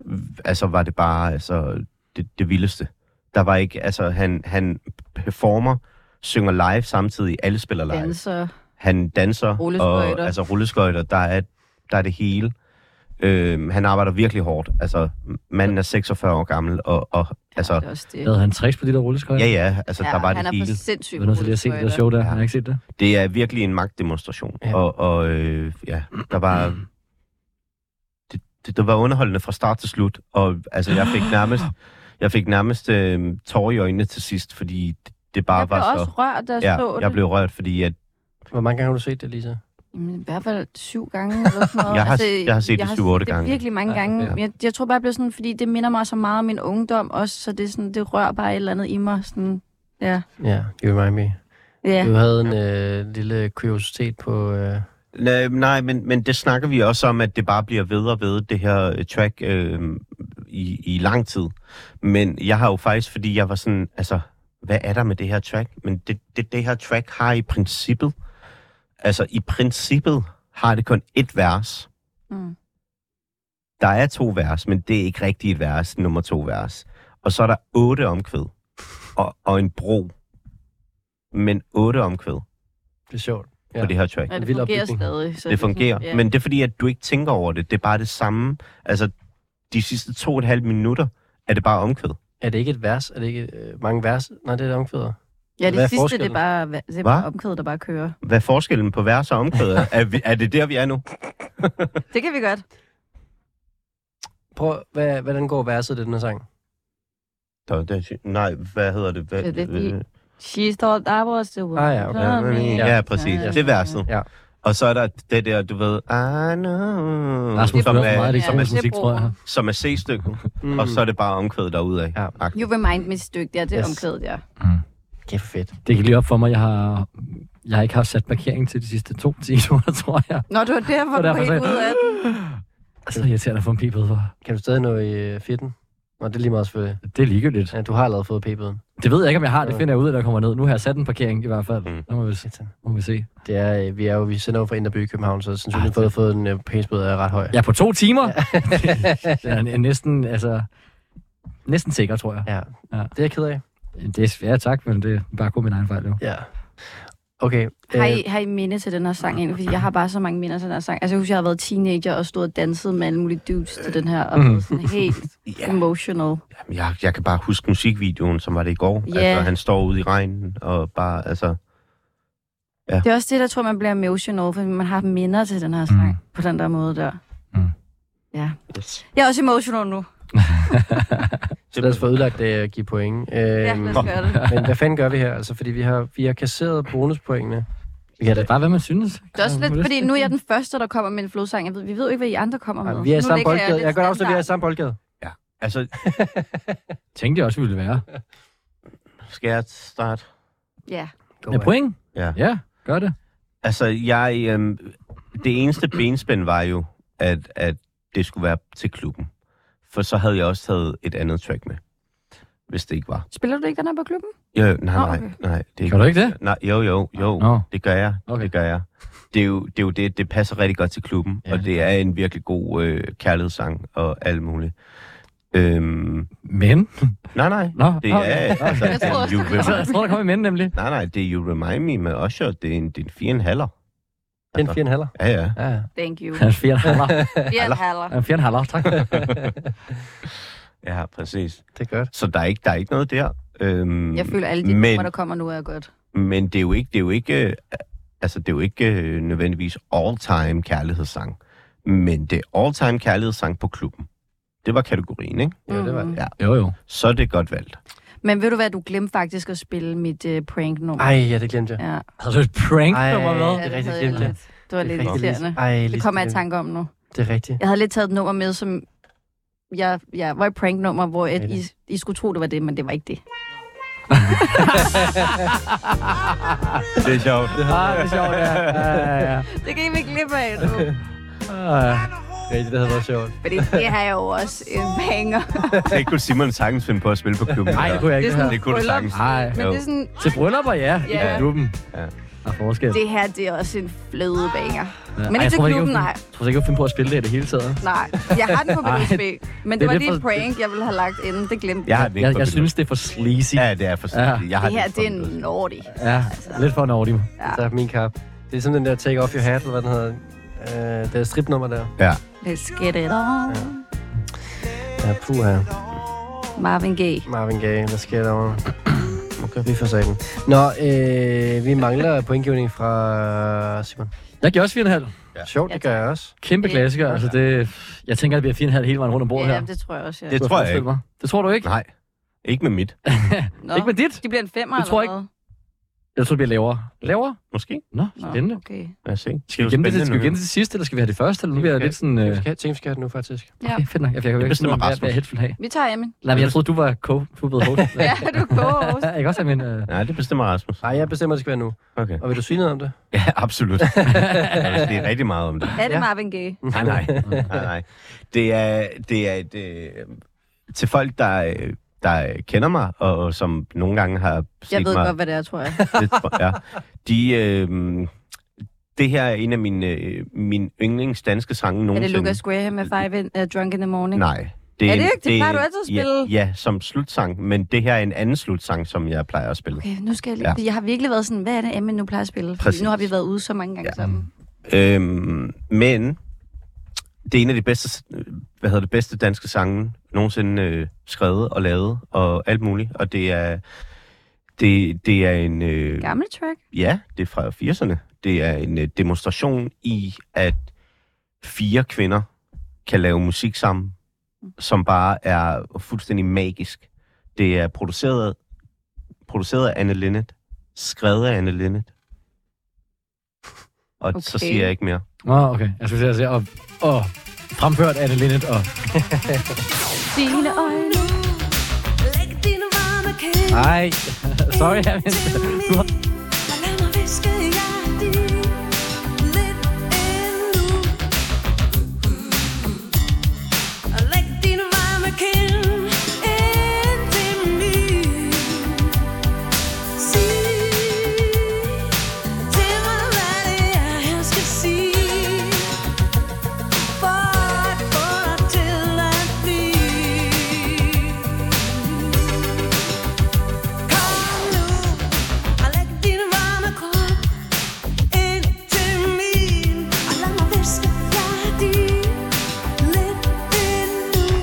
C: øh, altså var det bare altså, det, det vildeste. Der var ikke, altså han, han performer, synger live samtidig, alle spiller live.
E: Danser.
C: Han danser,
E: Rulleskøjter.
C: og altså rulleskøjter, der er, der er det hele. Øhm, han arbejder virkelig hårdt. Altså, manden er 46 år gammel, og, og altså,
E: Det er også det.
D: Havde han tricks på de der rulleskøjter?
C: ja, ja, altså, ja, der var
E: han
C: det
E: er for
C: hele.
D: Jeg
E: sindssygt.
D: er nødt til lige at se det der show der. Jeg har ikke set det.
C: Det er virkelig en magtdemonstration,
B: Ja.
C: ja. og, og øh, ja, der var... Det, det, det var underholdende fra start til slut, og altså, jeg fik nærmest, jeg fik nærmest øh, tårer i øjnene til sidst, fordi det, det bare
E: Jeg blev
C: var
E: også
C: så...
E: rørt, da jeg så
C: Ja,
E: det.
C: jeg blev rørt, fordi at
B: Hvor mange gange har du set det, Lisa?
E: Jamen, I hvert fald syv gange. Eller sådan noget. Altså,
C: Jeg har- jeg har set det syv, otte gange.
E: Det er virkelig mange
D: Ja,
E: gange.
D: ja.
E: Jeg, jeg tror bare, jeg blev sådan, fordi det minder mig så meget om min ungdom også, så det, er sådan, det rører bare et eller andet i mig. Sådan, ja.
B: Ja, you remind me.
E: ja.
B: Du havde en øh, lille kuriositet på... Øh,
C: Nej, nej men, men det snakker vi også om, at det bare bliver ved og ved, det her øh, track, øh, i, i lang tid. Men jeg har jo faktisk, fordi jeg var sådan, altså, hvad er der med det her track? Men det, det, det her track har i princippet, altså i princippet har det kun et vers.
E: Mm.
C: Der er to vers, men det er ikke rigtigt et vers, nummer to vers. Og så er der otte omkvæd og, og en bro. Men otte omkvæd
B: det er sjovt.
C: ja.
B: Ja.
C: på det her track.
E: ja,
B: en
E: det
B: vild
E: fungerer
B: opbygning.
E: stadig. Så
C: det fungerer.
E: Sådan,
C: Men det er fordi, at du ikke tænker over det. Det er bare det samme. Altså, de sidste to og et halvt minutter er det bare omkvæd.
B: Er det ikke et vers? Er det ikke øh, mange vers? Nej, det er et omkvæder.
E: ja,
B: hvad er
E: det sidste, det er
B: forskellen?
E: bare, det er
C: Hva?
E: bare omkødet, der bare kører.
C: Hvad er forskellen på vers og omkvæd? er, er, vi, er det der, vi er nu?
E: Det kan vi godt.
B: Prøv, hvad, hvordan går verset i den her sang?
C: Der, der, sy- nej, hvad hedder det? Hvad,
E: Det er det,
C: øh,
E: de- She thought I was the one.
B: Ah, ja, okay.
E: for me.
C: ja, ja, præcis.
E: Ja.
C: Det er verset.
B: Ja.
C: Og så er der det der, du ved, I know,
D: Rasmus
C: som,
D: hører for meget af
C: er,
D: det
E: som er-
D: musik, tror jeg.
C: som er C-stykken, mm. og så er det bare omkvædet derudad.
B: Ja.
E: You remind me et stykke der, det er
B: Yes.
E: omkødet, ja.
B: Kæft fedt.
D: Det gik lige op for mig. Jeg har, jeg har ikke haft sat parkering til de sidste to timer, tror jeg.
E: Nå, det var derfor,
D: Det var
E: du var
D: derfor,
E: helt
D: så-
E: ude af den.
D: Så irriterende at få en pipet for.
B: Kan du stadig nå i øh, fitten? Nå, det er lige meget selvfølgelig.
D: Det er ligegyldigt.
B: Ja, du har allerede fået p-bøden.
D: Det ved jeg ikke, om jeg har. Det
B: Ja.
D: finder jeg ud af, der kommer ned. Nu har jeg sat en parkering i hvert fald.
C: Mm.
D: Nu må vi, se. må vi se.
B: Det er, øh, vi er jo, vi sender jo fra Inderby i København, så sandsynligvis for at få en øh, p-bøde er ret høj.
D: Ah, Ja, på to timer. Ja. jeg er næsten, altså, næsten sikker, tror jeg.
B: ja.
D: Ja.
B: Det er jeg ked af.
D: Det er svært, tak, men det er bare god min egen fejl, jo.
B: Ja. Okay. øh,
E: Har I, har I minde til den her
B: Ah,
E: sang egentlig? Fordi jeg har bare så mange minder til den her sang. Altså jeg husker, jeg har været teenager og stod og danset med alle mulige dudes til den her,
B: Mhm.
E: og blev sådan helt
C: Ja.
E: emotional.
C: Jamen, Jeg, jeg kan bare huske musikvideoen, som var det i går.
E: Ja.
C: Altså, han står ude i regnen, og bare, altså...
E: Det er også det, der tror, man bliver emotional, fordi man har minder til den her
B: Mhm.
E: sang mm. på den der måde der.
D: Mm.
E: Ja.
C: Yes.
E: Jeg er også emotional nu.
B: Så lad os få ødelagt det at give point. Øhm,
E: Ja, lad os gøre det.
B: men hvad fanden gør vi her? Altså, fordi vi har, vi har kasseret bonuspoengene. Vi
D: Ja,
B: har
D: det er bare, hvad man synes.
E: Det er også lidt,
D: Man har
E: fordi
D: lyst
E: nu er
D: til.
E: jeg den første, der kommer med en flodsang. Jeg ved, vi ved jo ikke, hvad I andre kommer med.
B: Ej, vi er i
E: Nu
B: samme
E: ligger
B: boldgade.
E: lidt
B: Jeg, kan godt afsløre, at vi er
E: standard.
B: i samme boldgade.
C: Altså,
D: Tænkte jeg også, vi ville være.
C: skal jeg starte?
E: Ja.
B: Go
D: Med
B: away.
D: point?
C: Ja.
D: Ja, gør det.
C: Altså, jeg... Øhm, det eneste benspænd var jo, at, at det skulle være til klubben. For så havde jeg også taget et andet track med. Hvis det ikke var.
E: Spiller du ikke den her på klubben?
C: Jo, nej,
E: Nå,
C: nej,
E: okay.
C: nej. Det er
D: Gør du ikke det?
C: Nej, jo, jo, jo.
D: Nå.
C: Det gør jeg.
D: Okay.
C: Det gør jeg. Det er, jo, det er jo det, det passer rigtig godt til klubben,
B: Ja.
C: ja. og det er en virkelig god øh, kærlighedssang og alt muligt. Øhm,
D: Men?
C: nej, nej,
D: Nå,
C: det
D: okay.
C: er... Altså,
E: Jeg troede også,
C: you
E: det var-
D: Altså,
C: remind,
D: jeg tror, der kommer en mænd, nemlig.
C: nej, nej, det er You Remind Me med Usher, det er en, det er en fire en halver.
B: Det er en fire og en halv.
C: Ja, ja.
B: Ja, ja.
E: Thank you.
D: Han er fjern haller.
E: Bjørn Haller.
D: Han er fjern haller, tak.
C: Ja, præcis.
B: det er godt.
C: Så der er ikke, der er ikke noget der. Øhm,
E: Jeg føler, alle de
C: men-
E: numre, der kommer nu, er godt.
C: Men det er jo ikke, det er jo ikke, øh, altså det er jo ikke øh, nødvendigvis all-time kærlighedssang. Men det er all-time kærlighedssang på klubben. Det var kategorien, ikke?
B: Jo, det var
E: Mm.
B: det.
D: Jo, jo.
C: Så er det godt valgt.
E: Men ved du hvad, du glemte faktisk at spille mit uh, prank nummer.
B: Ej, ja, det glemte jeg.
E: Ja.
D: Havde du et prank,
B: Ej,
D: der var med?
B: det er
E: det
B: rigtigt
E: havde jeg
B: glemt det.
E: lidt. Det var
B: Det er
E: lidt
B: rigtig
E: irriterende.
B: Lise. Ej,
E: det
B: Lise,
E: kommer jeg i
B: det-
E: tanke om nu.
B: Det er rigtigt.
E: Jeg havde lidt taget et nummer med, som jeg, jeg var et pranknummer, hvor et, I, I skulle tro, det var det, men det var ikke det.
C: Det er sjovt.
D: Ah, det er sjovt, ja. ja, ja, ja.
E: Det kan I ikke glip af nu.
D: Ah,
B: rigtigt, det havde været sjovt.
E: Fordi det har jeg jo også en banger.
C: Det kunne Simon sagtens finde på at spille på klubben.
D: Nej, det kunne jeg ikke.
E: Det er sådan
C: Det kunne du
E: bryllup.
C: sagtens.
D: Nej.
E: Men
C: Jo.
E: det er sådan,
D: Til bryllupper, ja.
E: Ja.
D: I klubben.
C: Ja.
D: Der er forskel.
E: det her, det er også en fløde banger.
D: Ja.
E: Men
D: Ej,
E: ikke
D: jeg
E: til
D: tror ikke, jeg
E: klubben,
D: kunne-
E: nej.
D: Jeg tror ikke, jeg kunne finde på at spille det i det hele taget.
E: Nej, jeg har den på
D: Ej,
E: BSB. Men det,
D: det er
E: var
D: lidt
E: lige et
D: for-
E: prank, jeg ville have lagt inden. Det glemte
C: Jeg har
E: jeg.
C: den ikke
D: Jeg,
C: på
D: jeg
C: min
D: synes, det er for sleazy.
C: liste. Ja, det er for
D: Ja.
C: Jeg har
E: Det her, det er
C: på min liste.
E: naughty.
D: Ja, lidt for naughty.
E: Ja.
B: Der er min kap. Det er sådan den der Take Off Your Hat, eller hvad den hedder. Øh, det er stripnummer der.
C: Ja.
E: Let's get it on.
B: Ja, puha.
E: Marvin G.
B: Marvin Gaye, hvad sker der over? Okay, vi får sagen. Nå, øh, vi mangler pointgivning fra Simon.
D: Jeg giver også 4,5.
B: Ja. Sjovt, det gør jeg også.
D: Kæmpe
E: Ja.
D: klassiker. Altså, det, jeg tænker, at det bliver 4,5 hele vejen rundt om bordet her.
E: Ja, det tror jeg også, jeg.
C: Det
D: Kunne
C: tror jeg
D: forestille
C: ikke.
D: mig. Det tror du ikke?
C: Nej. Ikke med mit.
E: Nå,
D: Ikke med dit?
E: de bliver en femmer
D: Det tror jeg
E: eller hvad?
D: Jeg tror, det bliver lavere. Lavere?
C: Måske.
D: Nå,
E: Nå,
D: spændende.
E: okay.
C: Lad os se. Det
D: Skal vi gemme det, til- skal vi gemme det til sidst, eller skal vi have det først? Eller nu bliver jeg lidt sådan... Øh,
B: Vi skal, tænke, vi skal have den nu, faktisk.
E: Ja.
D: okay, fedt nok. Jeg, jeg, jeg, jeg
C: bestemmer
D: bestemmer bare,
C: Rasmus.
D: hvad jeg helst vil have.
E: Vi tager Emil.
D: Nej, men jeg troede, du var co du blev host.
E: Ja, du er co-host.
D: Jeg kan også have min... Øh,
C: Nej, det bestemmer Rasmus.
B: Nej, jeg bestemmer, at det skal være nu.
C: Okay.
B: Og vil du sige noget om det?
C: Ja, absolut. Altså, det er rigtig meget om det.
E: Er det
B: Ja.
E: Marvin Gaye?
C: Nej, nej. nej, nej. Det er, det er et, øh, til folk, der, øh, der øh, kender mig, og, og som nogle gange har set
E: Jeg ved
C: mig.
E: godt, hvad det er, tror jeg.
C: Det tror jeg. De, øh, det her er en af mine, øh, mine yndlings danske sange
E: Er
C: nogensinde.
E: det Lucas Graham med Five in, uh, Drunk in the Morning?
C: Nej.
E: Er
C: en-
E: det ikke? Det
C: er
E: plejer
C: en-
E: du altid at spille.
C: Ja, ja, som slutsang, men det her er en anden slutsang, som jeg plejer at spille.
E: Okay, nu skal jeg lige...
C: Ja.
E: Ja. Jeg har virkelig været sådan, hvad er det, Emil nu plejer at spille? Fordi
C: Præcis.
E: nu har vi været ude så mange gange ja. sammen.
C: Øhm, men det er en af de bedste, hvad hedder det, bedste danske sange nogensinde øh, skrevet og lavet og alt muligt. Og det er, det, det er en... Øh,
E: Gammel track?
C: ja, det er fra 80'erne. Det er en øh, demonstration i, at fire kvinder kan lave musik sammen, som bare er fuldstændig magisk. Det er produceret, produceret af Anne Linnet, skrevet af Anne Linnet. Og okay. så
E: Okay.
C: siger jeg ikke mere.
D: Nå, okay. Jeg skulle til at sige, og, og fremført af det Linnet, og...
E: Dine øjne.
F: Læg dine varme kæder
D: Ej, sorry, jeg men... Du har...
F: Og lad mig viske jer i lidt endnu. Og læg dine varme kæder ind i min. Sig til mig, hvad det er, jeg skal sige. For at få dig til at blive. Kom nu, og læg din varme krop
L: Uh.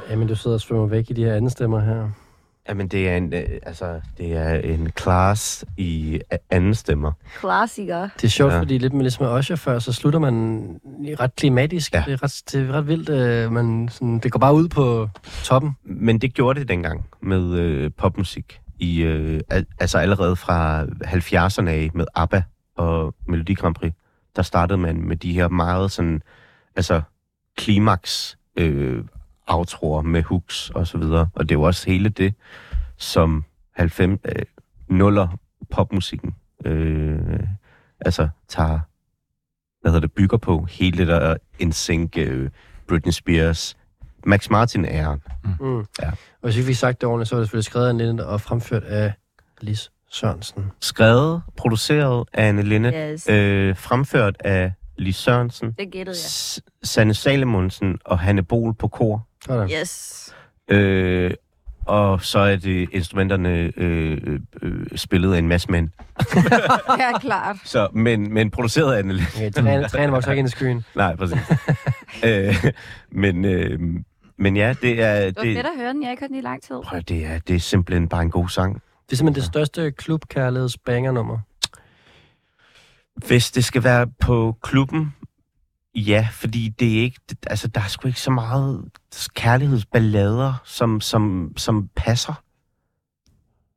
L: Ah,
B: Jamen, du sidder og svømmer væk i de her anden stemmer her.
C: Jamen, det er en, øh, altså, det er en class i a- anden stemmer.
E: Klassiker.
B: Det er sjovt, ja.
C: Ja.
B: fordi lidt med ligesom med Osher før, så slutter man i ret klimatisk. Ja. Det, er ret, det er ret vildt. Øh, man, sådan, det går bare ud på toppen.
C: Men det gjorde det dengang med øh, popmusik. I, øh, al- altså allerede fra 70'erne af med ABBA og Melodi Grand Prix, der startede man med de her meget sådan, altså klimaks øh, outroer med hooks og så videre. Og det er jo også hele det, som 90, øh, nuller popmusikken øh, altså tager, hvad hedder det, bygger på. Hele det der NSYNC, øh, Britney Spears, Max Martin-æren.
B: Mm.
C: Ja.
B: Og hvis ikke vi fik sagt det ordentligt, så var det selvfølgelig skrevet af Anne og fremført af Lis Sørensen.
C: skrevet, produceret af Anne Linde,
E: Yes.
C: øh, fremført af Lis Sørensen,
E: Det gættede jeg.
C: S- Sanne Salemonsen og Hanne Bol på kor.
B: Sådan.
E: Yes.
C: Øh, og så er det instrumenterne øh, øh, spillet af en masse mænd.
E: Det er klart.
C: Så, men, men produceret af Anne Linde.
B: Okay, træne, træne vokser ikke ind i skyen.
C: Nej, præcis. øh, men, øh, men ja, det er...
E: Det var fedt at høre den. Jeg har ikke hørt den i lang tid.
C: Prøv, det er, det er simpelthen bare en god sang.
B: Det er simpelthen det største klubkærlighedsbangernummer.
C: Hvis det skal være på klubben, ja, fordi det er ikke, det, altså, der er sgu ikke så meget kærlighedsballader, som, som, som passer.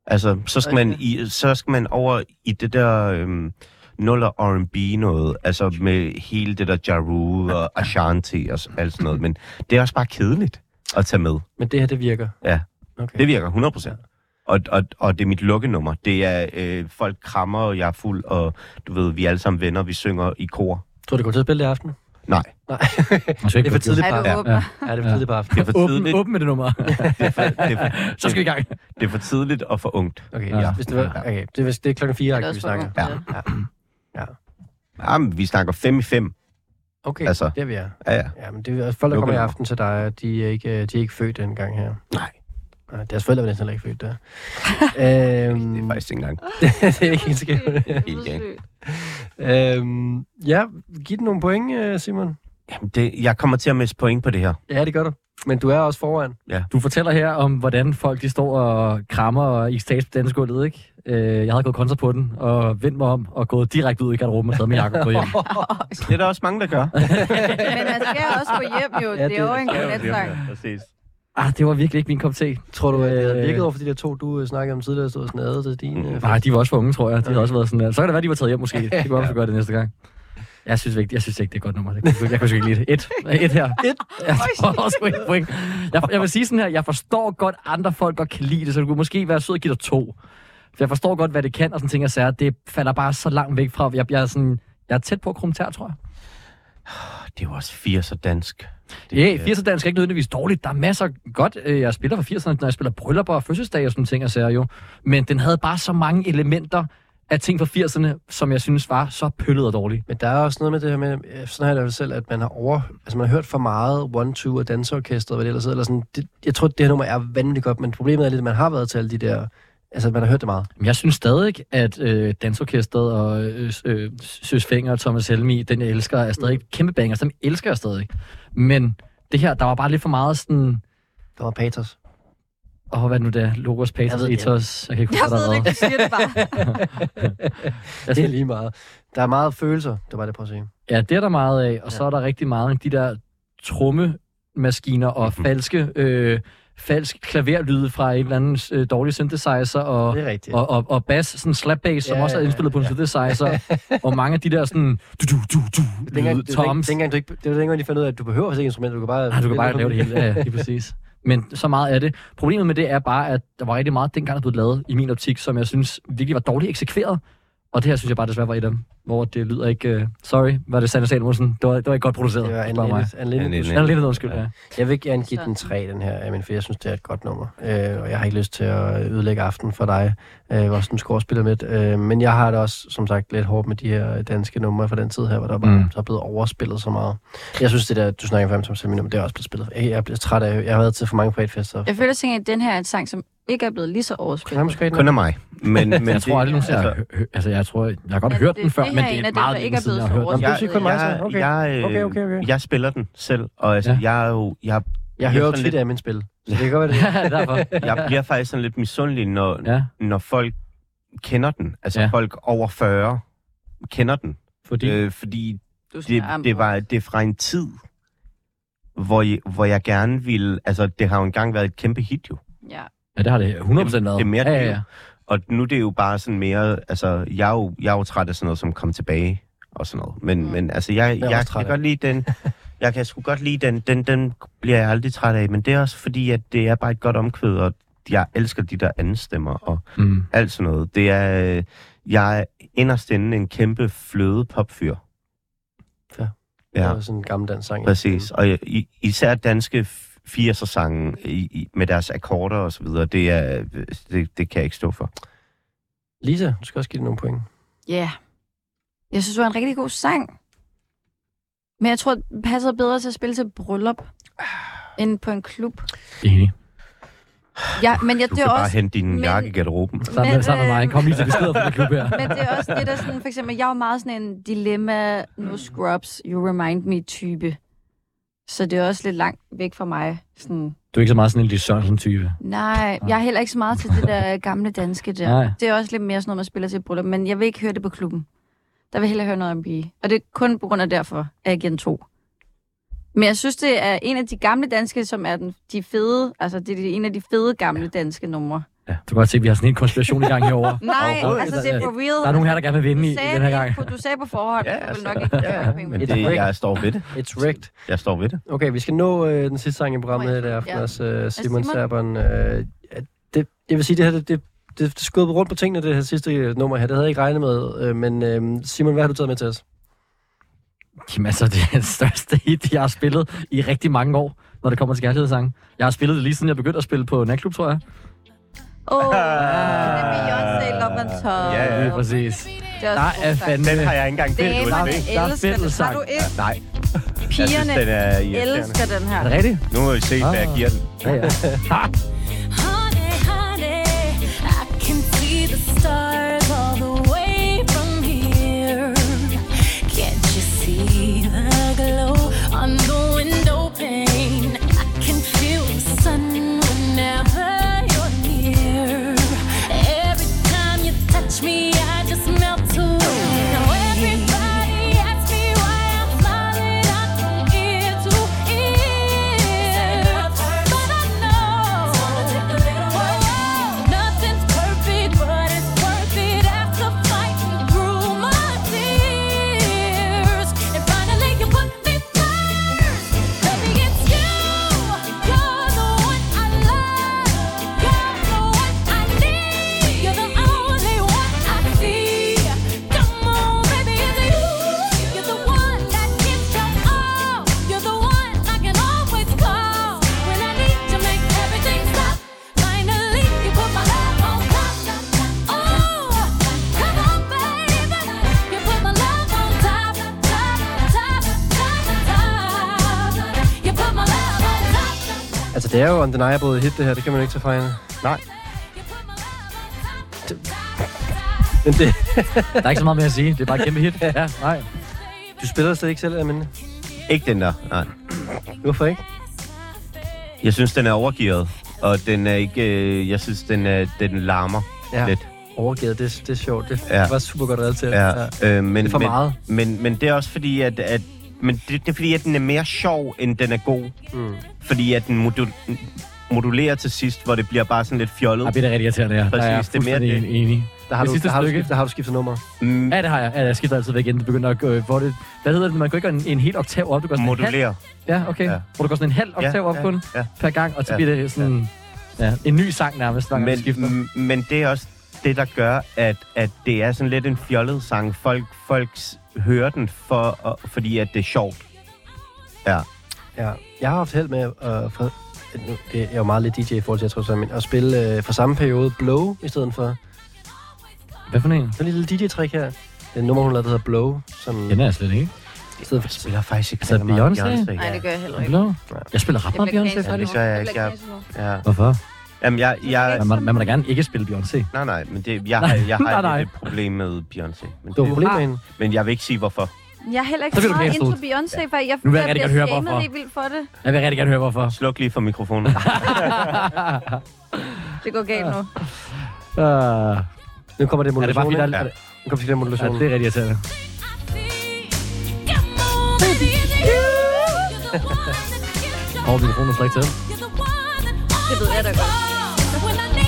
C: Altså, så skal, man i, så skal man over i det der øhm, nuller R&B noget, altså med hele det der Ja Rule og Ashanti og s- alt sådan noget, men det er også bare kedeligt at tage med.
B: Men det her, det virker.
C: Ja,
B: Okay.
C: det virker 100 procent. Og, og, og det er mit lukkenummer. Det er, øh, folk krammer, og jeg er fuld, og du ved, vi er alle sammen venner, vi synger i kor.
B: Tror du, det går til at spille det i aften?
C: Nej,
B: Nej.
D: synes ikke,
B: det er for
D: det
B: tidligt
E: Ej, du
B: på aftenen.
E: håber.
B: Ja, det er for tidligt på aftenen.
C: det er for
D: Åben,
C: tidligt.
D: åben med det nummer.
C: Det, er for, det, er for,
D: så skal vi i gang.
C: det er for tidligt og for ungt.
B: Okay,
D: Ja.
B: ja. hvis det, var, okay. Det, er, hvis det er klokken
E: Det er
B: 4, vi
E: også for
B: snakker.
E: ungt,
C: Ja.
B: ja. ja.
C: Jamen, vi snakker 5 i 5.
B: Okay, altså.
C: Altså.
B: det er vi er.
C: Ja, ja.
B: Ja, men det er også folk, der
C: Lukker
B: kommer i
C: nummer.
B: aften til dig, de er ikke, øh, de er ikke født dengang her.
C: Nej.
B: Nej, deres forældre var næsten heller ikke født der. øhm,
C: Det er faktisk ikke engang.
B: det er ikke helt skævt.
C: Helt galt.
B: øhm, ja, giv den nogle point, øh, Simon.
C: Jamen, det, jeg kommer til at miste point på det her.
B: Ja, det gør du. Men du er også foran.
D: Du fortæller her om, hvordan folk de står og krammer og i stats på dansegulvet, ikke? Øh, jeg havde gået kontra på den, og vendt mig om, og gået direkte ud i garderoben og taget med jakke på hjem.
C: Det er der også mange, der gør.
E: Men man skal også gå hjem jo.
B: Ja,
E: det, er
B: det-
E: jo en god sang.
C: Præcis.
D: Ah, det var virkelig ikke min kop te.
B: Tror du, at det havde
D: Øh,
B: virket over for de der to, du øh, snakkede om tidligere, der stod og snadede til din? Øh,
D: Nej, de var også for unge, tror jeg. De havde også været sådan der. Så kan det være, de var taget hjem måske. Det kunne være, vi skulle gøre det næste gang. Jeg synes ikke, jeg synes ikke det er et godt nummer. Det kunne, jeg kunne sgu ikke lide det. Et. Et her. Et. Jeg, får også et point. Jeg, jeg vil sige sådan her, jeg forstår godt, andre folk godt kan lide det, så det kunne måske være sød at give dig to. For jeg forstår godt, hvad det kan, og sådan ting, jeg sager. Det falder bare så langt væk fra. Jeg, jeg er sådan, jeg er tæt på at krumme tær, tror jeg.
C: Det er jo også 80'er dansk. Det,
D: Ja,
C: øh,
D: 80'er dansk er ikke nødvendigvis dårligt. Der er masser af godt. øh, Jeg spiller fra 80'erne, når jeg spiller bryllupper og fødselsdage og sådan ting, og sager jo. Men den havde bare så mange elementer af ting fra 80'erne, som jeg synes var så pøllet og dårlige.
B: Men der er også noget med det her med, øh, sådan har jeg det vel selv, at man har over, altså man har hørt for meget One Two og danseorkestret, hvad det ellers hedder, eller sådan. Det, jeg tror, det her nummer er vanvittigt godt, men problemet er lidt, at man har været til alle de der, altså at man har hørt det meget.
D: Men jeg synes stadig, at øh, Dansorkestret og øh, øh, Søs Fenger og Thomas Helmi, den jeg elsker, er stadig kæmpe bangers. Dem elsker jeg stadig. Men det her, der var bare lidt for meget sådan...
B: Der var patos.
D: Åh, oh, hvad er det nu det er? Logos,
B: Jeg
D: Pathos,
B: ved det ikke.
D: Ethos... Jeg kan ikke
E: Jeg
D: huske, hvad
E: ved
D: der
E: det ikke,
D: var.
E: du siger det bare.
B: Det er lige meget. Der er meget følelser, det var det, jeg prøver at sige.
D: Ja, det er der meget af, og så er der rigtig meget af de der trommemaskiner og
B: Mhm.
D: falske, øh, falsk klaverlyde fra en eller anden øh, dårlig synthesizer og,
B: Det er rigtigt.
D: og, og, og bass, sådan slap bass, som
B: Ja,
D: også er
B: ja,
D: indspillet på en
B: ja.
D: synthesizer, og mange af de der sådan du du du du
B: Dengang,
D: lyde,
B: det, var dengang,
D: toms.
B: dengang, du ikke, det var dengang, de fandt ud af, at du behøver ikke instrumenter, du kan bare...
D: Nej, du kan bare lave det hele, ja, ja, lige præcis. Men så meget af det. Problemet med det er bare, at der var rigtig meget dengang, der blev lavet i min optik, som jeg synes virkelig var dårligt eksekveret. Og det her synes jeg bare desværre var et af dem, hvor det lyder ikke... Uh, sorry, var det Sande Salmonsen. Det var, det var ikke godt produceret.
B: Det var Anne
D: bare mig.
B: Linnet- Anne Linnet.
C: Anne
D: Jeg er lidt undskyld, ja.
B: Jeg vil gerne give den 3, den her, Amin, for jeg synes, det er et godt nummer. Øh, og jeg har ikke lyst til at ødelægge aften for dig, øh, hvor sådan skorspiller med. Øh, men jeg har det også, som sagt, lidt hårdt med de her danske numre fra den tid her, hvor der bare
D: Mm.
B: der er blevet overspillet så meget. Jeg synes, det der, du snakker før om som seminum, det er også blevet spillet. Jeg, jeg bliver træt af, jeg har været til for mange privatfester.
E: Jeg føler ting, at den her er en sang, som ikke er blevet lige så overspillet.
B: Jamen, skal jeg ikke
C: Kun af mig. Men, men
D: Men jeg tror aldrig nogensinde,
C: altså,
D: altså, altså, jeg tror, jeg har godt
E: Ja,
D: hørt
E: det-
D: den før,
E: det
D: men
E: her
D: det
E: en
D: er
E: af dem,
D: meget
E: der
D: længe
E: ikke er
D: siden, jeg
E: blevet
D: har
E: så
D: hørt den.
B: Nå, men du siger kun mig, så.
C: jeg,
B: Okay.
C: jeg, øh,
B: Okay, okay, okay.
C: jeg spiller den selv, og altså,
D: Ja.
C: jeg er jo... Jeg,
B: Jeg hører jo
C: sådan
B: tit af min spil. Så det kan godt være, det
C: jeg bliver faktisk sådan lidt misundelig, når,
D: ja.
C: når folk kender den. Altså ja. folk over 40 kender den.
D: Fordi?
C: Øh, fordi
E: Du skal
C: det,
E: være am-
C: det, var, det er fra en tid, hvor jeg, hvor jeg gerne ville... Altså, det har jo engang været et kæmpe hit, jo.
E: Ja.
D: Ja, det har det 100% været.
C: Det er mere
D: ja, ja,
C: det,
D: ja.
C: jo. Og nu er det er jo bare sådan mere... Altså, jeg er jo, jeg er jo træt af sådan noget, som kom tilbage og sådan noget. Men, mm. men altså, jeg,
B: er
C: jeg,
B: også
C: jeg
B: træt
C: kan
B: af
C: godt lide den... Jeg kan sgu godt lide den, den, den bliver jeg aldrig træt af, men det er også fordi, at det er bare et godt omkvæd, og jeg elsker de der anden stemmer og
D: Mm.
C: alt sådan noget. Det er, øh, jeg er inderst inde en kæmpe fløde popfyr.
B: Ja.
C: Ja. Mm.
B: var sådan en gammel dansk sang.
C: Præcis, og i- især danske 80'er sange i, i, med deres akkorder og så videre, det, er, øh, det, det kan jeg ikke stå for.
B: Lisa, du skal også give det nogle point.
E: Ja. Yeah. Jeg synes, det var en rigtig god sang. Men jeg tror, den passer bedre til at spille til bryllup, end på en klub.
D: Enig.
E: Ja, men jeg,
C: Du
E: det
C: kan
E: er
C: bare
E: også...
C: hente din
E: men-
C: jakke i garderoben.
D: Sammen med, sammen med mig. Kom lige til beskeder fra min klub her.
E: Men det er også det, der sådan, for eksempel, jeg er jo meget sådan en dilemma, no scrubs, you remind me type. Så det er også lidt langt væk fra mig. Sådan,
D: Du er ikke så meget sådan en Lis Sørensen-type.
E: nej, jeg er heller ikke så meget til det der gamle danske der.
D: Nej.
E: Det er også lidt mere sådan noget, man spiller til et bryllup, men jeg vil ikke høre det på klubben. Der vil jeg hellere høre noget om pige. Og det er kun på grund af derfor, at jeg giver den to. Men jeg synes, det er en af de gamle danske, som er den, de fede, altså det er de- en af de fede gamle danske numre.
D: Ja. Du kan godt se, at vi har sådan en konspiration i gang herovre.
E: Nej,
D: Overhovedet.
E: altså det er for real.
D: Der er nogen her, der gerne vil vinde i,
E: Du
D: i
E: sagde,
D: den her gang.
E: det på, du sagde på forhånd,
C: Ja,
E: ja, altså,
C: altså,
E: nok ikke
B: ja,
E: ja,
C: Men det, jeg står ved det.
B: It's rigged.
C: Jeg står ved det.
B: Okay, vi skal nå øh, den sidste sang i programmet
E: Nå,
B: her
E: ja.
B: i aften
E: Ja. Altså,
B: også, øh, Simon
E: Simon.
B: Serban. Øh, det, jeg vil sige, det her, det, det, det, det skød rundt på tingene, det her sidste øh, nummer her. Det havde jeg ikke regnet med, øh, men øh, Simon, hvad har du taget med til os?
D: Jamen altså, det er den største hit, jeg har spillet i rigtig mange år, når det kommer til kærlighedssange. Jeg har spillet det lige siden jeg begyndte at spille på natklub, tror jeg.
E: Åh,
D: Ah.
E: oh, det er Beyoncé, Love on Top.
C: Ja, ja.
D: Lige præcis.
E: Det er
D: Der
E: også
D: er
E: god sang.
D: fandme...
C: Den har jeg ikke engang delt
E: Damerne
C: ud
D: Der er
E: elsker den. Har
D: fællessang.
E: du ikke?
C: Nej, jeg synes,
E: Pigerne
C: den er irriterende.
E: elsker den her.
D: Er det rigtigt?
C: Nu må vi se, hvad jeg giver den.
D: Ja, ja.
M: Honey, honey, I can see the stars all the way from here. Can't you see the glow on the window pane? I can feel the sun whenever you're near. Every time you touch me, I just melt away. Now everybody asks me why I'm flying up from ear to ear. But I know nothing's perfect, but it's worth it after fighting through my tears. And finally you put me first. Baby, it's you. You're the one I love. You're the one I need. You're the only one I see. Come on, baby, it's you. You're the one that gives your all. You're the one I can always call when I need to make everything stop. Finally, you put my love on top. Oh, come on, baby, you put my love on top, top, top, top, top. You put my love on top.
B: Altså, det er jo undeniable hit, det her. Det kan man ikke tage fra hende.
C: Nej,
M: You put my love on top,
B: Men det,
D: Der er ikke så meget mere at sige. Det er bare et kæmpe hit. Ja, nej.
B: du spiller slet ikke selv, Amanda.
C: ikke den der. Nej.
B: Hvorfor ikke?
C: Jeg synes, den er overgearet, og den er ikke... Øh, jeg synes, den, er, den larmer ja. lidt.
B: Overgivet, det, det er sjovt. Det
C: Ja.
B: ja. var super godt reddet til.
C: Ja, øh, men,
B: Det er for
C: men,
B: meget.
C: Men, men det er også fordi, at, at men det, det er fordi, at den er mere sjov, end den er god. Mm. Fordi at den modul- modulerer til sidst, hvor det bliver bare sådan lidt fjollet.
D: Jeg bliver det rigtig irriterende, ja. Der er jeg
C: Præcis, det er mere
D: fuldstændig
C: det.
D: enig.
B: Der har,
D: det
B: du,
D: sidste
B: der, har du
D: stykke.
B: skiftet, der har du skiftet nummer.
C: Mm,
D: Ja, det har jeg. Ja, jeg skifter altid væk, inden det begynder at gå... Hvor det, hvad hedder det? Man går ikke en, en helt oktav op. Du går sådan En halv,
C: modulerer.
D: ja, okay.
C: Ja.
D: Ja. Hvor du går sådan en halv oktav
C: Ja,
D: op
C: ja,
D: kun
C: ja.
D: per gang, og så
C: Ja,
D: bliver det sådan... Ja, en ny sang nærmest, hver gang du skifter.
C: Men, m- men det er også det, der gør, at, at det er sådan lidt en fjollet sang. Folk, folk s- hører den, for, og, fordi at det er sjovt. Ja.
B: Ja. Jeg har haft held med at... Øh, for, nu- det er jo meget lidt DJ i forhold til, jeg tror, så, men at spille øh, fra samme periode Blow i stedet for...
D: Hvad for en?
B: Der er en lille DJ-trick her. Det er et nummer, hun lavede, der hedder Blow. Som
D: Den er jeg slet ikke.
B: i stedet for
C: Jeg spiller faktisk ikke
D: Altså,
C: særlig meget
D: Beyoncé?
C: ja.
E: Nej, det gør jeg heller ikke.
D: Blå. Jeg spiller ret
E: Jeg
D: meget
E: bliver
D: Beyoncé
E: knæset.
C: Ja, det
D: faktisk.
C: gør jeg
E: Jeg
C: ikke.
E: bliver
C: Jeg,
E: knæset nu.
C: ja.
D: Hvorfor?
C: Jamen, jeg, jeg,
D: Man, man, man må da gerne ikke spille Beyoncé.
C: nej, nej, men det, jeg, har, jeg har
D: Nej, nej.
C: lidt et problem med Beyoncé. Men,
B: Du har
C: det,
B: problemer med hende.
C: men jeg vil ikke sige, hvorfor.
E: Jeg er heller ikke
D: Så
E: så
D: bliver du
E: meget
D: kastet
E: into
D: ud.
E: Beyoncé, for jeg,
D: Nu vil jeg
E: bliver
D: rigtig gerne høre,
E: shamed
D: hvorfor.
E: helt vildt for det.
D: Jeg vil rigtig gerne høre, hvorfor.
C: Sluk lige for mikrofonen.
E: Uh, Det går galt nu.
D: Uh,
E: Ah.
B: nu kommer det
D: Er det bare fordi,
B: modulation,
D: der er,
B: ikke?
D: ja.
B: Nu kommer det modulation.
D: Ja, det er rigtig irriterende. Og mikrofonen er slet ikke til.
E: Det ved jeg da godt.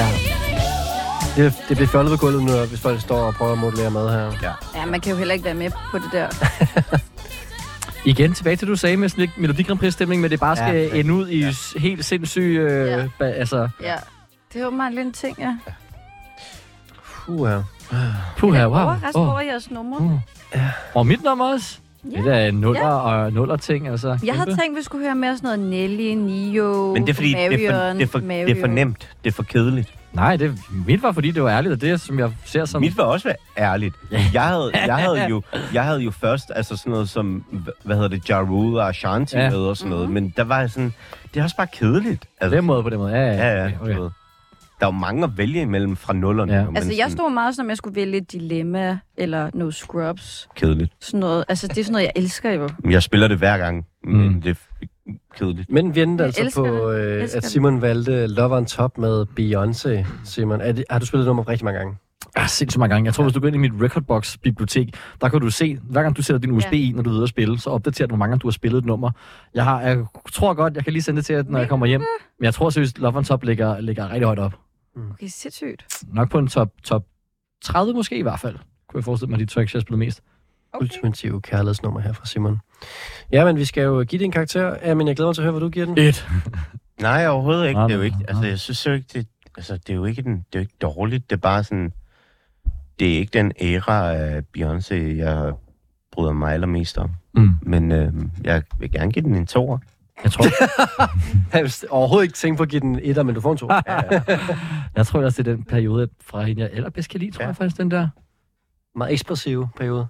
B: Ja. Det, det bliver fjollet ved gulvet nu, hvis folk står og prøver at modellere mad her.
C: Ja.
E: Ja, man kan jo heller ikke være med på det der.
D: Igen tilbage til, det, du sagde med sådan lidt Melodi Grand Prix-stemning, men det bare skal
B: Ja.
D: ja, ende ud i ja. helt sindssyg... Øh,
E: Ja.
D: ja. ba, altså,
E: Ja. Det er åbenbart en lille ting, ja.
B: Puh her.
D: puh her, wow.
E: Overrask
D: Åh,
E: over jeres numre.
C: Mm.
D: Og mit nummer også.
E: Ja.
D: Det der er nuller og nuller ting, altså.
E: Jeg havde
D: Kæmpe.
E: tænkt, vi skulle høre mere sådan noget Nelly, Nio,
C: Men det er fordi,
E: Marion,
C: det er, for, det, er for, det er for
E: Mario.
C: nemt. Det er for kedeligt.
D: Nej, det, mit var, fordi det var ærligt, og det, som jeg ser som...
C: Mit var også være ærligt. Jeg havde, jeg havde, jo, jeg havde jo først altså sådan noget som, hva- hvad hedder det, Ja Rule og Ashanti
D: Ja.
C: ja. med og sådan noget. Men der var jeg sådan, det er også bare kedeligt.
D: På
C: Altså,
D: den måde, på den måde. Ja, ja,
C: ja, ja. Okay. Der er jo mange at vælge imellem fra nullerne.
D: Ja.
C: Ja.
E: Altså, jeg stod meget, som om jeg skulle vælge Dilemma eller No Scrubs.
C: Kedeligt.
E: Sådan noget. Altså, det er sådan noget, jeg elsker jo.
C: Jeg spiller det hver gang, men mm. det er f- kedeligt.
B: Men vi endte
E: Jeg
B: altså
E: elsker
B: på,
E: det.
B: øh,
E: Elsker
B: at
E: det.
B: Simon valgte Love on Top med Beyoncé. Simon, er det, har du spillet nummer rigtig mange gange?
D: Ah, sindssygt mange gange. Jeg tror, hvis du går ind i mit Recordbox-bibliotek, der kan du se, hver gang du sætter din USB
E: Ja.
D: i, når du er ude at spille, så opdaterer du, hvor mange gange du har spillet et nummer. Jeg, har, jeg tror godt, jeg kan lige sende det til jer, når jeg kommer hjem. Men jeg tror seriøst, Love on Top ligger, ligger rigtig højt op.
E: Okay, sindssygt.
D: Nok på en top, top 30 måske i hvert fald. Kunne jeg forestille mig, de tracks, jeg har spillet mest.
B: Okay. Ultimative kærlighedsnummer her fra Simon. Ja, men vi skal jo give det en karakter. Ja, men jeg glæder mig til at høre, hvad du giver den.
D: Et.
C: Nej, overhovedet ikke.
D: Nej,
C: Det er jo
D: nej,
C: ikke,
D: nej.
C: altså, jeg synes jo ikke, det, altså, det er jo ikke, den, det er jo ikke dårligt. Det er bare sådan, det er ikke den æra af Beyoncé, jeg bryder mig allermest om.
D: Mm.
C: Men øh, jeg vil gerne give den en toer.
D: Jeg tror,
B: Jeg vil overhovedet ikke tænke på at give den etter, men du får en to.
D: jeg tror også, det er den periode fra hende, jeg allerbedst kan lide, tror
C: Ja.
D: jeg faktisk, den der.
B: Meget ekspressiv periode.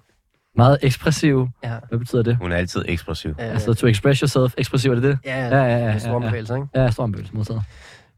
D: Meget ekspressiv.
B: Ja.
D: Hvad betyder det?
C: Hun er altid ekspressiv.
B: Øh,
D: Altså, to express yourself. Ekspressiv, er det det?
B: ja,
D: Ja, ja, ja.
B: ja, store
D: ja, ja.
B: bevægelser, ikke?
D: Ja, stor ombevelse modtaget.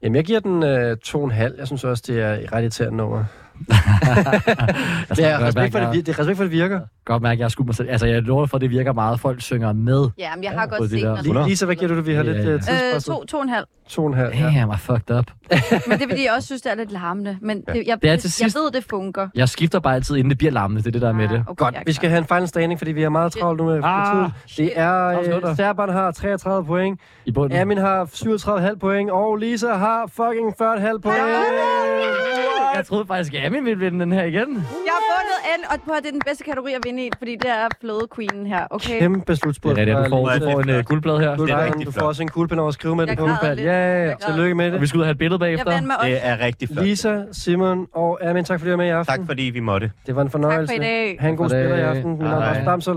B: Jamen, jeg giver den øh, to og en halv. Jeg synes også, det er et ret irriterende nummer.
D: Jeg
B: Det
D: skal
B: er
D: godt
B: respekt
D: Altså, mærke,
B: for, det,
D: jeg-
B: vir- det, er respekt for, det virker.
D: Godt mærke, jeg har skudt mig selv. Altså, jeg lover for, at det virker meget. Folk synger med.
E: Ja, men jeg har
D: og
E: godt
D: det
E: set,
D: der.
E: når
B: Lige, Lisa, hvad giver du det? Vi har
D: Ja,
B: lidt
D: ja.
B: øh,
E: Øh,
B: tidsspørgsmål.
E: to, to og en halv.
B: to og en halv, ja.
D: Damn, I fucked up.
E: Men det er, fordi jeg også synes, det er lidt larmende. Men det, jeg,
D: Det er
E: jeg,
D: til
E: jeg
D: sidst-
E: ved, det fungerer.
D: Jeg skifter bare altid, inden det bliver larmende. Det er det, der er med det.
E: Ah, okay,
B: Godt,
E: jeg er
B: vi skal
E: klar.
B: have en final standing, fordi vi har meget travlt nu med
D: Ah,
B: ah, tiden. Det er,
D: Travlt
B: øh,
D: skutter.
B: Serban har 33 point,
D: I bunden.
B: Amin har 37,5 point, og Lisa har fucking 40,5 point.
D: Jeg troede faktisk, at Amin ville vinde den her igen.
E: Jeg har vundet N, og prøv, at det er den bedste kategori at vinde i, fordi det er fløde queenen her, okay?
B: Kæmpe
D: Det er
B: slutspurt.
D: rigtigt, du får,
B: fra
D: du får en uh, guldblad her.
B: Lisa.
C: Det er
B: Guldvejen.
C: rigtig
B: Du får
C: flot.
B: også en kuglepen over at skrive med
E: Jeg
B: det på.
E: græder
B: Ja,
E: lidt.
B: ja, ja.
E: Jeg græder.
B: Tillykke med
D: Og
B: det.
D: vi skal ud og have et billede
E: Jeg
D: bagefter.
E: vandt mig op.
C: Det er rigtig flot.
B: Lisa, Simon og Amin, tak fordi I var med i aften.
C: Tak fordi vi måtte.
B: Det var en
E: Tak
B: fornøjelse.
E: for i dag.
B: Ha' en god
D: Tak for i
B: spiller i
D: dag.
B: aften. Mit navn er
D: Hej.
B: Rasmus Damsel.